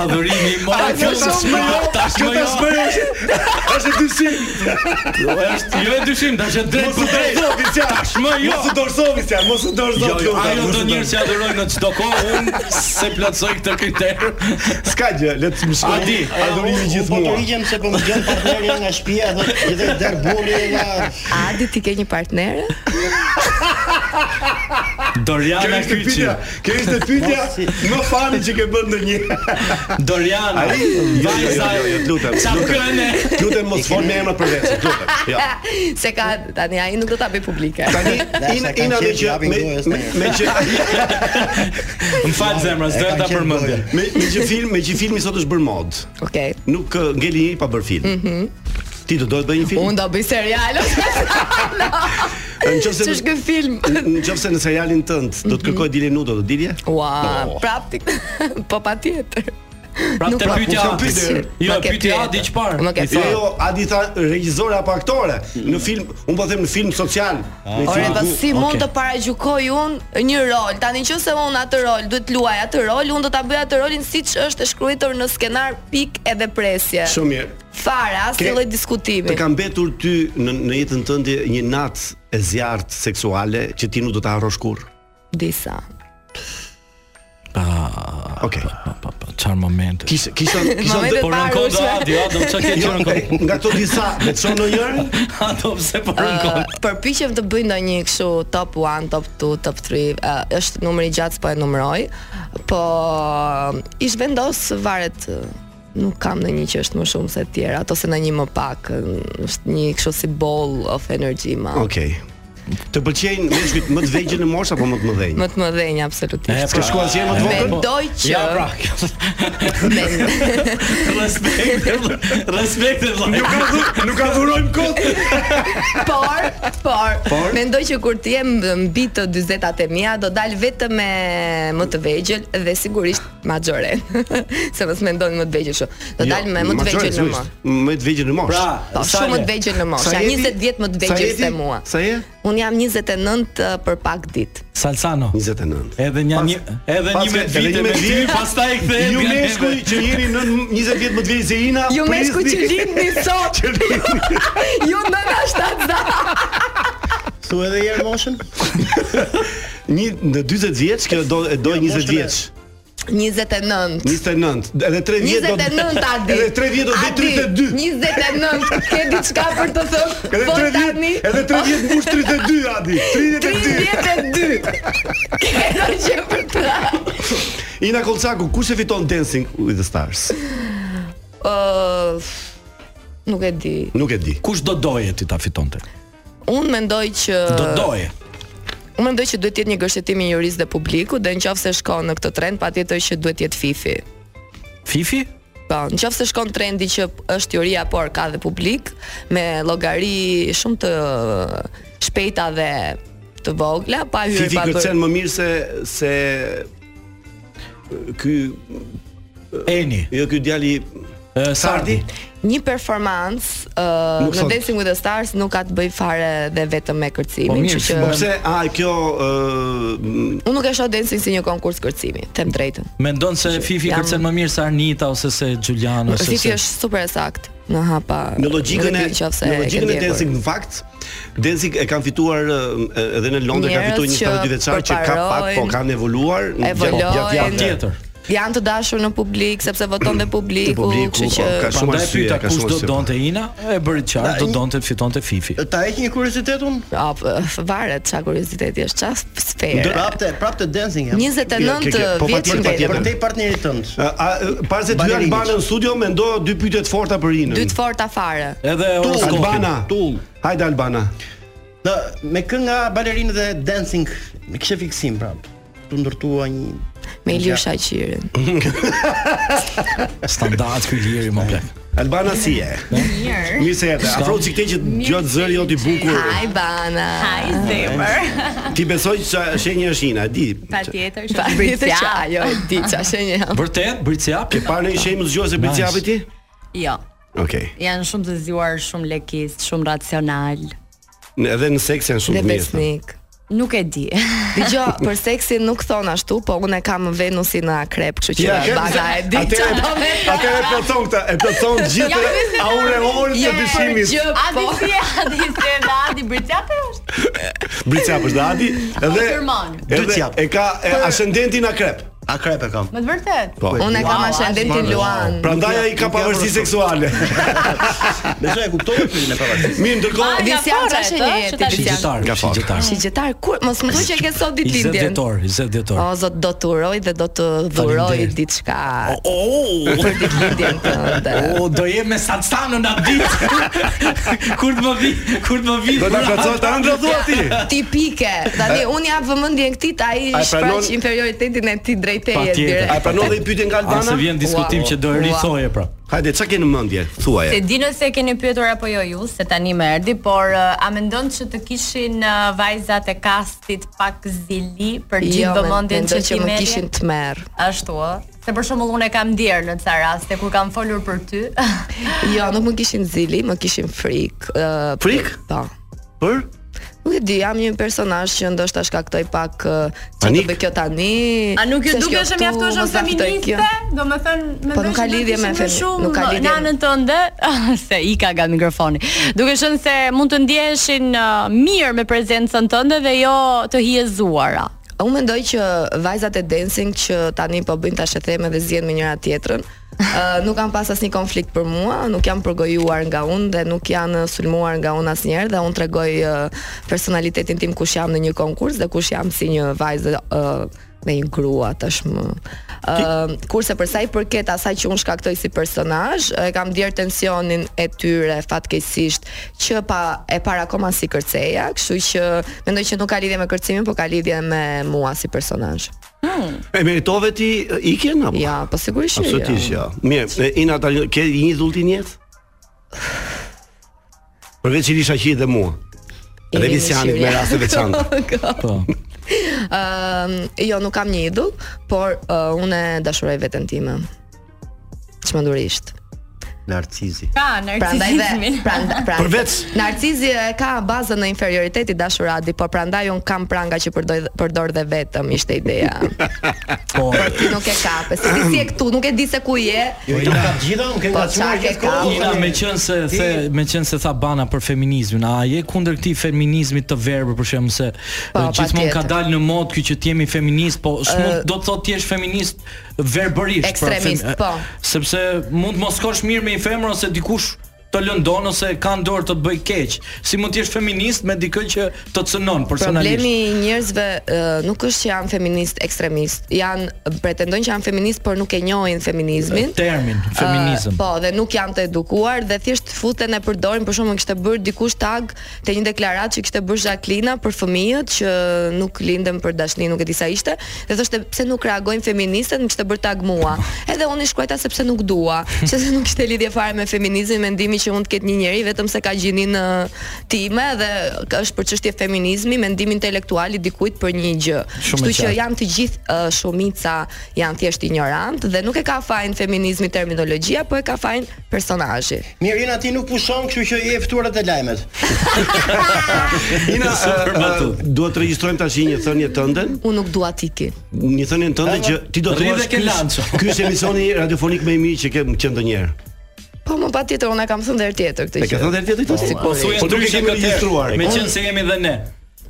Speaker 10: Adhurimi i
Speaker 12: A,
Speaker 10: madh
Speaker 12: kjo tashmë jo,
Speaker 10: tashmë
Speaker 9: kjo tashmë jo,
Speaker 10: Është dyshim. Është jo e dyshim, tash është drejt
Speaker 9: Mos u
Speaker 10: për drejt.
Speaker 9: dorëzovi s'ja.
Speaker 10: Tashmë jo.
Speaker 9: Mos u dorëzovi s'ja, mos u dorëzovi.
Speaker 10: Jo, jo, ajo do njerëz që adhurojnë në çdo kohë, unë se plotësoj këtë kriter.
Speaker 9: S'ka gjë, le të më shkoj.
Speaker 10: Adi,
Speaker 9: adhurimi
Speaker 4: Po të
Speaker 9: gjithmonë.
Speaker 4: rigjem se po më gjen partneri nga shtëpia dhe gjithë darburi nga
Speaker 12: Adi ti ke një partnere?
Speaker 10: Doriana
Speaker 9: Kjo ishte
Speaker 10: Kyçi.
Speaker 9: pyetja, kjo ishte pyetja më fani që ke bën ndonjë.
Speaker 10: Doriana.
Speaker 9: Ai, jo, jo, jo, jo, jo, lutem.
Speaker 10: Qa
Speaker 9: lutem.
Speaker 10: këne?
Speaker 9: Lutem mos fol me emra për vetë, lutem. Jo.
Speaker 12: Se ka tani ai nuk do ta bëj publike.
Speaker 9: Tani ina ina dhe që me me, me që
Speaker 10: Më fal zemra, s'doja ta përmendja.
Speaker 9: Me me që film, me që filmi sot është bërë mod.
Speaker 12: Okej. Okay.
Speaker 9: Nuk ë, ngeli njëri pa bërë film.
Speaker 12: Mhm.
Speaker 9: Ti do do të bëj një film?
Speaker 12: Unë do bëj serial.
Speaker 9: Në qoftë se
Speaker 12: Ç'është ky film?
Speaker 9: Në qoftë se në serialin tënd do të kërkoj Dilje Nudo, do dilje?
Speaker 10: Oh.
Speaker 12: Ua,
Speaker 9: Po.
Speaker 12: prap ti. Po patjetër.
Speaker 10: Prap
Speaker 12: Nuk
Speaker 10: te
Speaker 12: prap,
Speaker 10: pyetja
Speaker 12: nuk
Speaker 10: Adi.
Speaker 12: pyet.
Speaker 10: Jo,
Speaker 12: Ma ke
Speaker 10: pyetja
Speaker 12: pyetur.
Speaker 10: Adi çfarë?
Speaker 12: Më ke
Speaker 9: Jo,
Speaker 12: thënë.
Speaker 9: jo, Adi tha regjisore apo aktore. Në film, un po them në film social. Në
Speaker 12: Ore,
Speaker 9: film
Speaker 12: pa
Speaker 9: ku-
Speaker 12: si mund
Speaker 9: Okej.
Speaker 12: të paragjykoj unë një rol? Tani nëse unë atë rol duhet luaj atë rol, unë do ta bëj atë rolin siç është e shkruar në skenar pik edhe presje.
Speaker 9: Shumë mirë.
Speaker 12: Fare,
Speaker 9: Ke-
Speaker 12: asnjë lloj diskutimi.
Speaker 9: Të ka mbetur ty në në jetën tënde një natë e zjarrt seksuale që ti nuk do ta harrosh kurrë.
Speaker 12: Disa.
Speaker 10: Pa.
Speaker 9: Okej.
Speaker 10: Pa pa çfarë momente.
Speaker 9: Kisha kisha kisha
Speaker 12: Momente
Speaker 10: po rënko do Adi, a do çka ke
Speaker 9: Jo,
Speaker 10: qenë rënko?
Speaker 9: nga ato disa, me të shoh ndonjërin?
Speaker 10: A do pse po rënko?
Speaker 12: Ë, përpiqem të bëj ndonjë kështu top 1, top 2, top 3. ë, është numri i gjatë, po e numëroj. Po ish vendos varet ë, nuk kam ndonjë që është më shumë se të tjerat ose ndonjë më pak. ë, Është një kështu si ball of energy ma.
Speaker 9: Okej. Të pëlqejnë meshkujt më të vegjël në moshë apo më të mëdhenj?
Speaker 12: Më të mëdhenj absolutisht.
Speaker 9: S'ke shkuar asnjëherë më të vogël?
Speaker 12: Mendoj që
Speaker 10: po. Ja, pra. Respekt. Respekt. Nuk ka
Speaker 9: nuk ka dhurojm kot.
Speaker 12: por, por,
Speaker 10: Por?
Speaker 12: mendoj që kur të jem mbi të 40-at e mia do dal vetëm me më të vegjël dhe sigurisht majoren. Se mos mendon më të vegjël kështu.
Speaker 10: Jo,
Speaker 9: Jo,
Speaker 12: Do dal me më të vegjël në më.
Speaker 9: Më të vegjël në moshë.
Speaker 10: Pra,
Speaker 12: Po, shumë më të vegjël në moshë. Ja, 20 vjet më të vegjël se mua.
Speaker 9: Sa je?
Speaker 12: Un jam 29 për pak ditë.
Speaker 10: Salsano.
Speaker 9: 29.
Speaker 10: Edhe një një edhe
Speaker 9: pas-
Speaker 10: 11
Speaker 9: edhe
Speaker 10: vite me
Speaker 9: 11
Speaker 10: ty,
Speaker 9: vjet.
Speaker 10: pastaj kthehet.
Speaker 9: Ju
Speaker 4: Ehm,
Speaker 10: nga neve.
Speaker 9: meshkuj që jeni në 20 vjet më të vegjël se Ina.
Speaker 12: Ju meshkuj
Speaker 9: prisni.
Speaker 12: që lindni sot.
Speaker 9: Që lindni.
Speaker 12: Ju nëna shtatzë.
Speaker 4: Thu edhe një herë moshën?
Speaker 9: Një në 40 vjeç, kjo do e do 20
Speaker 4: Jo, moshën e-
Speaker 9: vjeç.
Speaker 12: 29.
Speaker 9: 29. Edhe 3 vjet do.
Speaker 12: 29 Adi.
Speaker 9: Edhe 3 vjet do të
Speaker 12: Adi,
Speaker 9: bëj 32.
Speaker 12: 29. Ke diçka për të thënë?
Speaker 9: Edhe
Speaker 12: po
Speaker 9: 3 vjet,
Speaker 12: tani-
Speaker 9: edhe 3 vjet mbush 32 Adi. 32.
Speaker 12: 32. Ke ndonjë për të?
Speaker 9: Ina Kolçaku, kush e fiton Dancing with the Stars?
Speaker 12: Ëh, nuk e di.
Speaker 9: Nuk e di.
Speaker 10: Kush do doje ti ta fitonte?
Speaker 12: Unë mendoj që
Speaker 10: Do doje.
Speaker 12: Unë mendoj që duhet të jetë një gërshetim i juristë dhe publikut dhe nëse shkon në këtë trend, patjetër që duhet të jetë Fifi.
Speaker 10: Fifi?
Speaker 12: Po, nëse shkon trendi që është juria por ka dhe publik me llogari shumë të shpejta dhe të vogla, pa hyrë
Speaker 9: Fifi
Speaker 12: pa
Speaker 9: kërcen më mirë se se ky
Speaker 10: Eni.
Speaker 9: jo ky djali
Speaker 10: Ë, Sardi.
Speaker 12: Një performancë uh,
Speaker 9: Nuk
Speaker 12: në
Speaker 9: sot.
Speaker 12: Dancing with the Stars nuk ka të bëj fare dhe vetëm me
Speaker 10: Po
Speaker 12: kërcimin,
Speaker 10: mirë,
Speaker 12: kështu
Speaker 9: Po
Speaker 12: që
Speaker 9: pse a kjo ë,
Speaker 12: unë nuk e shoh Dancing si një konkurs kërcimi, them drejtën.
Speaker 10: Mendon se Fifi
Speaker 12: Jam-
Speaker 10: kërcen më mirë se Arnita ose se Giuliano ose
Speaker 12: Fifi
Speaker 10: se
Speaker 12: është super e saktë në hapa.
Speaker 9: në logjikën e
Speaker 12: nuk di qofse
Speaker 9: në logjikën
Speaker 12: ke
Speaker 9: e
Speaker 12: ndjekur.
Speaker 9: Dancing në fakt Dancing e kanë fituar ë, edhe në Londër ka
Speaker 12: Njerëz
Speaker 9: fituar një
Speaker 12: që
Speaker 9: 72 vjeçar që ka pak po
Speaker 12: përparojnë,
Speaker 9: kanë evoluar në-
Speaker 12: evolojnë.
Speaker 10: tjetër.
Speaker 12: Janë të dashur në publik sepse voton dhe publiku,
Speaker 9: publiku,
Speaker 12: kështu që
Speaker 9: po, ka shumë
Speaker 10: Prandaj
Speaker 9: arsye,
Speaker 10: pyeta
Speaker 9: ka
Speaker 10: kush
Speaker 9: shumë
Speaker 10: do
Speaker 9: arsye.
Speaker 10: donte Ina, e bëri qartë,
Speaker 4: Da,
Speaker 10: do
Speaker 4: i-
Speaker 10: donte fitonte Fifi.
Speaker 4: Ta heq një kuriozitet unë?
Speaker 12: A, p- varet çka kurioziteti është, çfarë sferë.
Speaker 4: Prapte, prapte dancing jam.
Speaker 12: 29
Speaker 9: Kjo- kjo- kjo- po,
Speaker 12: vjeç
Speaker 9: patjetër,
Speaker 12: i
Speaker 4: Për
Speaker 9: patjetër.
Speaker 12: vetëm.
Speaker 4: për te partnerit tënd.
Speaker 9: Ë, A ë, para se dy
Speaker 4: Balerinic.
Speaker 9: Albanë në studio mendo dy pyetje të forta për Inën.
Speaker 12: Dy të forta fare.
Speaker 10: Edhe horoskopi.
Speaker 9: Albana.
Speaker 4: Tull.
Speaker 9: Hajde Albana.
Speaker 4: Në, me kë nga balerinë dhe dancing, me kishe fiksim prap. Tu ndërtua një
Speaker 12: Me Ilir Shaqirin.
Speaker 10: Standard ky liri më plak.
Speaker 9: Albana si je?
Speaker 13: Mirë.
Speaker 9: Mirë se jetë. Afro çik që gjot zëri jot i bukur.
Speaker 13: Hi Bana. Hi Zemër.
Speaker 9: Ti besoj që shenjë është ina, di.
Speaker 13: Patjetër
Speaker 12: Pa tjetër që ajo e di qa shenjë jam.
Speaker 10: Vërtet, Bricjap?
Speaker 9: Ke parë ndonjë shenjë më zgjuese Bricjapi ti?
Speaker 13: Jo.
Speaker 9: Okej.
Speaker 13: Janë shumë të zgjuar, shumë lekist, shumë racional.
Speaker 9: Në- Edhe në seks janë shumë
Speaker 12: Dhe
Speaker 9: të mirë. thonë.
Speaker 12: besnik.
Speaker 13: Nuk e di.
Speaker 12: Dgjoj, për seksin nuk thon ashtu, po unë e kam Venusin në akrep, kështu që
Speaker 9: Ja, ke-
Speaker 12: baga e di
Speaker 9: Atëre
Speaker 12: çfarë do me thënë.
Speaker 9: atëre e plotson këtë, e plotson gjithë aureolën e
Speaker 13: Ja,
Speaker 9: dyshimit.
Speaker 13: për gjë, po. Adi si, adi si, edhe adi bërqape është?
Speaker 9: Bricjap është Adi, edhe
Speaker 13: Kurman.
Speaker 9: edhe e ka e,
Speaker 13: Për-
Speaker 9: ascendentin akrep. Akrep e kam.
Speaker 13: Më të vërtet?
Speaker 9: Po.
Speaker 12: Unë e kam
Speaker 13: Wow,
Speaker 12: ascendentin
Speaker 9: Wow.
Speaker 12: Luan.
Speaker 9: Prandaj ai ka pavarësi seksuale.
Speaker 4: Besoj e kuptoj pyetjen e pavarësisë.
Speaker 9: Mirë,
Speaker 13: Po,
Speaker 9: ndërkohë
Speaker 12: Visjam qa
Speaker 13: jo,
Speaker 12: shenjë jeti, Visjam.
Speaker 10: Shigjetar, shigjetar.
Speaker 12: Shigjetar, kur mos më thuaj që e ke sot
Speaker 10: I zë
Speaker 12: ditëlindjen.
Speaker 10: vjetor, i zë vjetor.
Speaker 12: O zot do të uroj dhe do të dhuroj
Speaker 10: Faleminderit.
Speaker 12: diçka.
Speaker 10: Oh,
Speaker 12: për ditëlindjen tënde.
Speaker 10: O, Oh, do jem me Sansano në ditë. kur të më vi, kur të më vi.
Speaker 9: Do ta plotësoj të ëndra thua ti.
Speaker 12: Tipike. Tani unë jap vëmendjen këtij, ai
Speaker 9: Ai pranon-
Speaker 12: shfaq inferioritetin e ti drejt teje direkt.
Speaker 9: Ai pranon dhe i pyetjen nga Albana.
Speaker 10: A, se vjen diskutim
Speaker 9: Wow.
Speaker 10: që do e rihthoje, pra.
Speaker 9: Hajde, çka ke në mendje?
Speaker 13: Se
Speaker 9: Thuaje.
Speaker 13: di nëse e keni pyetur apo jo ju, se tani më erdhi, por uh, a mendon që të kishin uh, vajzat e kastit pak zili për gjithë
Speaker 12: Jo,
Speaker 13: vëmendjen
Speaker 12: mendoj
Speaker 13: që
Speaker 12: që
Speaker 13: ti Ah.
Speaker 12: më
Speaker 13: merje?
Speaker 12: kishin të merr.
Speaker 13: Ashtu ë. Se për shembull unë e kam ndier në ca raste kur kam folur për ty.
Speaker 12: Jo, nuk më kishin zili, më kishin frik. Uh,
Speaker 9: frik?
Speaker 12: Po.
Speaker 9: Për?
Speaker 12: Nuk e di, jam një personazh që ndoshta shkaktoj pak uh, që do
Speaker 9: Panik?
Speaker 12: bëj kjo tani.
Speaker 13: A nuk ju
Speaker 12: se shkjo
Speaker 13: dukesh e
Speaker 12: këtu,
Speaker 13: mjaftoshëm
Speaker 12: mos na fitoj kjo.
Speaker 13: feministe? Do me thënë,
Speaker 12: Po, nuk
Speaker 13: mendoj
Speaker 12: ka
Speaker 13: që do
Speaker 12: lidhje me
Speaker 13: t'ishim më
Speaker 12: femi-
Speaker 13: shumë
Speaker 12: nuk ka lidhje
Speaker 13: Në
Speaker 12: me-
Speaker 13: anën tënde, se i ka nga mikrofoni. Duke qenë se mund të ndjeheshin uh, mirë me prezencën tënde dhe jo të hijezuara.
Speaker 12: Unë mendoj që vajzat e dancing që tani po bëjnë tash e theme dhe zihen me njëra tjetrën, ë, nuk kanë pas asnjë konflikt për mua, nuk janë përgojuar nga unë dhe nuk janë sulmuar nga unë asnjëherë dhe unë tregoj ë, personalitetin tim kush jam në një konkurs dhe kush jam si një vajzë ë, me një grua tashmë. Ë kurse për sa i përket asaj që unë shkaktoj si personazh, e kam ndier tensionin e tyre fatkeqësisht që pa e para akoma si kërceja, kështu që mendoj që nuk ka lidhje me kërcimin, por ka lidhje me mua si personazh.
Speaker 9: E meritove ti e, ikjen apo?
Speaker 12: Ja, po sigurisht që
Speaker 9: Absolutisht jo. Mirë, e, Ina tani ke një idhull ti në jetë? Përveç Ilisha Qi dhe mua. Edhe
Speaker 12: Irini
Speaker 9: Visianit me
Speaker 12: Shqipëria.
Speaker 9: rast të veçantë.
Speaker 10: Po.
Speaker 12: Ëm, jo, nuk kam një idull, por uh, unë e dashuroj veten time. Çmendurisht.
Speaker 4: Narcizi.
Speaker 13: Ka
Speaker 12: Prandaj dhe
Speaker 13: narcisizmin.
Speaker 12: prandaj pra,
Speaker 9: Përveç-
Speaker 12: narcizi e ka bazën në inferioritet i dashur Adi, por prandaj un kam pranga që përdoj përdor dhe vetëm ishte ideja.
Speaker 10: Po.
Speaker 12: Ti nuk e kape. Si ti si e këtu, nuk e di se ku je.
Speaker 4: Jo, ina ka gjitha, nuk e
Speaker 12: Po,
Speaker 4: nga
Speaker 12: qa
Speaker 4: çuar
Speaker 12: ke
Speaker 4: ke kohë.
Speaker 10: Ina me qenë se the, me qenë se tha bana për feminizmin, a je kundër këtij feminizmit të verbër për shemb se
Speaker 12: Po,
Speaker 10: e, gjithmonë ka
Speaker 12: patjetër.
Speaker 10: dalë në mod ky që ti jemi feminist, po s'mund do të thotë ti je feminist verbërisht, pra,
Speaker 12: Ekstremist,
Speaker 10: fem- e,
Speaker 12: po.
Speaker 10: Sepse mund mos kosh mirë me një femër ose dikush të lëndon ose ka në dorë të të bëj keq. Si mund të jesh feminist me dikë që të cënon personalisht?
Speaker 12: Problemi i njerëzve ë, nuk është që janë feminist ekstremist. Jan pretendojnë që janë feminist, por nuk e njohin feminizmin.
Speaker 10: termin feminizëm.
Speaker 12: Ë, po, dhe nuk janë të edukuar dhe thjesht futen e përdorin, për shembull, kishte bërë dikush tag te një deklaratë që kishte bërë Jacqueline për fëmijët që nuk lindën për dashni, nuk e di sa ishte, dhe thoshte pse nuk reagojnë feministët, më kishte bërë tag mua. Edhe unë i shkruajta sepse nuk dua, që se nuk kishte lidhje fare me feminizmin, mendimi që mund të ketë një njeri vetëm se ka gjinin ë, time dhe ka- është për çështje feminizmi, mendim intelektual i dikujt për një gjë.
Speaker 10: Shumë e
Speaker 12: Kështu që
Speaker 10: qartë.
Speaker 12: janë të gjithë uh, shumica janë thjesht ignorant dhe nuk e ka fajin feminizmi terminologjia, po e ka fajin personazhi.
Speaker 4: Mirë, Ina ti nuk pushon, kështu që je e ftuar te lajmet.
Speaker 9: Ina,
Speaker 10: Super
Speaker 9: e, e,
Speaker 10: batut.
Speaker 9: duhet të regjistrojmë tash një thënie tënde,
Speaker 12: Unë nuk dua tiki.
Speaker 9: një thënie tënde që ti do të
Speaker 10: Rri dhe
Speaker 9: thuash
Speaker 10: ke
Speaker 9: "Ky
Speaker 10: lanço."
Speaker 9: është- Ky është emisioni radiofonik më i mirë që kem qenë ndonjëherë.
Speaker 12: Po më pa tjetër, unë e kam thënë dhe herë tjetër këtë
Speaker 9: E ke thënë deri tjetër këtë?
Speaker 12: Po,
Speaker 10: Po thuaj
Speaker 9: Po nuk e
Speaker 10: ndryshe
Speaker 9: kemi
Speaker 10: këtë herë,
Speaker 9: regjistruar.
Speaker 10: Me qenë se jemi dhe ne.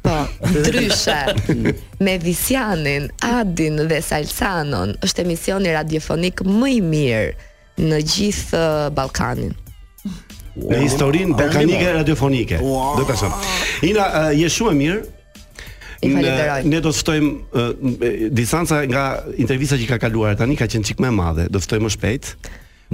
Speaker 12: Po, ndryshe. Me Visianin, Adin dhe Salsanon është emisioni radiofonik më i mirë në gjithë uh, Ballkanin.
Speaker 9: në historinë balkanike radiofonike. Do të them. Ina uh, je shumë e mirë.
Speaker 12: I
Speaker 9: Në-
Speaker 12: falenderoj.
Speaker 9: Ne do të ftojmë uh, distanca nga intervista që ka kaluar tani ka qenë çik më e madhe. Do të ftojmë më shpejt.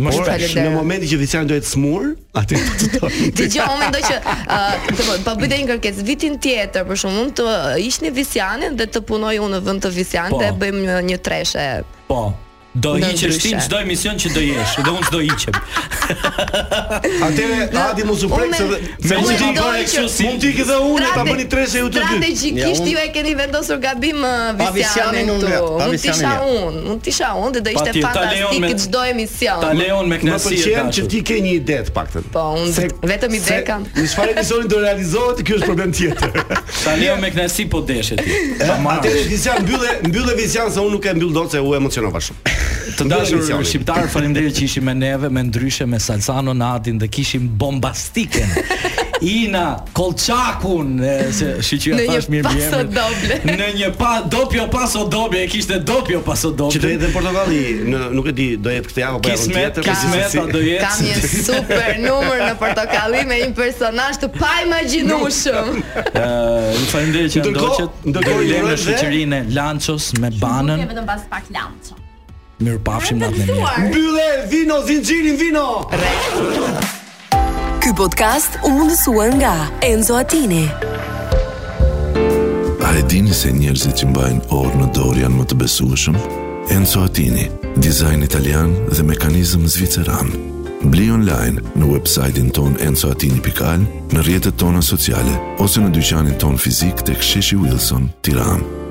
Speaker 10: Më
Speaker 9: Por,
Speaker 12: shpejt.
Speaker 9: Në momentin që Vician do të smur, atë do të ftojmë.
Speaker 12: Dgjoj, unë mendoj që uh, të po- po bëjte një kërkesë vitin tjetër për shkakun të ishni Visianin dhe të punoj unë në vend të Visianit
Speaker 10: Po.
Speaker 12: dhe bëjmë një, një treshe
Speaker 10: Po. Do
Speaker 13: Ndryshe.
Speaker 10: hiqesh ti në çdo emision që do jesh, dhe unë çdo hiqem.
Speaker 9: Atëre Adi mos u prek se dhe- se
Speaker 10: unë
Speaker 9: mund t'i
Speaker 10: mendoj
Speaker 9: bëni
Speaker 10: që-
Speaker 9: kështu si. Mund t'i ke dhe unë ta bëni treshe ju të dy.
Speaker 12: Strategjikisht ju e keni vendosur gabim ë,
Speaker 9: Pa
Speaker 12: Visianin
Speaker 9: Visianin unë,
Speaker 12: këtu.
Speaker 9: ja, pa
Speaker 12: Mund
Speaker 9: Visianin,
Speaker 12: t'isha
Speaker 9: ja.
Speaker 12: unë, mund t'isha unë dhe do ishte
Speaker 9: Patjetër, ta lejon me-
Speaker 12: fantastik çdo emision.
Speaker 9: Më pëlqen që ti ke një ide të paktën.
Speaker 12: Po, unë
Speaker 9: Se-
Speaker 12: vetëm ide
Speaker 9: se
Speaker 12: kam.
Speaker 9: Në çfarë emisioni do realizohet, ky është problem tjetër.
Speaker 10: Ta leo me knasi po deshe ti.
Speaker 9: Eh,
Speaker 10: Pa marrë.
Speaker 9: Atëherë Visian mbyllë, mbyllë Visian se unë nuk e mbyll dot se u emocionova shumë.
Speaker 10: Të dashur shqiptar, faleminderit që ishim me neve, me ndryshe me Salsano Nadin dhe kishim bombastiken. Ina Kolçakun, e, se shiqyra
Speaker 12: Në një
Speaker 10: thash mirë mirë.
Speaker 12: paso doble.
Speaker 10: Në një pa dopio paso doble, e kishte dopio paso doble.
Speaker 9: Që do jetë dhe Portokalli, në- nuk e di, do jetë këtë javë apo javën
Speaker 10: Kismet,
Speaker 9: tjetër. po
Speaker 10: kismeta do jetë.
Speaker 12: Kam një super numër në portokalli me një personazh të pa imagjinueshëm.
Speaker 10: Ë, ju falenderoj që
Speaker 9: Ndërkohë-
Speaker 10: ndoqët.
Speaker 9: ndërkohë
Speaker 10: Ndërkohë
Speaker 9: ju
Speaker 10: lëmë në
Speaker 9: urojmë dhe-
Speaker 10: shoqërinë e Lanços me Banën.
Speaker 13: vetëm pas pak lanço.
Speaker 10: Mirupafshim natën e mirë.
Speaker 9: Mbyllë vino zinxhirin vino.
Speaker 1: Ky podcast u mundësua nga Enzo Attini.
Speaker 2: A e dini se njerëzit që mbajnë orë në dorë janë më të besueshëm? Enzo Attini, dizajn italian dhe mekanizëm zviceran. Bli online në websajtin ton enzoatini.al, në rjetët tona sociale, ose në dyqanin ton fizik të ksheshi Wilson, tiranë.